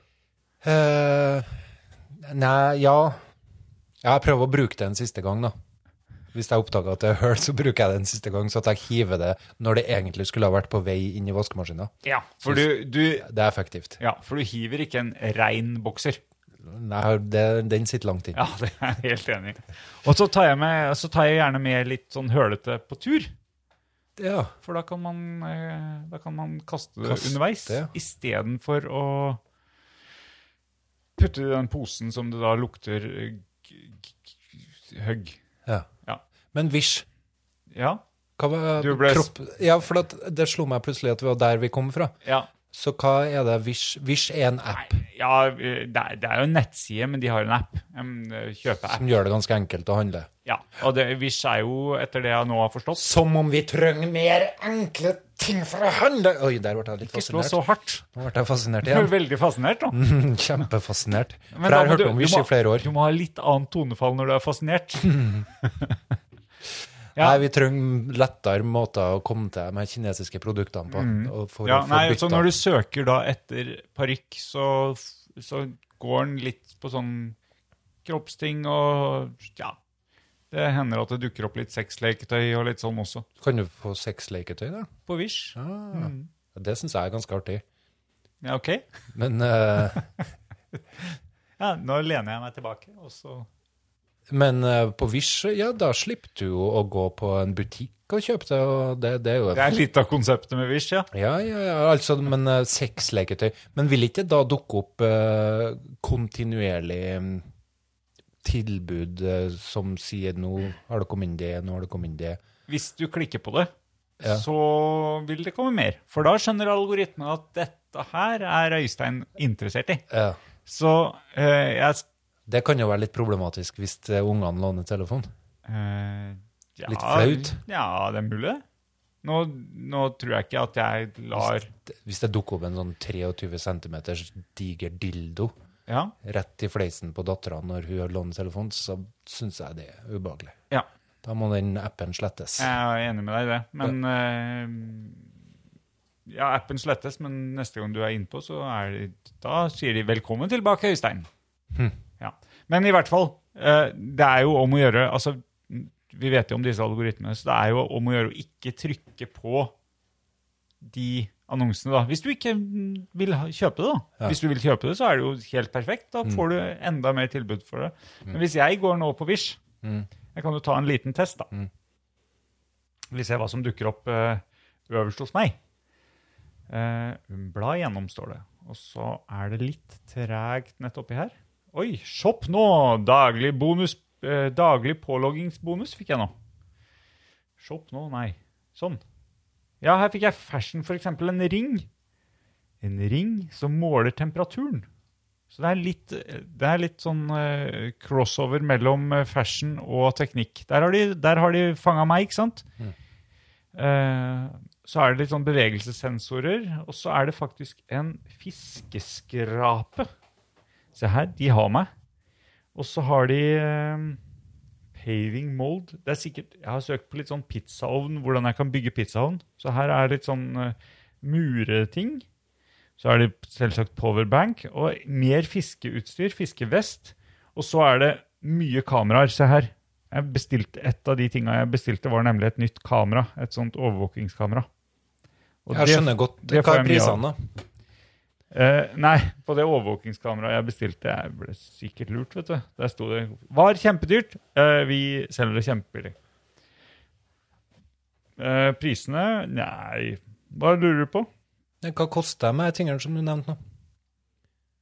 S5: Eh, nei, ja Jeg prøver å bruke det en siste gang, da. Hvis jeg oppdager at det er hull, så bruker jeg det en siste gang, så at jeg hiver det når det egentlig skulle ha vært på vei inn i vaskemaskina.
S4: Ja, for du, du,
S5: Det er effektivt.
S4: ja, for du hiver ikke en rein bokser.
S5: Nei, det, den sitter langt inn.
S4: Ja, det er jeg helt enig i. Og så tar, jeg med, så tar jeg gjerne med litt sånn hølete på tur.
S5: Ja.
S4: For da kan man, eh, da kan man kaste det
S5: Kaste,
S4: underveis
S5: ja.
S4: istedenfor å putte det i den posen som det da lukter eh, g- g- g- høgg.
S5: ja.
S4: Ja.
S5: Men visj.
S4: Ja.
S5: Hva var
S4: Du ble-
S5: kropp... Ja, for at det slo meg plutselig at vi var der vi kom fra.
S4: ja.
S5: Så hva er det Wish Wish er en app
S4: Nei, ja eh, det, er, det er jo en nettside, men de har en app. En eh, kjøpeapp.
S5: som gjør det ganske enkelt å handle.
S4: Ja. Og det, Wish er jo, etter det jeg nå har forstått
S5: Som om vi trenger mer enkle ting for å handle! Oi, der ble jeg litt
S4: Ikke slå
S5: fascinert.
S4: så hardt.
S5: Nå ble jeg fascinert
S4: Du er
S5: igjen.
S4: veldig fascinert nå.
S5: Kjempefascinert.
S4: Men
S5: For jeg
S4: da
S5: har
S4: må du-
S5: hørt
S4: du
S5: om Wish
S4: må-
S5: i flere år.
S4: Du må ha litt annet tonefall når du er fascinert. ja.
S5: Nei, vi trenger lettere måter å komme til de her kinesiske produktene på. og
S4: Mm.
S5: For
S4: Ja,
S5: å få
S4: nei,
S5: bytta.
S4: så når du søker da etter parykk, så, så går den litt på sånn kroppsting og ja. Det hender at det dukker opp litt sexleketøy og litt sånn også.
S5: Kan du få sexleketøy, da?
S4: På Wish.
S5: Ah, Det syns jeg er ganske artig.
S4: Ja, OK.
S5: Men, eh,
S4: Ja, nå lener jeg meg tilbake, og så
S5: men eh, på Wish, ja, da slipper du jo å gå på en butikk og kjøpe det, og det, det er jo
S4: Det er litt av konseptet med Wish, ja.
S5: Ja, ja, ja, altså, men uh, sexleketøy. Men vil ikke da dukke opp eh, kontinuerlig mm, tilbud eh, som sier nå har det kommet inn det, nå har det kommet inn det.
S4: Hvis du klikker på det,
S5: Ja.
S4: så vil det komme mer. For da skjønner algoritmen at dette her er Øystein interessert i.
S5: Ja.
S4: Så eh, jeg
S5: Det kan jo være litt problematisk hvis eh, ungene låner telefon.
S4: Eh, ja,
S5: Litt flaut?
S4: Ja, det er mulig. Nå, nå tror jeg ikke at jeg lar
S5: Hvis det dukker opp en sånn 23 cm diger dildo
S4: Ja.
S5: rett i fleisen på dattera når hun har lånetelefon, så syns jeg det er ubehagelig.
S4: ja.
S5: Da må den appen slettes.
S4: Jeg er enig med deg i det. Men eh, Ja, appen slettes, men neste gang du er innpå, så er det, da sier de 'velkommen tilbake, Øystein'.
S5: Hm.
S4: Ja. Men i hvert fall, eh, det er jo om å gjøre altså, Vi vet jo om disse algoritmene, så det er jo om å gjøre å ikke trykke på de annonsene, da. Hvis du ikke vil ha- kjøpe det, da.
S5: Ja. Hm.
S4: Hvis du vil kjøpe det, så er det jo helt perfekt. Da får du enda mer tilbud for det. Men hvis jeg går nå på Wish
S5: Mm.
S4: Jeg kan jo ta en liten test, da.
S5: Mm.
S4: Vi ser hva som dukker opp eh, øverst hos meg. Eh, bla igjennom, står det. Og så er det litt tregt nett oppi her. Oi, shopp nå! Daglig bonus, eh, daglig påloggingsbonus fikk jeg nå. Shopp nå, nei. Sånn. Ja, her fikk jeg fashion, for eksempel en ring. En ring som måler temperaturen. Så det er litt, det er litt sånn eh, crossover mellom eh, fashion og teknikk. Der har de, der har de fanga meg, ikke sant? Eh, så er det litt sånn bevegelsessensorer, og så er det faktisk en fiskeskrape. Se her, de har meg. Og så har de eh, paving mold. Det er sikkert, Jeg har søkt på litt sånn pizzaovn, hvordan jeg kan bygge pizzaovn. Så her er litt sånn eh, mureting. Så er det selvsagt powerbank og mer fiskeutstyr, fiskevest. Og så er det mye kameraer. Se her. Jeg bestilte, et av de tinga jeg bestilte, var nemlig et nytt kamera. Et sånt overvåkingskamera. Og
S5: Jeg
S4: det-
S5: skjønner godt
S4: det
S5: hva
S4: får
S5: er
S4: jeg mye av.
S5: prisene, da.
S4: Eh, nei, på det overvåkingskameraet jeg bestilte, jeg ble sikkert lurt, vet du. Der sto det Var kjempedyrt. eh, vi selger det kjempebillig. Eh, prisene Nei, hva lurer du på?
S5: Men Hva koster de her tingene som du nevnte nå?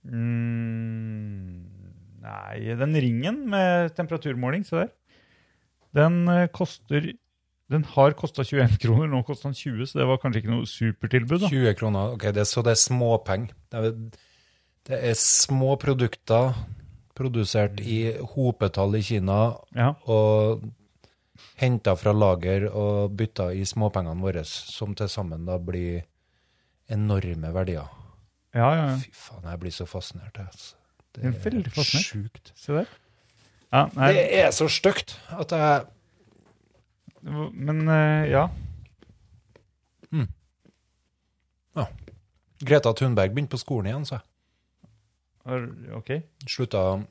S4: Mm, nei, den ringen med temperaturmåling, se der. Den eh, koster Den har kosta 21 kroner, nå koster den 20, så det var kanskje ikke noe supertilbud, da.
S5: 20 kroner. Ok, det, så det er småpenger. Det, er- det er små produkter produsert i hopetall i Kina
S4: Ja.
S5: og henta fra lager og bytta i småpengene våre, som til sammen da blir enorme verdier.
S4: ja, ja, ja.
S5: Fy faen, jeg blir så fascinert. jeg, Altså. Det
S4: Det er veldig fascinert.
S5: sjukt.
S4: Se der. Ja, nei,
S5: Det er så stygt at jeg
S4: Men eh, ja.
S5: Greta Thunberg begynte på skolen igjen, så jeg.
S4: Har- OK.
S5: Slutta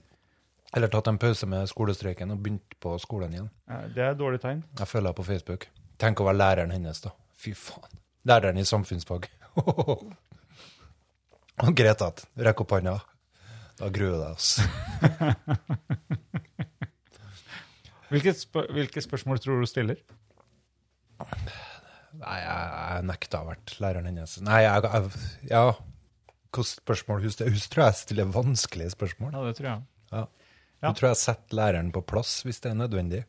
S5: Eller tatt en pause med skolestreiken og begynt på skolen igjen.
S4: Ja, Det er et dårlig tegn.
S5: Jeg følger henne på Facebook. Tenk å være læreren hennes, da. Fy faen. Læreren i samfunnsfag. og Greta, rekk opp hånda. Da gruer du deg, altså.
S4: Hvilke, spør hvilke spørsmål tror du stiller?
S5: Nei, jeg, jeg nekta å ha vært læreren hennes. Nei, jeg, jeg Ja. Hvilke spørsmål hun stiller? Hun tror jeg stiller vanskelige spørsmål.
S4: Ja, det tror jeg. Ja.
S5: Hun tror jeg setter læreren på plass hvis det er nødvendig.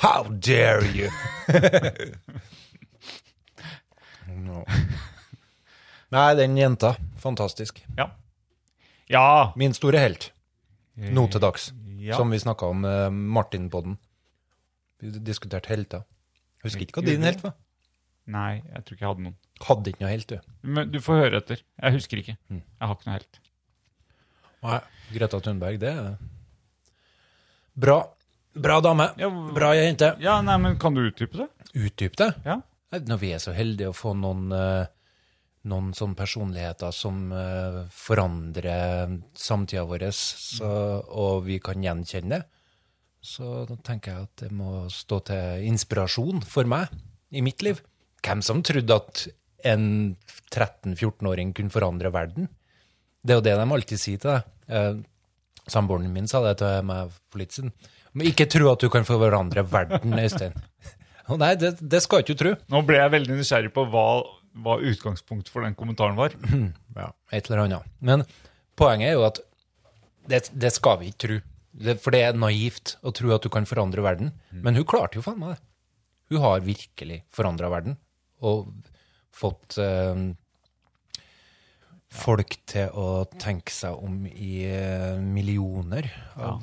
S5: How dare you! no. Nei, den jenta. Fantastisk.
S4: Ja. Ja!
S5: Min store helt nå til dags,
S4: Ja.
S5: Eh, som vi snakka om eh, Martin Podden. Vi diskuterte helter. Husker ikke hva din helt var.
S4: Nei, jeg tror ikke jeg hadde noen.
S5: Hadde ikke noe helt, du.
S4: Men du får høre etter. Jeg husker ikke.
S5: Mm.
S4: Jeg har ikke noe helt.
S5: Nei. Greta Thunberg, det er Bra. Bra dame.
S4: Ja, hv-
S5: Bra jente.
S4: Ja, nei, men Kan du utdype det?
S5: Utdyp det.
S4: Ja.
S5: Nei, Når vi er så heldige å få noen, eh, noen sånne personligheter som eh, forandrer samtida vår, så, og vi kan gjenkjenne det, så da tenker jeg at det må stå til inspirasjon for meg i mitt liv. Hvem som trodde at en 13-14-åring kunne forandre verden? Det er jo det de alltid sier til deg. Eh, Samboeren min sa det til meg for litt siden. Men ikke tro at du kan forandre verden, Øystein. Å nei, det, det skal ikke du tro.
S4: Nå ble jeg veldig nysgjerrig på hva, hva utgangspunktet for den kommentaren var.
S5: ja, et eller annet. Men poenget er jo at det, det skal vi ikke tro. Det, for det er naivt å tro at du kan forandre verden.
S4: Mm.
S5: Men hun klarte jo faen meg det. Hun har virkelig forandra verden og fått eh, folk til å tenke seg om i eh, millioner. Av,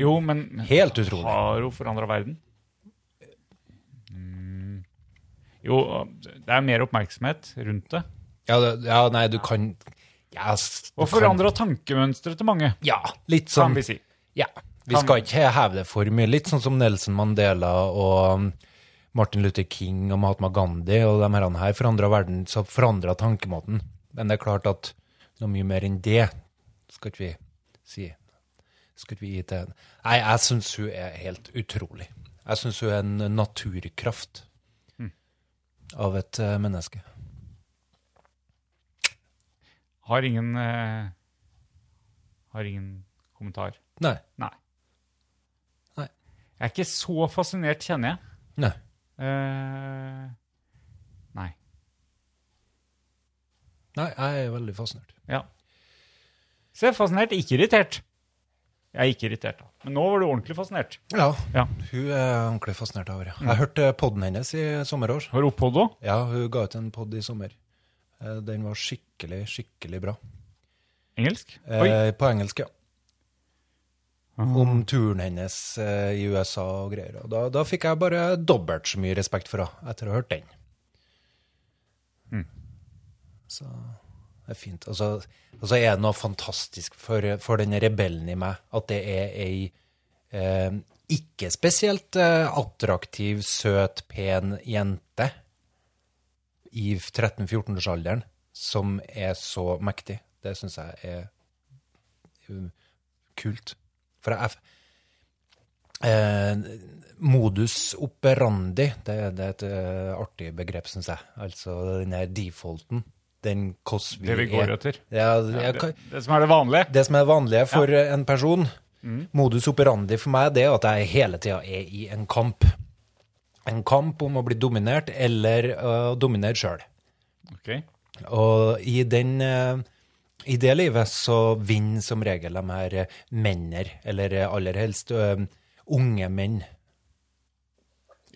S4: Jo, men
S5: Helt utrolig.
S4: Har hun forandra verden? Mm. Jo, det er mer oppmerksomhet rundt det.
S5: ja. det, ja, nei, du kan ja, s- du
S4: Og
S5: kan-
S4: forandra tankemønsteret til mange,
S5: Ja, litt
S4: kan
S5: sånn.
S4: vi si.
S5: Ja, Vi skal ikke heve det for mye. Litt sånn som Nelson Mandela og um, Martin Luther King og Mahatma Gandhi og de herrene her forandra verden, så forandra tankemåten. Men det er klart at noe mye mer enn det skal ikke vi si. Skal ikke vi gi til Nei, jeg syns hun er helt utrolig. Jeg syns hun er en naturkraft av et eh, menneske.
S4: Har ingen eh, Har ingen kommentar.
S5: Nei.
S4: Nei.
S5: Nei.
S4: Jeg er ikke så fascinert, kjenner jeg.
S5: Nei.
S4: Eh, nei.
S5: Nei, jeg er veldig fascinert.
S4: Ja. Så jeg er fascinert, ikke irritert. Jeg er ikke irritert, da. Men nå var du ordentlig fascinert.
S5: Ja,
S4: Ja.
S5: hun er ordentlig fascinert av henne. ja. Jeg hørte podden hennes i sommer også.
S4: Har du opphold òg?
S5: Ja, hun ga ut en podd i sommer. Eh, Den var skikkelig, skikkelig bra.
S4: Engelsk? Oi.
S5: Eh, på engelsk, ja. Om turen hennes eh, i USA og greier. Og da, da fikk jeg bare dobbelt så mye respekt for henne etter å ha hørt den. Så det er fint. Og så og så er det noe fantastisk for, for den rebellen i meg at det er ei eh, ikke spesielt eh, attraktiv, søt, pen jente i 13-14-årsalderen som er så mektig. Det syns jeg er um, kult. For jeg eh, Modus operandi, det, det er et eh, artig begrep, syns jeg. Altså den her defaulten. Den hvordan
S4: Det vi går etter.
S5: Ja,
S4: Det,
S5: jeg, kan-
S4: det som er det vanlige.
S5: det som er det vanlige for eh, en person,
S4: Mm.
S5: modus operandi for meg, det er at jeg hele tida er i en kamp. En kamp om å bli dominert, eller eh, å dominere sjøl.
S4: Ok.
S5: Og i, den, eh, i det livet så vinner som regel de her eh, menner, eller eh, aller helst eh, unge menn.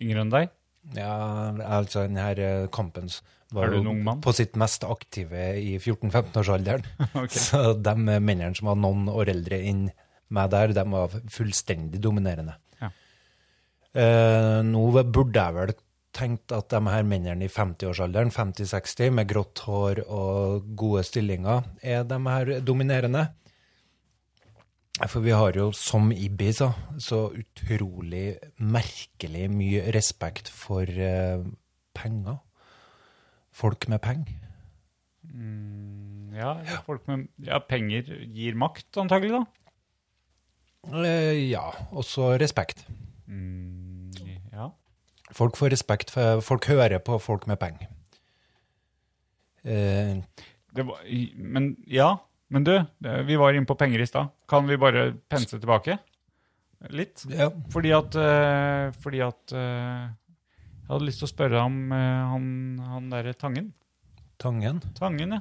S4: Yngre enn deg?
S5: Ja, altså den her eh, kampen s- var
S4: Er du en
S5: jo
S4: ung mann?
S5: på sitt mest aktive i 14-15-årsalderen.
S4: Ok.
S5: Så de mennene som var noen år eldre enn meg der, de var fullstendig dominerende.
S4: Ja.
S5: Eh, nå burde jeg vel tenkt at de her mennene i 50-årsalderen, 50-60, med grått hår og gode stillinger, er de her dominerende. For vi har jo, som Ibiza, så utrolig merkelig mye respekt for eh, penger. Folk med penger.
S4: Ja, folk med ja, penger gir makt, antagelig, da.
S5: Eh, ja, også respekt.
S4: Mm, Ja.
S5: Folk får respekt, for folk hører på folk med penger. Eh,
S4: Det var, men ja, men du, det- vi var inne på penger i stad. Kan vi bare pense tilbake? Litt.
S5: ja.
S4: Fordi at, eh, fordi at eh, Jeg hadde lyst til å spørre deg om eh, han, han derre Tangen.
S5: Tangen.
S4: Tangen, ja.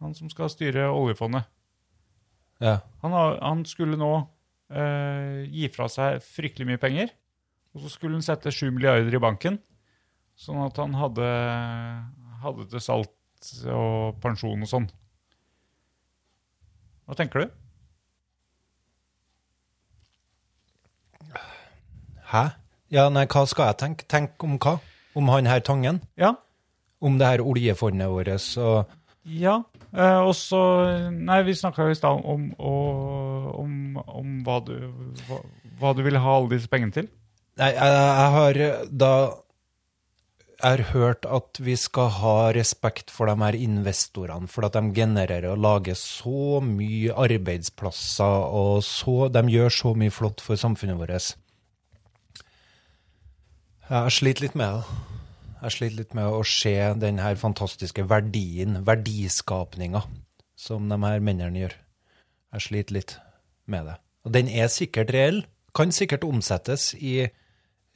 S4: Han som skal styre oljefondet.
S5: Ja.
S4: Han, har, han skulle nå eh, gi fra seg fryktelig mye penger, og så skulle han sette 7 milliarder i banken, sånn at han hadde, hadde til salt og pensjon og sånn. Hva tenker du?
S5: Hæ? Ja, nei, hva skal jeg tenke? Tenk om hva? Om han her Tangen?
S4: Ja,
S5: Om det her oljefondet vårt og
S4: Ja. eh, og så Nei, vi snakka jo i stad om, og- om, om hva, du, hva, hva du ville ha alle disse pengene til.
S5: Nei, jeg, jeg har da jeg har hørt at vi skal ha respekt for de her investorene, for at de genererer og lager så mye arbeidsplasser, og så, de gjør så mye flott for samfunnet vårt. Jeg sliter litt med det. Jeg sliter litt med å se den her fantastiske verdien, verdiskapninga, som de her mennene gjør. Jeg sliter litt med det. Og den er sikkert reell. Kan sikkert omsettes i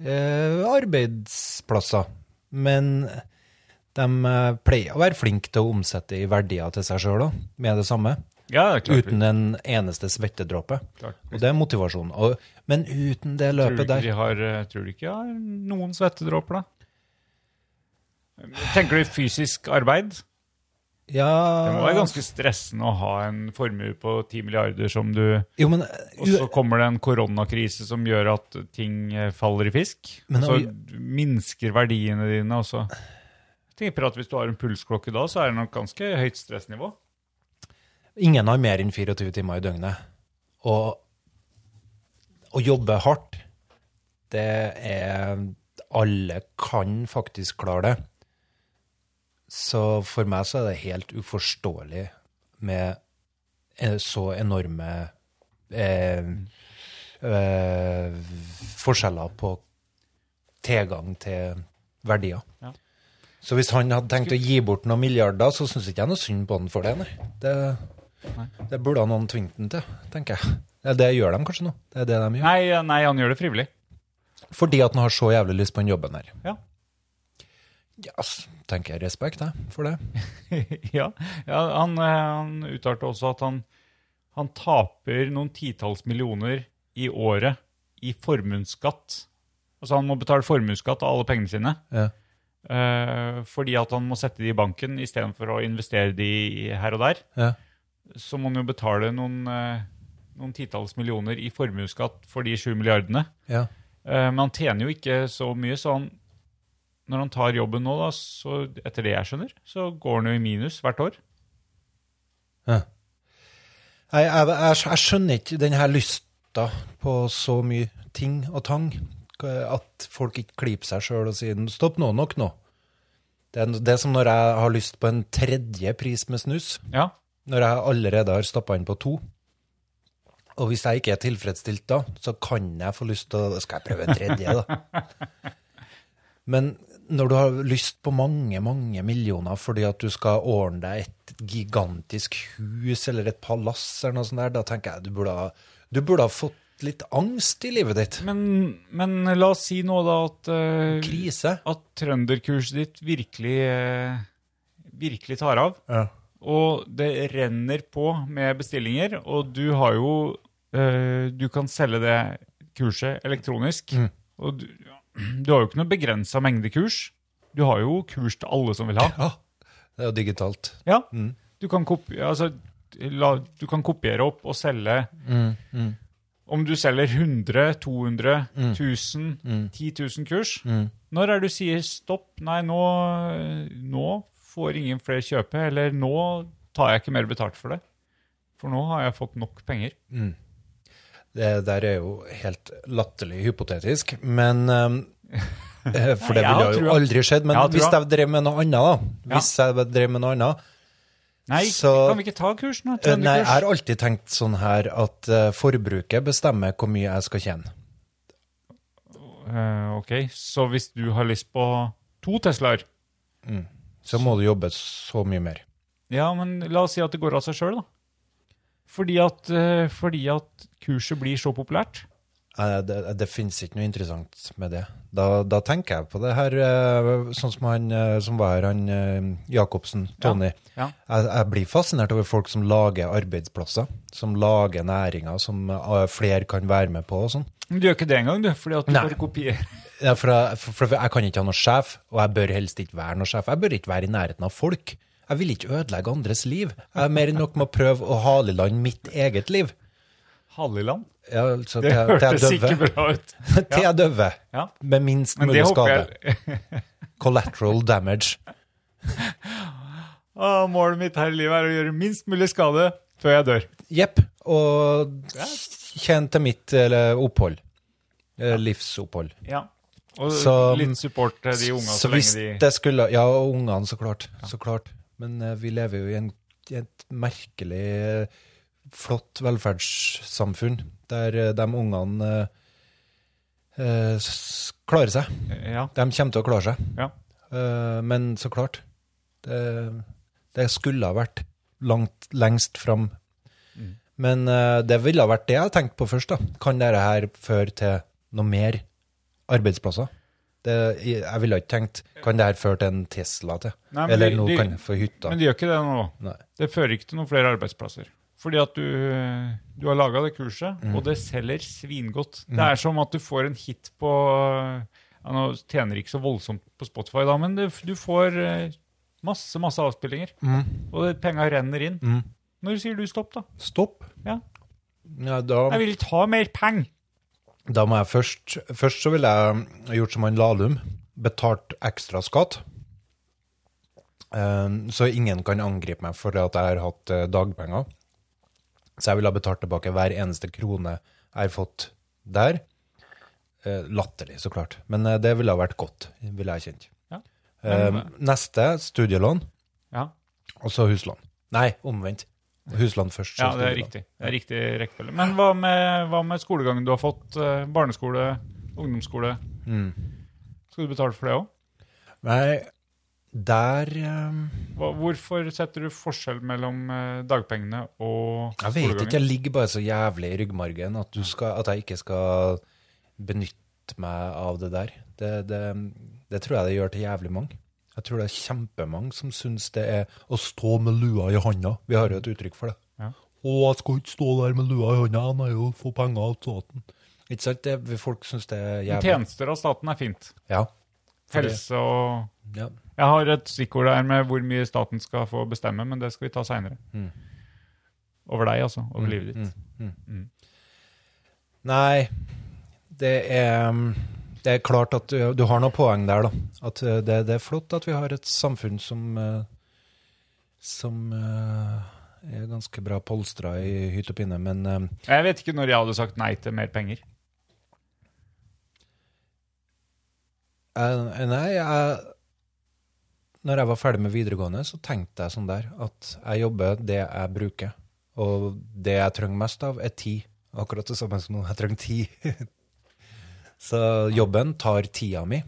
S5: eh, arbeidsplasser. Men de eh, pleier å være flinke til å omsette i verdier til seg sjøl òg, med det samme.
S4: Ja, det
S5: Uten en eneste svettedråpe.
S4: Klart.
S5: Og det er motivasjonen. Og, men uten
S4: Tror
S5: det
S4: du
S5: løpet
S4: ikke
S5: der
S4: de har eh, Tror du ikke de har noen svettedråper, da? Tenker du fysisk arbeid? Det må
S5: Ja,
S4: være ganske stressende å ha en formue på 10 milliarder som du
S5: jo, men, eh,
S4: Og så kommer det en koronakrise som gjør at ting eh, faller i fisk.
S5: Men
S4: så
S5: og-
S4: minsker verdiene dine også. Jeg tenker at Hvis du har en pulsklokke da, så er det nok ganske høyt stressnivå.
S5: Ingen har mer enn 24 timer i døgnet. Og å jobbe hardt, det er Alle kan faktisk klare det. Så for meg så er det helt uforståelig med eh, så enorme eh, eh, forskjeller på tilgang til verdier.
S4: Ja.
S5: Så hvis han hadde tenkt å gi bort noen milliarder, så syns ikke jeg noe synd på han for det. Nei. Det, det burde ha noen tvingt han til, tenker jeg. Ja, Det gjør de kanskje nå. Det er det de gjør.
S4: Nei, eh, nei, han gjør det frivillig.
S5: Fordi at han har så jævlig lyst på den jobben her.
S4: Ja.
S5: Ja, yes, tenker jeg respekt jeg, for det.
S4: ja, ja han, eh, han uttalte også at han, han taper noen titalls millioner i året i formuesskatt. Altså han må betale formuesskatt av alle pengene sine.
S5: Ja.
S4: eh, fordi at han må sette de i banken istedenfor å investere de i- her og der.
S5: Ja.
S4: Så må han jo betale noen, eh, noen titalls millioner i formuesskatt for de sju milliardene.
S5: Ja.
S4: Eh, Men han tjener jo ikke så mye, så han, når han tar jobben nå, da, så etter det jeg skjønner, så går han jo i minus hvert år.
S5: Nei, jeg, jeg, jeg skjønner ikke den her lysta på så mye ting og tang. At folk ikke klyper seg sjøl og sier 'stopp nå, nok nå'. Det er, det er som når jeg har lyst på en tredje pris med snus,
S4: Ja,
S5: når jeg allerede har stappa inn på to. Og hvis jeg ikke er tilfredsstilt da, så kan jeg få lyst til å Skal jeg prøve en tredje, da? Men når du har lyst på mange, mange millioner fordi at du skal ordne deg et gigantisk hus eller et palass eller noe sånt der, da tenker jeg du burde ha, du burde ha fått litt angst i livet ditt.
S4: men, men la oss si nå da at, eh,
S5: Krise.
S4: at trønderkurset ditt virkelig, eh, virkelig tar av,
S5: Ja.
S4: og det renner på med bestillinger, og du har jo, eh, du kan selge det kurset elektronisk, og du, du har jo ikke noe begrenset mengde kurs, du har jo kurs til alle som vil ha.
S5: Det er jo digitalt.
S4: Ja.
S5: Mm.
S4: Du, kan kopi altså, la, du kan kopiere opp og selge.
S5: Mm,
S4: Om du selger 100, 200,
S5: Mm.
S4: 1000, 10 000 kurs, når er det du sier stopp, nei, nå, nå får ingen flere kjøpe, eller nå tar jeg ikke mer betalt for det? For nå har jeg fått nok penger.
S5: Det der er jo helt latterlig hypotetisk, men um, eh, For
S4: Nei,
S5: det
S4: jeg
S5: ville
S4: har
S5: jo
S4: trua.
S5: aldri skjedd. Men
S4: Jeg har
S5: hvis
S4: trua.
S5: jeg drev med noe annet, da
S4: Ja.
S5: Hvis jeg drev med noe annet
S4: Nei,
S5: Så-
S4: kan vi ikke ta kursen? da?
S5: Eh, Nei, jeg har
S4: Trønderkurs?
S5: alltid tenkt sånn her at eh, forbruket bestemmer hvor mye jeg skal tjene.
S4: Eh, ok, så hvis du har lyst på to Teslaer,
S5: Så må du jobbe så mye mer.
S4: Ja, men la oss si at det går av seg sjøl, da. Fordi at, eh, fordi at kurset blir så populært.
S5: Eh, Det, det finnes ikke noe interessant med det. Da, da tenker jeg på det her, eh, sånn som han eh, som var her, han eh, Jacobsen, Tony.
S4: Ja.
S5: Jeg, jeg blir fascinert over folk som lager arbeidsplasser, som lager næringer som eh, flere kan være med på og sånn.
S4: Men du gjør ikke det engang, du. Fordi at du
S5: Nei.
S4: bare kopierer.
S5: Ja, for, jeg- for, for jeg kan ikke ha noen sjef, og jeg bør helst ikke være noen sjef. Jeg bør ikke være i nærheten av folk. Jeg vil ikke ødelegge andres liv. Jeg er mer enn nok med å prøve å hale i land mitt eget liv.
S4: Halliland.
S5: Ja, altså,
S4: Det
S5: til, til jeg
S4: hørtes ikke
S5: døver.
S4: bra ut.
S5: Til jeg døver.
S4: Ja.
S5: Med minst
S4: Men det
S5: mulig
S4: håper
S5: skade.
S4: jeg
S5: Collateral damage.
S4: Å, Ah, Målet mitt her i livet er å gjøre minst mulig skade før jeg dør.
S5: Jepp. Og tjene til mitt eller, opphold. Eh, Livsopphold.
S4: Ja. Og
S5: Så-
S4: litt support til de unga så,
S5: Så hvis
S4: lenge de
S5: det skulle Ja, og ungene, så klart. Så klart. Men eh, vi lever jo i, en, i et merkelig eh, flott velferdssamfunn der eh, de ungene eh, eh, s- klarer seg.
S4: Ja.
S5: De kommer til å klare seg.
S4: ja.
S5: Eh, men så klart. Det, det skulle ha vært langt, lengst fram.
S4: Mm.
S5: Men eh, det ville ha vært det jeg tenkte på først. da. Kan dette her føre til noe mer arbeidsplasser? Det, jeg ville ikke tenkt kan det her føre til en Tesla til?
S4: Nei, men
S5: Eller
S4: de-
S5: nå
S4: de-
S5: kan jeg få hytta?
S4: Men de gjør ikke det nå.
S5: Nei.
S4: Det fører ikke til noen flere arbeidsplasser. Fordi at du, du har laga det kurset, og det selger svingodt. Det er som at du får en hit på ja, Nå tjener ikke så voldsomt på Spotify, da, men du, du får eh, masse masse avspillinger. Og det- penga renner inn. Når sier du stopp, da?
S5: Stopp.
S4: Ja.
S5: Ja, da,
S4: Jeg vil ikke ha mer penger!
S5: da må jeg først Først så ville jeg gjort som han Lahlum, betalt ekstra skatt. Eh, så ingen kan angripe meg for at jeg har hatt eh, dagpenger. Så jeg ville ha betalt tilbake hver eneste krone jeg har fått der. Eh, latterlig, så klart. Men eh, det ville ha vært godt, ville jeg kjent.
S4: Ja.
S5: Eh,
S4: Men,
S5: neste studielån,
S4: ja.
S5: og så huslån. Nei, omvendt. Huslån først. så
S4: ja, det er
S5: studielån.
S4: riktig. Det er riktig rekkefølge. Men hva med, hva med skolegangen du har fått? eh, Barneskole, ungdomsskole.
S5: Mm.
S4: Skal du betale for det òg?
S5: Nei, der eh,
S4: Hvorfor setter du forskjell mellom eh, dagpengene og
S5: Jeg vet ikke, jeg ligger bare så jævlig i ryggmargen at, du skal, at jeg ikke skal benytte meg av det der. Det, det, det tror jeg det gjør til jævlig mange. Jeg tror det er kjempemange som syns det er å stå med lua i handa. Vi har jo et uttrykk for det.
S4: Ja.
S5: Å, jeg skal ikke stå der med lua i handa, jeg må jo få penger av staten. Ikke sant? Det, folk syns det er
S4: Men
S5: jævlig.
S4: Tjenester av staten er fint.
S5: Ja. Fordi-
S4: Helse og
S5: ja.
S4: Jeg har et stikkord der med hvor mye staten skal få bestemme, men det skal vi ta seinere.
S5: Mm.
S4: Over deg, altså. Over livet ditt.
S5: Mm, mm, mm.
S4: Mm.
S5: Nei, det er, um, det er klart at du, du har noen poeng der, da. At eh, det, det er flott at vi har et samfunn som, eh, som eh, er ganske bra polstra i hytt og pinne, men eh,
S4: Jeg vet ikke når jeg hadde sagt nei til mer penger.
S5: jeg, Nei, jeg Når jeg var ferdig med videregående, så tenkte jeg sånn der at jeg jobber det jeg bruker. Og det jeg trenger mest av, er tid. Akkurat det samme som nå. Jeg trenger tid. så jobben tar tida mi.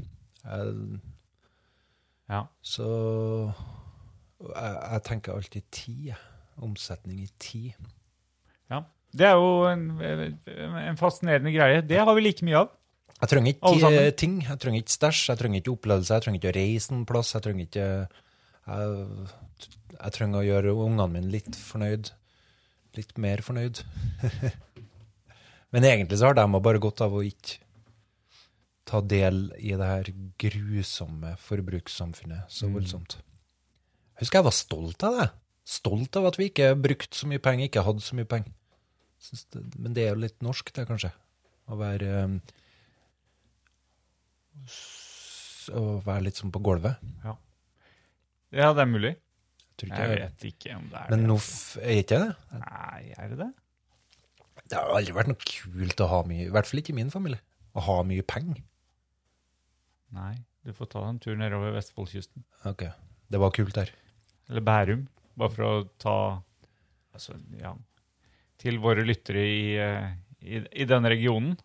S5: Jeg,
S4: Ja.
S5: Så jeg, jeg tenker alltid tid. jeg. Omsetning i tid.
S4: Det er jo en, en fascinerende greie. Det har vi like mye av.
S5: Jeg trenger ikke
S4: Alle sammen.
S5: eh, ting. Jeg trenger ikke stæsj, jeg trenger ikke opplevelse, jeg trenger ikke å reise en plass. Jeg trenger ikke jeg, jeg trenger å gjøre ungene mine litt fornøyd. Litt mer fornøyd. Men egentlig så har de bare godt av å ikke ta del i det her grusomme forbrukssamfunnet
S4: Mm.
S5: så voldsomt. Jeg husker jeg var stolt av det. Stolt av at vi ikke brukte så mye penger, ikke hadde så mye penger. Syns det- Men det er jo litt norsk, det, kanskje. Å være eh, s- å være litt sånn på gulvet.
S4: Ja, det er mulig.
S5: Jeg tror ikke
S4: Jeg
S5: jeg er det.
S4: vet ikke om det er
S5: Men
S4: det.
S5: nå f- er jeg ikke det.
S4: Nei, er det det?
S5: Det har aldri vært noe kult å ha mye, i hvert fall ikke i min familie, å ha mye penger.
S4: Nei. Du får ta deg en tur nedover Vestfoldkysten.
S5: Ok, det var kult der.
S4: Eller Bærum. Bare for å ta altså, ja, Til våre lyttere i, eh, i, i denne regionen.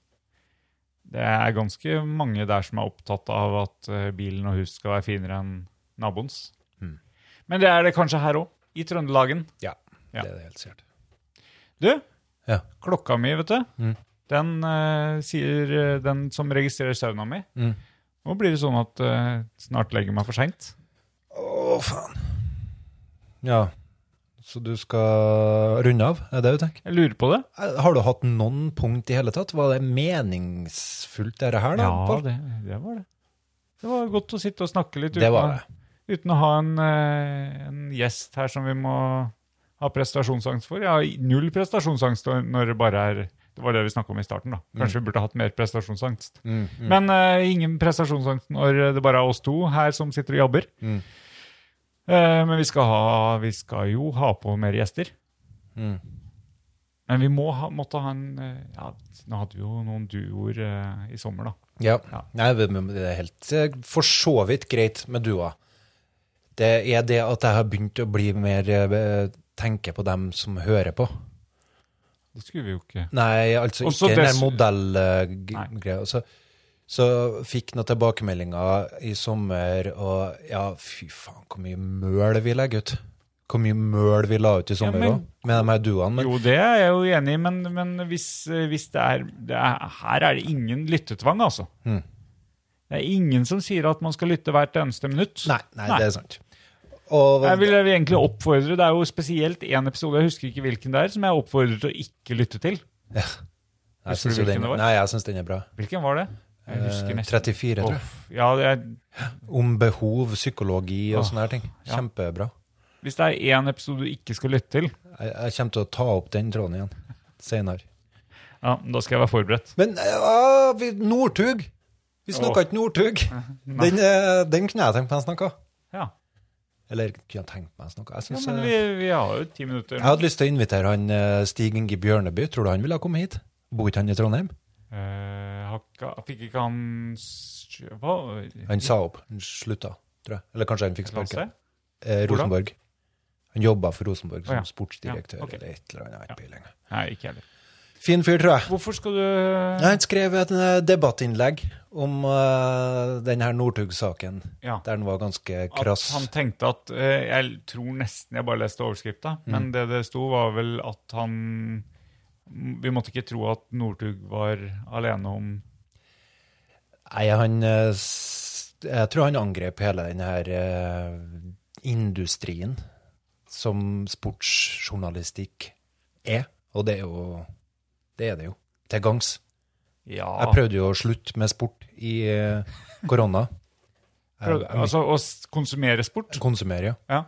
S4: Det er ganske mange der som er opptatt av at eh, bilen og huset skal være finere enn naboens.
S5: Mm.
S4: Men det er det kanskje her òg. I Trøndelagen. Ja.
S5: Det er det helt sikkert.
S4: Du,
S5: Ja.
S4: klokka mi, vet du,
S5: Mm.
S4: den eh, sier eh, den som registrerer sauna mi.
S5: Mm.
S4: Nå blir det sånn at eh, snart legger jeg meg for seint.
S5: Å, faen. Ja, så du skal runde av, er det du tenker?
S4: Jeg lurer på det.
S5: Eh, Har du hatt noen punkt i hele tatt? Var det meningsfullt dette her da? Pål?
S4: det, det var det. Det var godt å sitte og snakke litt
S5: det
S4: uten,
S5: var
S4: å-
S5: det.
S4: uten å ha en, eh, en gjest her som vi må ha prestasjonsangst for. Jeg har null prestasjonsangst når det bare er Det var det vi snakka om i starten, da. Kanskje vi burde hatt mer prestasjonsangst.
S5: Mm, mm.
S4: Men eh, ingen prestasjonsangst når det bare er oss to her som sitter og jobber.
S5: Mm.
S4: Eh, men vi skal, ha, vi skal jo ha på mer gjester.
S5: Mm.
S4: Men vi må ha, måtte ha en eh, ja, Nå hadde vi jo noen duoer eh, i sommer, da.
S5: Ja.
S4: Ja.
S5: Nei, men det er helt eh, for så vidt greit med dua. Det er det at jeg har begynt å bli mer eh, tenke på dem som hører på.
S4: Det skulle vi jo ikke.
S5: Nei, altså
S4: Også
S5: ikke den der
S4: dess- Nei.
S5: modellgreia. Så, så fikk noen tilbakemeldinger i sommer, og ja, fy faen, hvor mye møl vi legger ut. Hvor mye møl vi la ut i sommer
S4: men-
S5: òg, med de her duene. Men
S4: Jo, det er jeg jo enig i, men, men hvis, eh, hvis det, er, det er Her er det ingen lyttetvang, altså.
S5: Mhm.
S4: Det er ingen som sier at man skal lytte hvert eneste minutt.
S5: nei, nei,
S4: Nei.
S5: det er sant. Og,
S4: Jeg vil jeg vil egentlig oppfordre, Det er jo spesielt én episode, jeg husker ikke hvilken det er, som jeg oppfordrer til å ikke lytte til.
S5: jeg
S4: Husker
S5: syns
S4: du
S5: jo den,
S4: hvilken det var?
S5: nei, jeg syns den er bra.
S4: Hvilken var det? Jeg
S5: Eh,
S4: husker nesten.
S5: 34, tror jeg.
S4: Åh, ja, det er,
S5: Om behov, psykologi og
S4: Åh,
S5: sånne her ting.
S4: Ah, ja.
S5: Kjempebra.
S4: hvis det er én episode du ikke skal lytte til,
S5: Jeg, jeg kommer til å ta opp den tråden igjen senere.
S4: ja, da skal jeg være forberedt.
S5: Men eh, ja, vi, Northug! Vi snakka
S4: Åh.
S5: ikke Northug! Den, eh, den kunne jeg tenkt meg å snakke.
S4: Ja,
S5: Eller kunne jeg tenkt meg å snakke
S4: ja
S5: jeg, synes,
S4: men
S5: eh,
S4: vi, vi har jo ti minutter.
S5: jeg hadde lyst til å invitere han eh, Stig Inge Bjørneby. Tror du han ville ha kommet hit? Bor ikke han i Trondheim?
S4: Eh, har ikke- fikk ikke han s- Hva?
S5: Han sa opp. Han slutta, tror jeg. Eller kanskje han fikk sparken.
S4: Lasse?
S5: Eh,
S4: Hvordan?
S5: Rosenborg. Han jobba for Rosenborg
S4: Å
S5: som
S4: ja.
S5: sportsdirektør
S4: Ja, ok.
S5: eller et eller annet. Jeg har ikke peiling.
S4: Nei, ikke heller.
S5: Fin fyr, tror jeg.
S4: Hvorfor skal du
S5: Nei, Han skrev et eh, debattinnlegg om uh, den her Northug-saken,
S4: Ja.
S5: der han var ganske
S4: At
S5: krass.
S4: han tenkte at eh, Jeg tror nesten jeg bare leste overskrifta,
S5: Mm.
S4: men det det sto, var vel at han Vi måtte ikke tro at Northug var alene om
S5: Nei, han eh, s- Jeg tror han angrep hele den her eh, industrien som sportsjournalistikk er. Og det er jo Det er det jo. Til gangs.
S4: Ja.
S5: Jeg prøvde jo å slutte med sport i eh, korona. Jeg-
S4: Prøvde-
S5: jeg
S4: altså å s- konsumere sport?
S5: Konsumere, ja.
S4: Ja.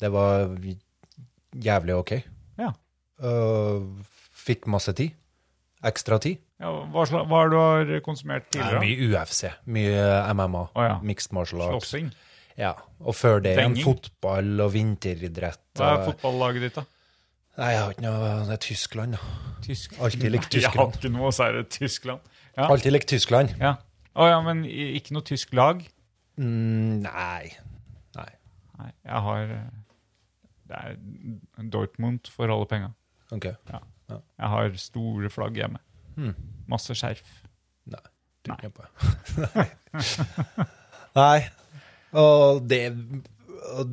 S5: Det var jævlig ok.
S4: Ja.
S5: Øh, fikk masse tid. Ekstra tid.
S4: ja hva, sla, hva er det du har konsumert
S5: Det er
S4: tidligere?
S5: mye UFC, mye MMA,
S4: Å, ja.
S5: mixed martial arts.
S4: Slåssing?
S5: Ja. Og før det igjen
S4: Denging.
S5: fotball og vinteridrett.
S4: Hva er
S5: og-
S4: fotballaget ditt, da?
S5: Nei, jeg har ikke noe Det er Tyskland, da.
S4: Tyskland?
S5: Alltid likt
S4: Jeg har
S5: Tyskland.
S4: ikke noe særlig Tyskland. Ja.
S5: Alltid likt Tyskland.
S4: Ja. Å ja, men i- ikke noe tysk lag?
S5: Mm, nei. Nei.
S4: Nei, jeg har eh, Det er Dortmund for alle penga.
S5: OK.
S4: Jeg har store flagg hjemme.
S5: Hmm.
S4: Masse skjerf. Nei.
S5: Tenker jeg på. Nei. Og det, og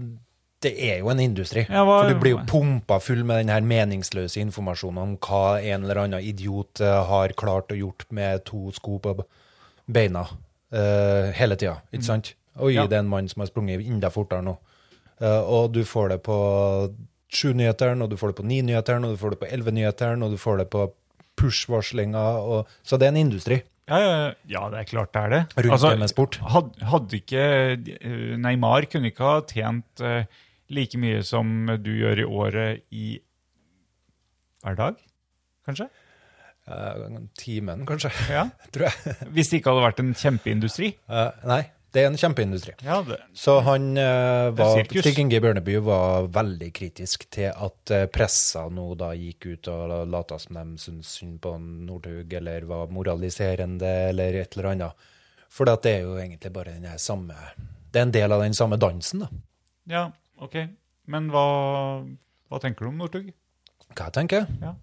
S5: det er jo en industri.
S4: Ja, hva-
S5: For du blir jo pumpa full med den her meningsløse informasjonen om hva en eller annen idiot eh, har klart og gjort med to sko på b- beina eh, hele tida. Ikke sant? Oi,
S4: Mm. Ja.
S5: det er en mann som har sprunget enda fortere nå. Eh, og du får det på sju-nyheteren, og du får det på ni-nyheteren, og du får det på elleve-nyheteren, og du får det på push-varslinger. og- Så det er en industri.
S4: Ja, ja, ja, det er klart det er det. Altså,
S5: Rundt det med sport.
S4: Had, hadde ikke eh, Neymar kunne ikke ha tjent eh, like mye som du gjør i året i hver dag, kanskje?
S5: Eh, timen, kanskje,
S4: Ja.
S5: tror jeg.
S4: Hvis det ikke hadde vært en kjempeindustri.
S5: Eh, nei, det er en kjempeindustri.
S4: Ja, det,
S5: Så han eh, var,
S4: Sirkus.
S5: Stig Inge Bjørneby var veldig kritisk til at eh, pressa nå da gikk ut og lata som de syntes synd på Northug, eller var moraliserende, eller et eller annet. For det er jo egentlig bare den her samme Det er en del av den samme dansen, da.
S4: ja ok. Men hva, hva tenker du om Northug?
S5: Hva jeg tenker jeg?
S4: Ja.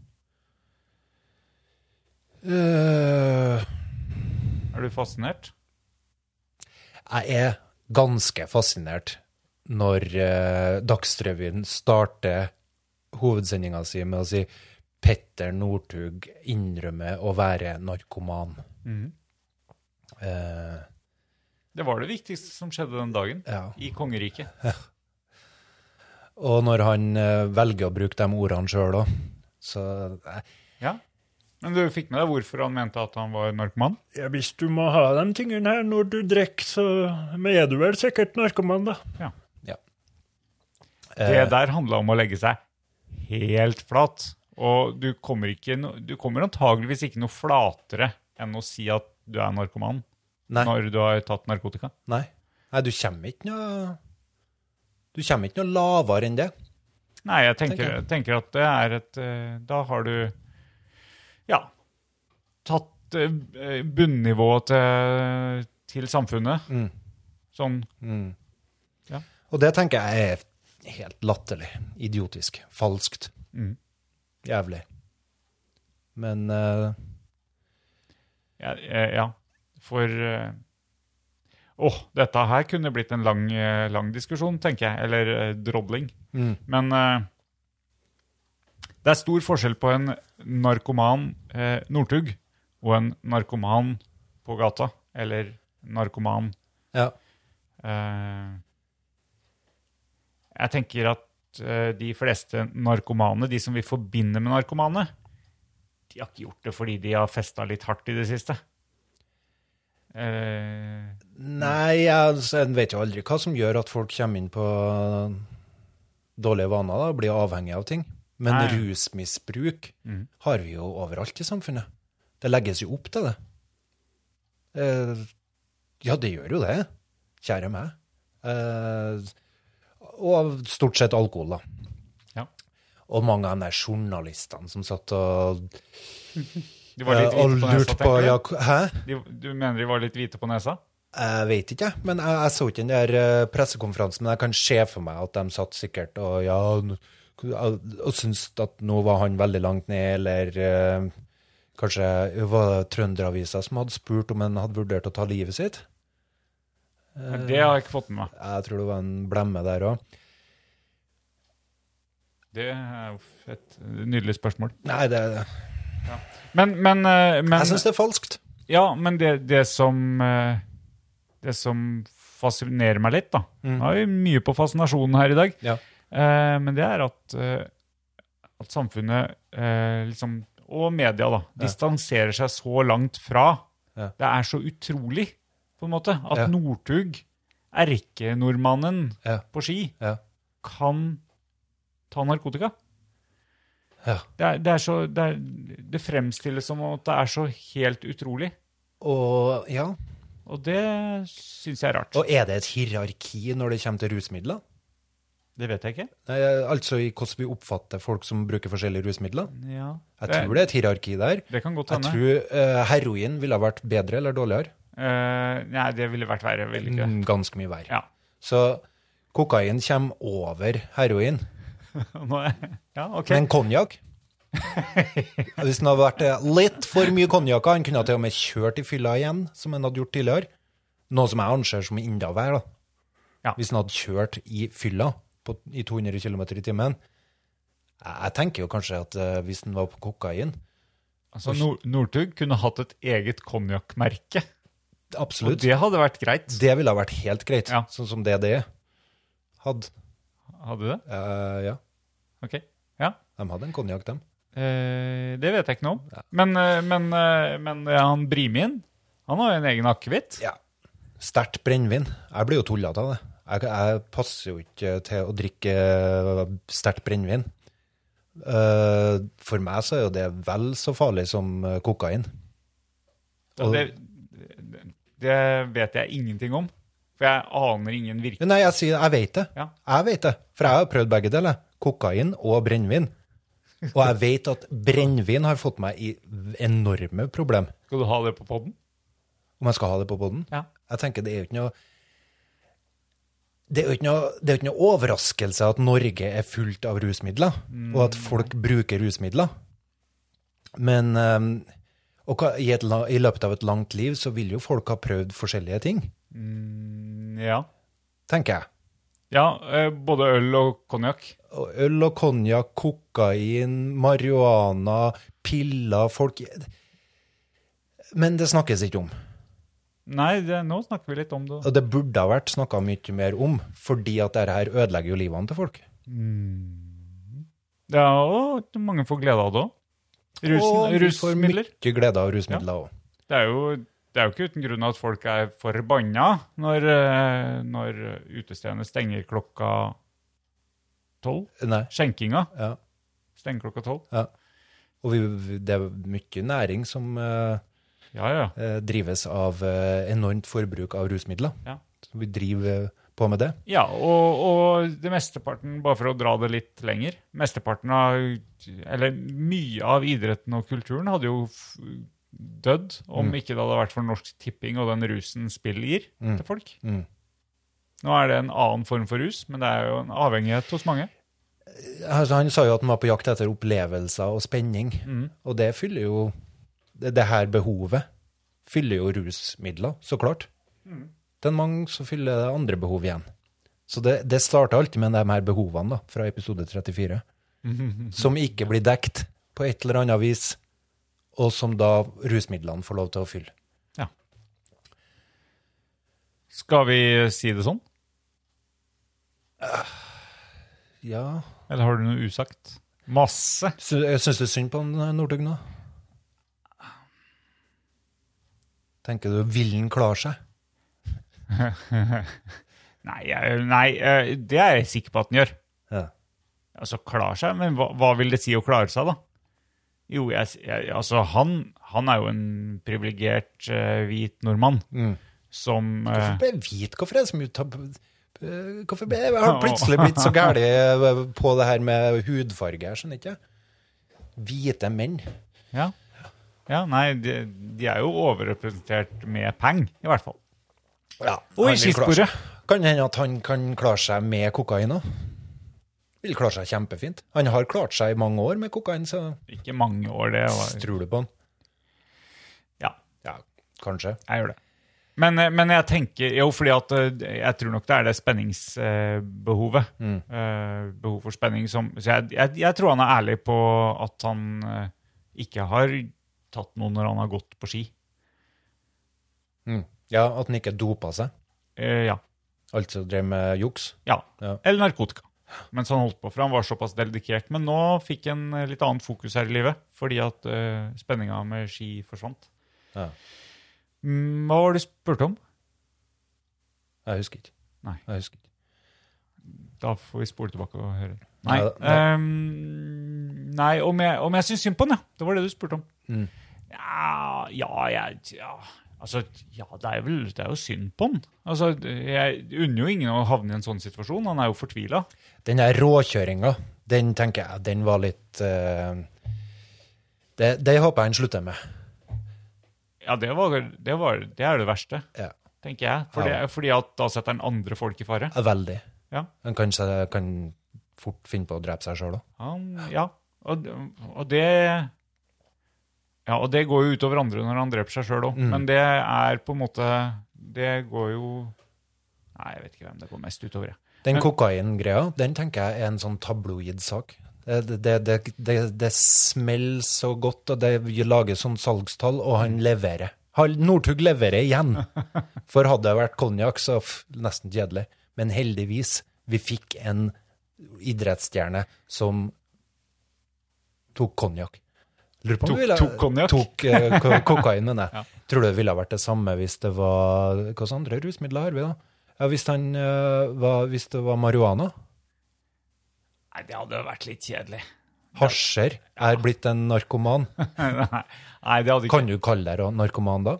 S5: Eh,
S4: Er du fascinert?
S5: Jeg er ganske fascinert når eh, Dagsrevyen starter hovedsendinga si med å si Petter Northug innrømmer å være narkoman.
S4: Mhm.
S5: Eh,
S4: Det var det viktigste som skjedde den dagen
S5: ja.
S4: i kongeriket.
S5: Og når han eh, velger å bruke de ordene sjøl òg. Så eh,
S4: Ja. Men du fikk med deg hvorfor han mente at han var narkoman?
S1: Ja, hvis du må ha de tingene her når du drikker, så er du vel sikkert narkoman, da.
S5: Eh.
S4: Det der handla om å legge seg helt flat. Og du kommer, ikke, no- du kommer antageligvis ikke noe flatere enn å si at du er narkoman
S5: Nei.
S4: når du har tatt narkotika.
S5: Nei. Nei, du kommer ikke noe Du kommer ikke noe lavere enn det.
S4: Nei, jeg tenker,
S5: Tenker
S4: jeg tenker at det er et eh, Da har du ja tatt eh, bunnivået til, til samfunnet.
S5: Mm.
S4: Sånn
S5: Mm.
S4: Ja.
S5: Og det tenker jeg er helt latterlig. Idiotisk. Falskt.
S4: Mm.
S5: Jævlig. Men eh,
S4: Ja. eh, ja. For eh, Åh, dette her kunne blitt en lang, eh, lang diskusjon, tenker jeg. Eller eh, drodling.
S5: mm,
S4: Men eh, det er stor forskjell på en narkoman eh, Northug og en narkoman på gata. Eller narkoman
S5: ja.
S4: eh, Jeg tenker at eh, de fleste narkomane, de som vi forbinder med narkomane, de har ikke gjort det fordi de har festa litt hardt i det siste. Eh,
S5: Nei, jeg, jeg vet jo aldri hva som gjør at folk kommer inn på eh, dårlige vaner da, og blir avhengig av ting. Men
S4: Nei.
S5: rusmisbruk
S4: Mm.
S5: har vi jo overalt i samfunnet. Det legges jo opp til det. Eh, ja, det gjør jo det. Kjære meg. Eh, og stort sett alkohol, da.
S4: Ja.
S5: Og mange av de der journalistene som satt og
S4: De var litt
S5: Eh, og
S4: hvite på nesa,
S5: lurt på
S4: tenker du?
S5: Jak Hæ?
S4: De, du mener de var litt hvite på nesa?
S5: Jeg vet ikke, jeg. men jeg, jeg så ikke den der eh, pressekonferansen. Men jeg kan se for meg at de satt sikkert og ja, n- og og syntes at nå var han veldig langt ned, eller eh, kanskje var det Trønderavisa som hadde spurt om han hadde vurdert å ta livet sitt?
S4: Nei,
S5: Eh.
S4: Det har jeg ikke fått med meg.
S5: Jeg tror det var en blemme der òg.
S4: Det er jo et nydelig spørsmål.
S5: Nei, det,
S4: Men, men, eh,
S5: jeg
S4: men
S5: syns det er falskt.
S4: Ja, men det, det som eh, Det som fascinerer meg litt, da Nå er vi mye på fascinasjonen her i dag.
S5: Mm. Ja.
S4: Eh, men det er at, eh, at samfunnet eh, liksom, og media da, distanserer seg så langt fra.
S5: Ja.
S4: Det er så utrolig, på en måte, at
S5: Ja.
S4: Northug, erkenordmannen
S5: Ja.
S4: på ski,
S5: Ja.
S4: kan ta narkotika.
S5: Ja.
S4: Det, er, det, er så, det, er, det fremstilles som at det er så helt utrolig.
S5: Og, ja.
S4: Og det syns jeg er rart.
S5: og er det et hierarki når det kommer til rusmidler?
S4: det vet jeg ikke.
S5: Nei, altså i hvordan vi oppfatter folk som bruker forskjellige rusmidler?
S4: Ja.
S5: Jeg tror det er et hierarki der.
S4: Det kan godt
S5: Jeg
S4: hende.
S5: tror eh, heroin ville ha vært bedre eller dårligere.
S4: Eh, nei, det ville vært verre, ville ikke det?
S5: Mm, Ganske mye verre.
S4: Ja.
S5: Så kokain kommer over heroin.
S4: Nå er, ja, ok.
S5: Men konjakk Hvis det hadde vært eh, litt for mye konjakk Han kunne til og med kjørt i fylla igjen, som han hadde gjort tidligere. Noe som jeg anser som inndavær. da.
S4: Ja.
S5: Hvis han hadde kjørt i fylla på, i 200 km i timen. Jeg, jeg tenker jo kanskje at eh, hvis han var på kokain
S4: altså, Nor Northug kunne hatt et eget konjakkmerke. Og
S5: Absolutt. Det,
S4: det hadde vært greit.
S5: ville ha vært helt greit,
S4: Ja.
S5: sånn som det det er. Hadde
S4: Hadde det?
S5: eh, Ja.
S4: Ok. Ja.
S5: De hadde en konjakk, dem.
S4: Eh, det vet jeg ikke noe om. Men, eh, men, eh, men eh, han Brimin, han har jo en egen akevitt.
S5: Ja. Sterkt brennevin. Jeg blir jo tullete av det. Jeg, jeg passer jo ikke til å drikke eh, sterkt brennevin. Eh, for meg så er jo det vel så farlig som eh, kokain.
S4: Og det, det- det vet jeg ingenting om. For jeg aner ingen virkning.
S5: Nei, jeg sier jeg vet det.
S4: Ja.
S5: Jeg vet det. For jeg har prøvd begge deler. Kokain og brennevin. Og jeg vet at brennevin har fått meg i enorme problem.
S4: Skal du ha det på poden?
S5: Om jeg skal ha det på poden?
S4: Ja.
S5: Jeg tenker det er jo ikke noe det er, jo ikke noe, det er jo ikke noe overraskelse at Norge er fullt av rusmidler, og at folk bruker rusmidler. Men ehm, og hva- i, et, la- i løpet av et langt liv så vil jo folk ha prøvd forskjellige ting,
S4: Mm, Ja.
S5: tenker jeg.
S4: ja eh, både øl og konjakk.
S5: Og Øl og konjakk, kokain, marihuana, piller Folk Men det snakkes ikke om.
S4: Nei, det, nå snakker vi litt om det.
S5: Og det burde ha vært snakka mye mer om, fordi at dette her ødelegger jo livene til folk.
S4: Mm. Ja, og mange får glede av det òg.
S5: og vi får
S4: Rusmidler.
S5: mye glede av rusmidler òg.
S4: Det er, jo, det er jo ikke uten grunn at folk er forbanna når, eh, når utestedene stenger klokka tolv.
S5: Nei.
S4: Skjenkinga
S5: Ja,
S4: stenger klokka tolv.
S5: ja. Og vi, vi- det er mye næring som eh,
S4: Ja, ja.
S5: eh, drives av eh, enormt forbruk av rusmidler.
S4: Ja.
S5: Så vi driver på med det.
S4: ja og, og det mesteparten, bare for å dra det litt lenger Mesteparten av, eller mye av idretten og kulturen hadde jo f- dødd om ikke det hadde vært for Norsk Tipping og den rusen spill gir til folk.
S5: Mm. Mm.
S4: Nå er det en annen form for rus, men det er jo en avhengighet hos mange.
S5: Altså, han sa jo at han var på jakt etter opplevelser og spenning, og det fyller jo det, det her behovet fyller jo rusmidler, så klart. Det er mange som fyller det andre behov igjen. Så det, det starta alltid med de her behovene da, fra episode 34, som ikke blir dekt på et eller annet vis, og som da rusmidlene får lov til å fylle.
S4: Skal vi si det sånn?
S5: Ja,
S4: Eller har du noe usagt? Masse.
S5: Sy- jeg syns det er synd på han, eh, Northug nå. Tenker du, vil han klare seg?
S4: Nei, jeg- nei, eh, det er jeg sikker på at den gjør.
S5: Ja.
S4: Altså, klarer seg, men hva, hva vil det si å klare seg, da? Jo, jeg, s- jeg, altså, han, han er jo en privilegert eh, hvit nordmann
S5: Mm.
S4: som
S5: Hvorfor
S4: eh,
S5: ble jeg hvit? Hvorfor er det så mye tab... eh, Hvorfor ble jeg har plutselig blitt så gæli eh, på det her med hudfarge? Jeg skjønner ikke. Hvite menn.
S4: Ja. Ja, nei, de, de er jo overrepresentert med peng, i hvert fall.
S5: Ja,
S4: Og i
S5: han vil klare seg.
S4: skisporet.
S5: Kan hende at han kan klare seg med kokain òg. Vil klare seg kjempefint. Han har klart seg i mange år med kokain, så
S4: Ikke mange år, det var
S5: tror du på han?
S4: Ja,
S5: Ja, kanskje.
S4: jeg gjør det. Men, eh, men jeg tenker Jo, fordi at eh, jeg tror nok det er det spenningsbehovet.
S5: Mm.
S4: Eh, behov for spenning som Så jeg, jeg, jeg tror han er ærlig på at han eh, ikke har tatt noe når han har gått på ski.
S5: Mm. Ja, at han ikke dopa seg.
S4: Eh, ja.
S5: Altså drev med juks.
S4: Ja.
S5: Ja.
S4: Eller narkotika. Mens han holdt på, for han var såpass dedikert. Men nå fikk han eh, litt annet fokus her i livet, fordi at uh, spenninga med ski forsvant.
S5: Ja.
S4: Mm, hva var det du spurte om?
S5: Jeg husker ikke.
S4: Nei.
S5: Jeg husker ikke.
S4: Da får vi spole tilbake og høre. Nei,
S5: Nei,
S4: ehm, nei om jeg, om jeg syns synd på han, ja. Det var det du spurte om.
S5: Mm.
S4: Ja, ja, jeg ja. Altså, ja, det er, vel, det er jo synd på han. Altså, jeg unner jo ingen å havne i en sånn situasjon. Han er jo fortvila.
S5: Den der råkjøringa, den tenker jeg, den var litt eh, det, det håper jeg han slutter med.
S4: Ja, det, var, det, var, det er det verste.
S5: Ja.
S4: tenker jeg. For
S5: Ja.
S4: det, fordi at da setter han andre folk i fare.
S5: Veldig.
S4: Ja.
S5: Han kan, se- kan fort finne på å drepe seg sjøl òg.
S4: Han, ja. Og, og det Ja, og det går jo utover andre når han dreper seg sjøl òg,
S5: Mm.
S4: men det er på en måte Det går jo Nei, jeg vet ikke hvem det går mest utover. jeg.
S5: Den
S4: Men-
S5: kokaingreia, den tenker jeg er en sånn tabloid sak. Det, det, det, det, det smeller så godt, og det lager sånn salgstall, og han leverer. Han- Northug leverer igjen. For hadde det vært konjakk, så f- nesten kjedelig. Men heldigvis, vi fikk en idrettsstjerne som tok konjakk. Lurer på om
S4: Tok-
S5: det ville-
S4: tok konjakk?
S5: Tok eh, ko- kokain, mener jeg. Tror du det ville ha vært det samme hvis det var Hvilke andre rusmidler har vi, da? Ja, hvis, han, eh, var, hvis det var marihuana?
S4: Nei, det hadde vært litt kjedelig.
S5: Hasjer er blitt en narkoman.
S4: Nei, det hadde ikke
S5: Kan du kalle deg ra- narkoman da?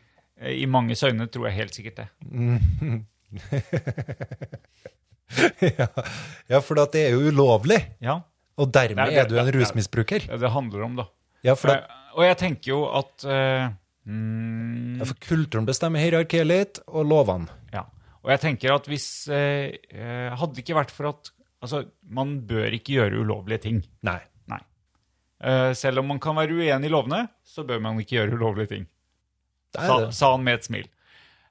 S4: I manges øyne tror jeg helt sikkert det.
S5: ja. ja, for at det er jo ulovlig,
S4: Ja,
S5: og dermed
S4: Nei, det-
S5: er du en
S4: det- det-
S5: rusmisbruker.
S4: det det handler om, da.
S5: Ja, for, at,
S4: Eh, Og jeg tenker jo at eh, mm,
S5: ja, for kulturen bestemmer hierarkiet litt, og lovene.
S4: Ja. Og jeg tenker at hvis eh, eh, Hadde det ikke vært for at Altså, man bør ikke gjøre ulovlige ting.
S5: Nei.
S4: Nei. Eh, selv om man kan være uenig i lovene, så bør man ikke gjøre ulovlige ting.
S5: Det
S4: Sa,
S5: er det.
S4: sa han med et smil.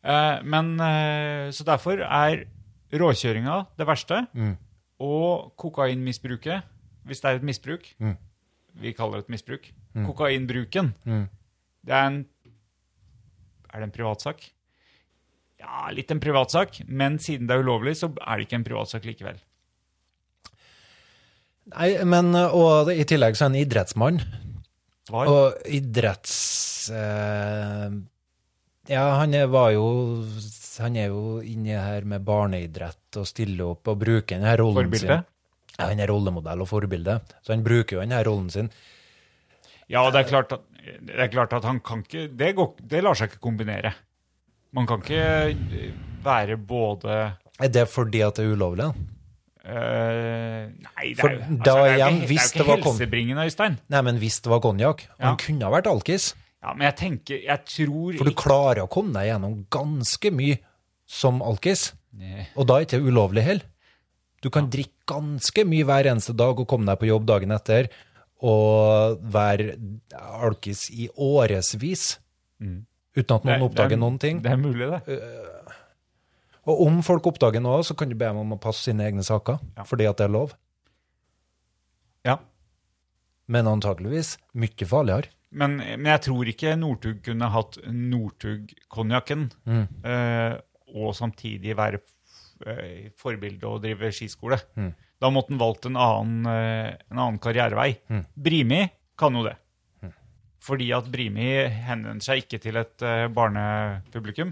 S4: Eh, men eh, Så derfor er råkjøringa det verste.
S5: Mm.
S4: Og kokainmisbruket, hvis det er et misbruk
S5: Mm.
S4: Vi kaller det et misbruk. Kokainbruken,
S5: Mm.
S4: det er en Er det en privatsak? Ja, litt en privatsak, men siden det er ulovlig, så er det ikke en privatsak likevel.
S5: Nei, men, eh, og i tillegg så er han idrettsmann,
S4: Svar?
S5: og idretts... Eh, ja, han er, var jo, han er jo inne her med barneidrett og stiller opp og bruker denne rollen
S4: Forbilde?
S5: sin. Ja, han er rollemodell og forbilde, så han bruker jo denne rollen sin.
S4: Ja, det er klart at, det er klart at han kan ikke det, går, ikke- det lar seg ikke kombinere. Man kan ikke eh, være både
S5: Er det fordi at det er ulovlig? da?
S4: eh, Nei, det
S5: For
S4: er, jo- altså,
S5: da
S4: det er jo
S5: igjen,
S4: ikke,
S5: hvis
S4: det er jo
S5: det var
S4: ikke
S5: kom-
S4: helsebringende, Øystein.
S5: Nei, men hvis det var konjakk, han
S4: Ja.
S5: kunne ha vært alkis,
S4: Ja, men jeg tenker Jeg tror
S5: for du
S4: ikke-
S5: klarer å komme deg gjennom ganske mye som alkis,
S4: Nei.
S5: og da er det ikke ulovlig heller. Du kan drikke ganske mye hver eneste dag og komme deg på jobb dagen etter, og være alkis i årevis,
S4: Mm.
S5: uten at
S4: Det-
S5: noen
S4: det er-
S5: oppdager noen ting. Eh,
S4: Det er mulig, det.
S5: Og om folk oppdager noe, så kan du be dem om å passe sine egne saker,
S4: Ja.
S5: fordi at det er lov.
S4: Ja.
S5: Men antakeligvis mye farligere.
S4: Men, men jeg tror ikke Northug kunne hatt Northug-konjakken eh, og samtidig være f- eh, forbilde og drive skiskole. Da måtte han valgt en annen, eh, en annen karrierevei. Brimi kan jo det. Fordi at Brimi henvender seg ikke til et eh, barnepublikum.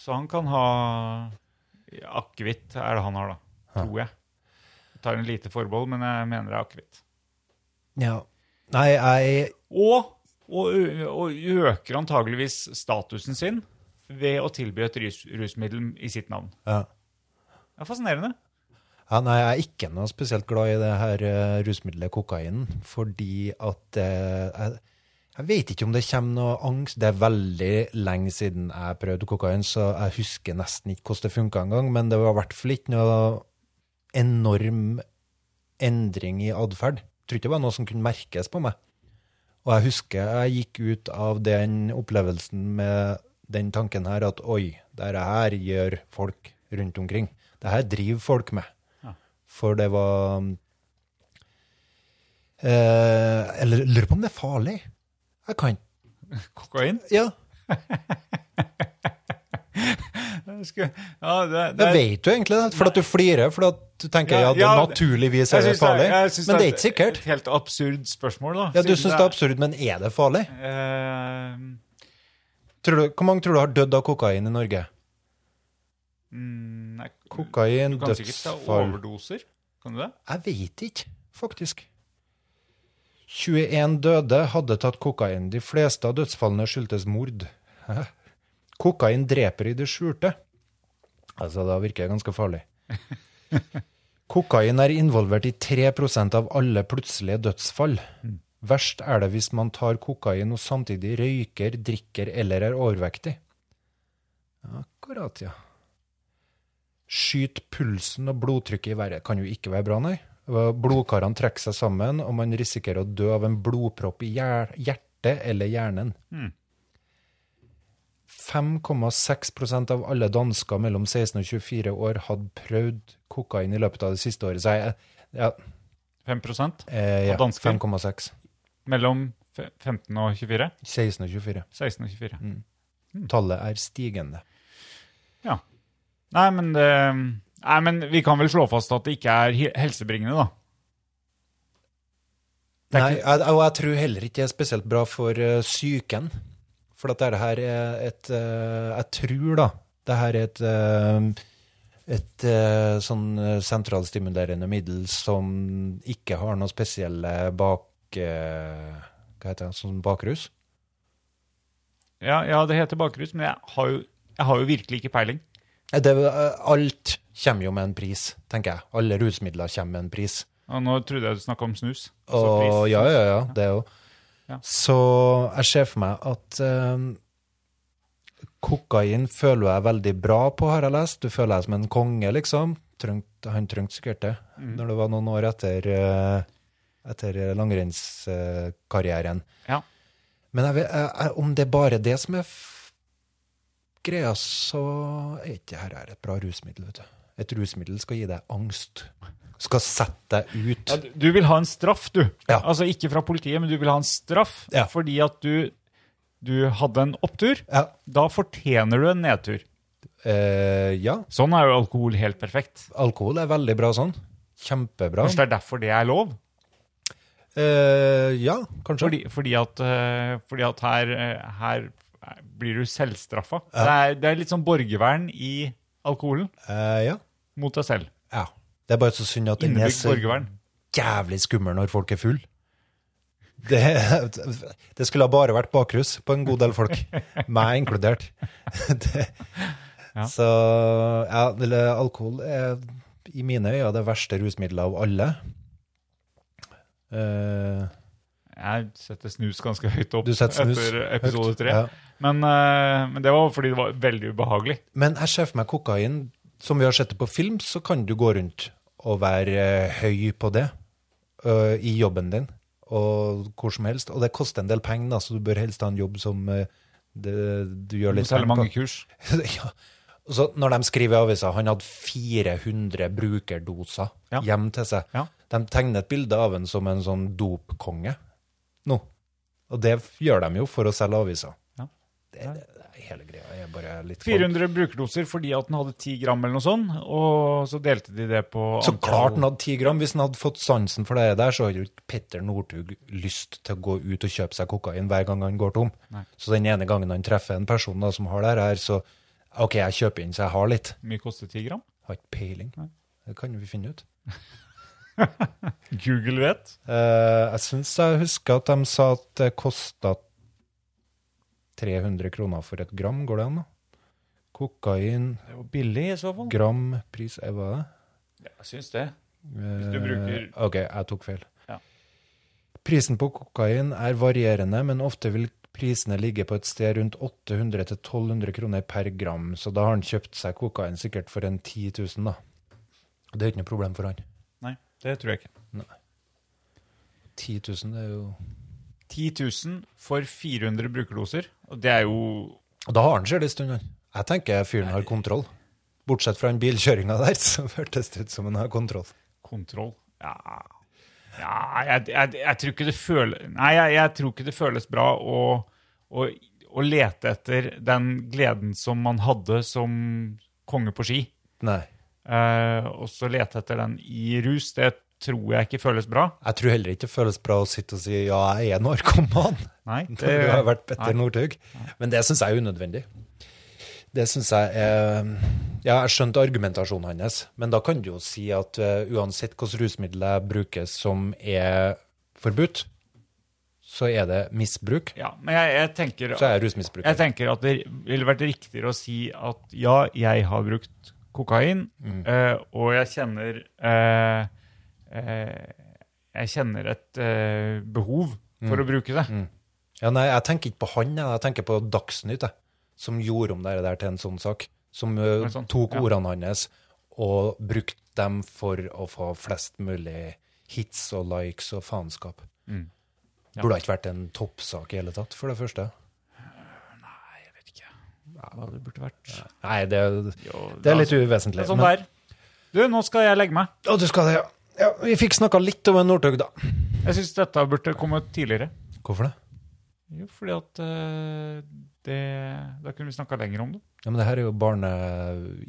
S4: Så han kan ha akevitt, er det han har, da. Tror jeg. Jeg tar en lite forbehold, men jeg mener det er akevitt.
S5: Ja. Nei, jeg
S4: Og, og, ø- og øker antageligvis statusen sin ved å tilby et rus, rusmiddel i sitt navn.
S5: ja.
S4: Det er fascinerende.
S5: Ja, nei, jeg er ikke noe spesielt glad i det her eh, rusmiddelet kokain, fordi at eh, jeg, Jeg vet ikke om det kommer noe angst. Det er veldig lenge siden jeg prøvde kokain, så jeg husker nesten ikke hvordan det funka engang. Men det var i hvert fall ikke noe enorm endring i atferd. Jeg tror ikke det var noe som kunne merkes på meg. Og jeg husker jeg gikk ut av den opplevelsen med den tanken her at oi, dette her gjør folk rundt omkring. Dette driver folk med.
S4: Ja.
S5: For det var eh, Eller jeg lurer på om det er farlig. Jeg kan
S4: Kokain?
S5: Ja,
S4: Jeg skulle- Ja, det, det,
S5: jeg vet jo egentlig det, for at du flirer for at du tenker ja,
S4: Ja,
S5: det
S4: ja,
S5: naturligvis
S4: jeg
S5: er det
S4: synes
S5: farlig.
S4: jeg synes
S5: Men det er
S4: et-
S5: ikke sikkert.
S4: Et helt absurd spørsmål, da.
S5: Ja, Du
S4: siden
S5: syns det er absurd, men er det farlig?
S4: Eh,
S5: Tror du, hvor mange tror du har dødd av kokain i Norge?
S4: mm, nei,
S5: Kokain,
S4: Du kan sikkert ta
S5: dødsfall
S4: overdoser. Kan du det?
S5: Jeg vet ikke, faktisk. 21 døde hadde tatt kokain. De fleste av dødsfallene skyldtes mord. Hæ? Kokain dreper i det skjulte. Altså, da virker det ganske farlig. Kokain er involvert i 3 av alle plutselige dødsfall. Verst er det hvis man tar kokain og samtidig røyker, drikker eller er overvektig. Akkurat, ja. Skyt pulsen og blodtrykket i været kan jo ikke være bra, nei. Blodkarene trekker seg sammen, og man risikerer å dø av en blodpropp i hjer- hjertet eller hjernen.
S4: Hmm.
S5: 5,6 av alle dansker mellom 16 og 24 år hadde prøvd kokain i løpet av det siste året. Så jeg, ja,
S4: 5
S5: eh, ja
S4: Av dansker?
S5: 5,6.
S4: Mellom fe- 15 og 24?
S5: 16 og 24.
S4: 16 og 24. Hmm.
S5: Tallet er stigende.
S4: Ja. Nei, men det Nei, men vi kan vel slå fast at det ikke er he- helsebringende, da. Det er
S5: Nei, jeg, og jeg tror heller ikke det er spesielt bra for eh, psyken. For at dette her er et eh, Jeg tror, da, det her er et eh, et eh, sånn eh, sentralstimulerende middel som ikke har noe spesielle bak... eh, hva heter det? Sånn bakrus?
S4: Ja, ja det heter bakrus, men jeg har jo, jeg har jo virkelig ikke peiling.
S5: Eh, Det, eh, alt kommer jo med en pris, tenker jeg. Alle rusmidler kommer med en pris.
S4: Og nå trodde jeg du snakka om snus. altså
S5: Og,
S4: pris.
S5: ja, ja, ja, det òg.
S4: Ja.
S5: Så jeg ser for meg at eh, kokain føler jeg veldig bra på, har jeg lest. Du føler deg som en konge, liksom. Trengte- han trengte sikkert det
S4: Mm.
S5: når det var noen år etter, eh, etter langrennskarrieren.
S4: Ja.
S5: Men jeg, vet- jeg, jeg, om det er bare det som er f greia, så er ikke dette her et bra rusmiddel, vet du. Et rusmiddel skal gi deg angst. Skal sette deg ut.
S4: Ja, du- du vil ha en straff, du.
S5: Ja.
S4: Altså ikke fra politiet, men du vil ha en straff
S5: Ja.
S4: fordi at du, du hadde en opptur.
S5: Ja.
S4: Da fortjener du en nedtur.
S5: Eh, ja,
S4: Sånn er jo alkohol helt perfekt.
S5: alkohol er veldig bra sånn. Kjempebra.
S4: Kanskje det er derfor det er lov?
S5: Eh, ja, kanskje.
S4: Fordi, fordi at, eh, fordi at her, eh, her blir du selvstraffa. Det, er, det er litt sånn borgervern i alkoholen
S5: Eh, ja.
S4: mot deg selv.
S5: ja. Det er bare så synd at den er
S4: Innebygd
S5: så
S4: borgervern.
S5: jævlig skummel når folk er full. Det, det skulle ha bare vært bakrus på en god del folk, meg inkludert. Det,
S4: Ja.
S5: Så ja, eller alkohol er i mine øyne det verste rusmiddelet av alle. Eh,
S4: Jeg setter snus ganske høyt opp
S5: du setter snus
S4: etter
S5: høyt.
S4: episode tre.
S5: Ja.
S4: Men, eh, men det var fordi det var veldig ubehagelig.
S5: Men jeg ser for meg kokain, som vi har sett det på film, så kan du gå rundt og være eh, høy på det ø, i jobben din, og hvor som helst. Og det koster en del penger, da, så du bør helst ha en jobb som eh, det, du
S4: Du
S5: gjør litt
S4: selger
S5: penger
S4: mange
S5: på.
S4: kurs.
S5: ja. Og så når de skriver i avisa han hadde 400 brukerdoser
S4: Ja.
S5: hjem til seg,
S4: Ja.
S5: de tegner et bilde av han som en sånn dopkonge nå. Og det gjør de jo for å selge avisa.
S4: Ja.
S5: Det, det, hele greia er bare litt
S4: 400 brukerdoser fordi at den hadde 10 gram eller noe sånt, og så delte de det på
S5: Så klart han hadde 10 gram. Hvis han hadde fått sansen for det der, så hadde jo ikke Petter Northug lyst til å gå ut og kjøpe seg kokain hver gang han går tom.
S4: Nei.
S5: Så den ene gangen han treffer en person da, som har det her, så OK, jeg kjøper inn så jeg har litt.
S4: Hvor mye koster 10 gram?
S5: Har ikke peiling. Det kan vi finne ut.
S4: Google vet.
S5: Eh, jeg syns jeg husker at de sa at det kosta 300 kroner for et gram. Går det an, da? Kokain,
S4: Det var billig i så fall.
S5: gram, pris eh, Hva er det?
S4: Jeg syns det.
S5: Hvis Eh,
S4: du bruker-
S5: OK, jeg tok feil.
S4: Ja.
S5: Prisen på kokain er varierende, men ofte vil prisene ligge på et sted rundt 800-1200 kroner per gram, så da har han kjøpt seg kokain sikkert for en 10 000, da. Og Det er ikke noe problem for han.
S4: Nei, det tror jeg ikke.
S5: 10 000 er jo
S4: 10 000 for 400 brukerdoser, og det er jo
S5: Og da har han selv en stund, han. Jeg tenker fyren har kontroll. Bortsett fra den bilkjøringa der, så hørtes det ut som han har kontroll.
S4: kontroll. Ja, ja jeg, jeg, jeg tror ikke det føles Nei, jeg, jeg tror ikke det føles bra å, å, å lete etter den gleden som man hadde som konge på ski.
S5: Nei.
S4: Eh, og så lete etter den i rus, det tror jeg ikke føles bra.
S5: Jeg tror heller ikke det føles bra å sitte og si ja, jeg er narkoman.
S4: Nei,
S5: Det har vært Petter Northug. Men det syns jeg er unødvendig. Det syns jeg er Ja, jeg skjønte argumentasjonen hans, men da kan du jo si at eh, uansett hvilket rusmiddel jeg bruker som er forbudt, så er det misbruk.
S4: Ja, men jeg, jeg tenker
S5: Så er jeg rusmisbruker.
S4: Jeg tenker at det ville vært riktigere å si at ja, jeg har brukt kokain, eh, og jeg kjenner eh, eh, Jeg kjenner et eh, behov for å bruke det.
S5: Ja, nei, jeg tenker ikke på han, jeg, jeg tenker på Dagsnytt, jeg, som gjorde om det der til en sånn sak. Som ø,
S4: Men sånn,
S5: tok
S4: ja.
S5: ordene hans og brukte dem for å få flest mulig hits og likes og faenskap.
S4: Mm. Ja.
S5: Burde det ikke vært en toppsak i hele tatt, for det første.
S4: Nei, jeg vet ikke hva det burde vært.
S5: Nei, det,
S4: Jo,
S5: det er litt
S4: altså, det
S5: uvesentlig.
S4: er Sånn der. Du, nå skal jeg legge meg.
S5: Å, du skal det, ja. ja vi fikk snakka litt om en Northug, da.
S4: Jeg syns dette burde kommet tidligere.
S5: Hvorfor det?
S4: Jo, fordi at eh, det Da kunne vi snakka lenger om det.
S5: Ja, Men det her er jo barne...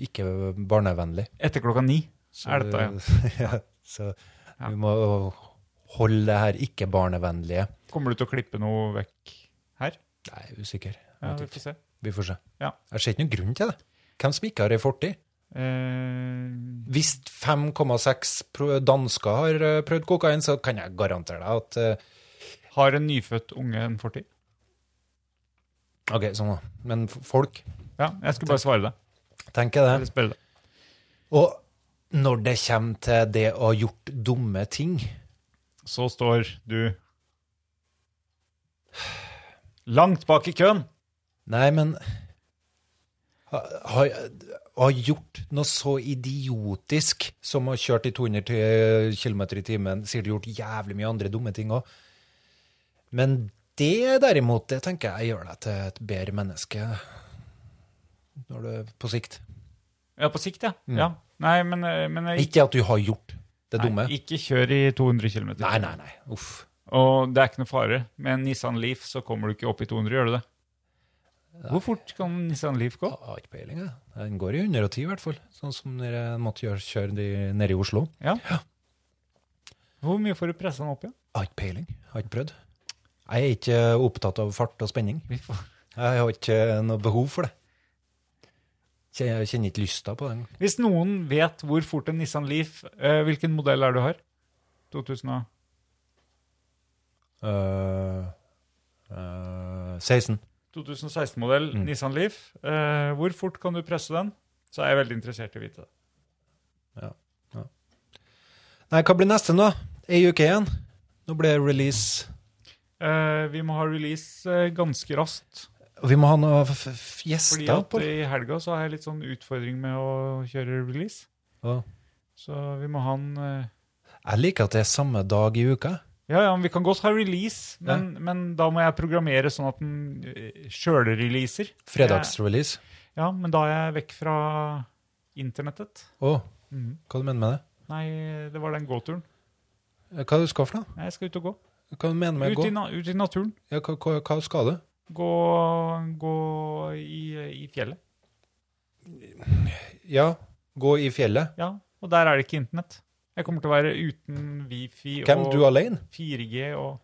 S5: ikke barnevennlig.
S4: Etter klokka ni
S5: Så,
S4: er dette. ja.
S5: ja, så
S4: Ja.
S5: vi må holde det her ikke-barnevennlige.
S4: Kommer du til å klippe noe vekk her?
S5: Nei, jeg er usikker.
S4: Ja, vi
S5: Jeg vet ikke.
S4: får se.
S5: Vi får se.
S4: Ja.
S5: Jeg ser ikke noen grunn til det. Hvem som ikke har ei fortid?
S4: Eh,
S5: Hvis 5,6 pro- dansker har eh, prøvd kokain, så kan jeg garantere deg at eh,
S4: har en nyfødt unge en fortid?
S5: OK, sånn da. Men f- folk
S4: Ja, jeg skulle bare svare det.
S5: tenker
S4: Eller
S5: det.
S4: spørre det.
S5: Og når det kommer til det å ha gjort dumme ting
S4: Så står du langt bak i køen.
S5: Nei, men ha, ha, ha gjort noe så idiotisk som å ha kjørt i 200 km i timen, sier du gjort jævlig mye andre dumme ting òg. Men det derimot, det tenker jeg gjør deg til et bedre menneske når du, på sikt.
S4: Ja, på sikt, ja. ja. Nei, men, eh, men jeg,
S5: Mm. Ikke at du har gjort det dumme.
S4: nei, ikke kjør i 200 km.
S5: Nei, nei, nei. Uff.
S4: Og det er ikke noe fare. Med en Nissan Leaf så kommer du ikke opp i 200, gjør du det? Hvor fort kan en Nissan Leaf gå?
S5: Jeg har ikke peiling, jeg. Den går i 110 i hvert fall, sånn som dere måtte gjøre, kjøre de nede i Oslo.
S4: Ja. Hvor mye får du pressa den opp igjen?
S5: Jeg har ikke peiling. Jeg har ikke prøvd. Jeg er ikke eh, opptatt av fart og spenning.
S4: Vi får-
S5: Jeg har ikke eh, noe behov for det. Kjen- Jeg kjenner ikke lysta på den.
S4: Hvis noen vet hvor fort en Nissan Leaf eh, Hvilken modell er det du har? 2000 og
S5: Øh, øh, 16.
S4: 2016-modell Nissan Leaf. Eh, hvor fort kan du presse den? Så er jeg veldig interessert i å vite det.
S5: Nei, hva blir neste nå? Ei uke igjen. Nå blir det release.
S4: Eh, vi må ha release eh, ganske raskt.
S5: Og vi må ha noe f f
S4: Fordi
S5: gjester
S4: at
S5: på det.
S4: i helga så har jeg litt sånn utfordring med å kjøre release.
S5: Å.
S4: Så vi må ha en eh,
S5: Jeg liker at det er samme dag i uka.
S4: Ja, ja, men vi kan godt ha release, men, men da må jeg programmere sånn at den eh, sjølreleaser.
S5: Fredagsrelease.
S4: Ja, men da er jeg vekk fra internettet.
S5: Å,
S4: Mhm.
S5: hva du mener med det? Eh,
S4: Nei, det var den gåturen.
S5: Hva du skal for noe?
S4: Nei, jeg skal ut og gå.
S5: Hva du mener med
S4: Ut
S5: gå?
S4: i, na ut i naturen.
S5: Ja, hva, hva, hva skal du?
S4: Gå, gå i, i fjellet.
S5: Ja, gå i fjellet.
S4: Ja, og der er det ikke internett. Jeg kommer til å være uten wifi
S5: Hvem?
S4: og
S5: Du alene?
S4: 4G og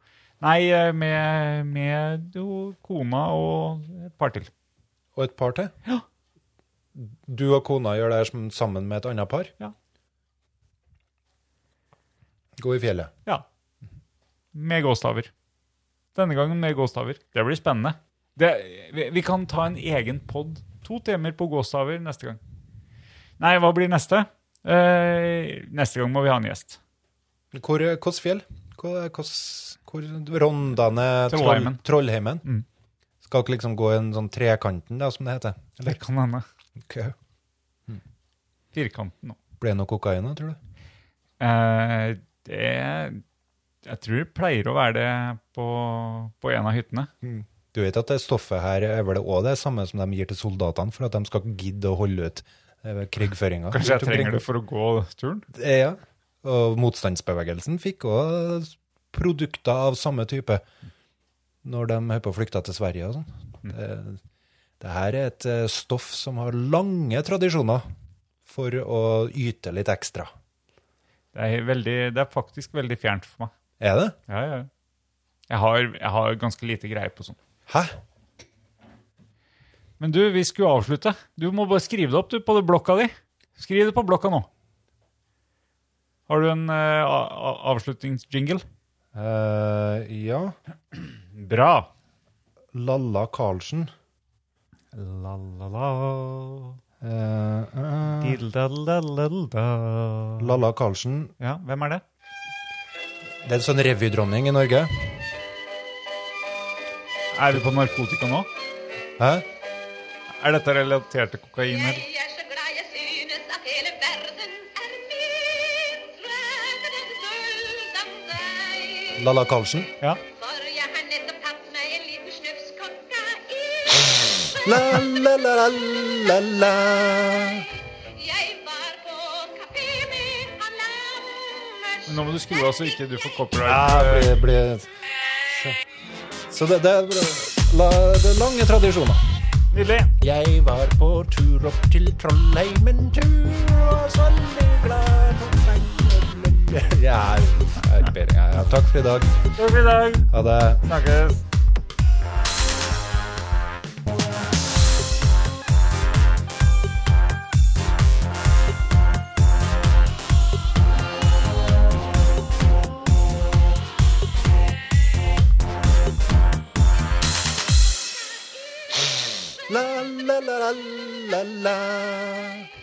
S4: Nei, eh, med, med jo kona og et par til.
S5: Og et par til?
S4: Ja.
S5: Du og kona gjør det her som- sammen med et annet par?
S4: Ja.
S5: Gå i fjellet.
S4: Ja. Med gåstaver. Denne gangen med gåstaver. Det blir spennende. Det, vi, vi kan ta en egen pod. To timer på gåstaver neste gang. Nei, hva blir neste? Eh, neste gang må vi ha en gjest.
S5: Hvor, hvilket fjell? hva, hva, hvor, Rondane
S4: Trollheimen.
S5: Troll, Trollheimen.
S4: Mm.
S5: Skal ikke liksom gå i en sånn trekanten, da, som det heter?
S4: Det
S5: Eller
S4: kan hende.
S5: okay.
S4: Firkanten nå.
S5: ble det noe kokain da, tror du?
S4: Eh, det Jeg tror det pleier å være det på, på en av hyttene.
S5: Du vet at det stoffet her er vel òg det samme som de gir til soldatene for at de skal gidde å holde ut eh, krigføringa?
S4: Kanskje jeg trenger det for å gå turen?
S5: Eh, Ja. Og motstandsbevegelsen fikk òg produkter av samme type når de holdt på å flykte til Sverige og sånn. Det, det her er et eh, stoff som har lange tradisjoner for å yte litt ekstra.
S4: Det er, veldig, det er faktisk veldig fjernt for meg.
S5: Er det?
S4: Ja, ja. Jeg, har, jeg har ganske lite greie på sånt.
S5: Hæ?
S4: Men du, vi skulle avslutte. Du må bare skrive det opp du, på det blokka di. Skriv det på blokka nå. Har du en eh, a- a- avslutningsjingle?
S5: Eh, ja.
S4: Bra.
S5: Lalla Karlsen.
S4: La, la, la.
S5: Eh, eh,
S4: Dilda, la, la, la.
S5: Lalla Karlsen.
S4: Ja, hvem er det?
S5: Det er en sånn revydronning i Norge.
S4: Er vi på narkotika nå?
S5: Hæ?
S4: Er dette relatert til kokain?
S2: Jeg
S4: Eller?
S2: er så glad jeg synes at hele verden er min. Drømmen er sølv om deg.
S5: Lalla Karlsen.
S4: Ja.
S2: For jeg har nettopp tatt meg en liten snufs kokain.
S5: La, la, la, la, la, la.
S2: Jeg var på kafé med han Lammers.
S4: Men nå må du skru av så ikke du får
S5: Ja,
S4: copyright.
S5: det blir Så det, det, er bra. la, det er lange tradisjoner.
S4: Nydelig.
S5: Jeg var på tur opp til Trollheimen tur, og så veldig glad på meg. Ja, jeg er ikke bedre. Ja, takk for i dag.
S4: Takk for i dag.
S5: Ha det.
S4: Snakkes.
S5: La, la, la, la, la, la.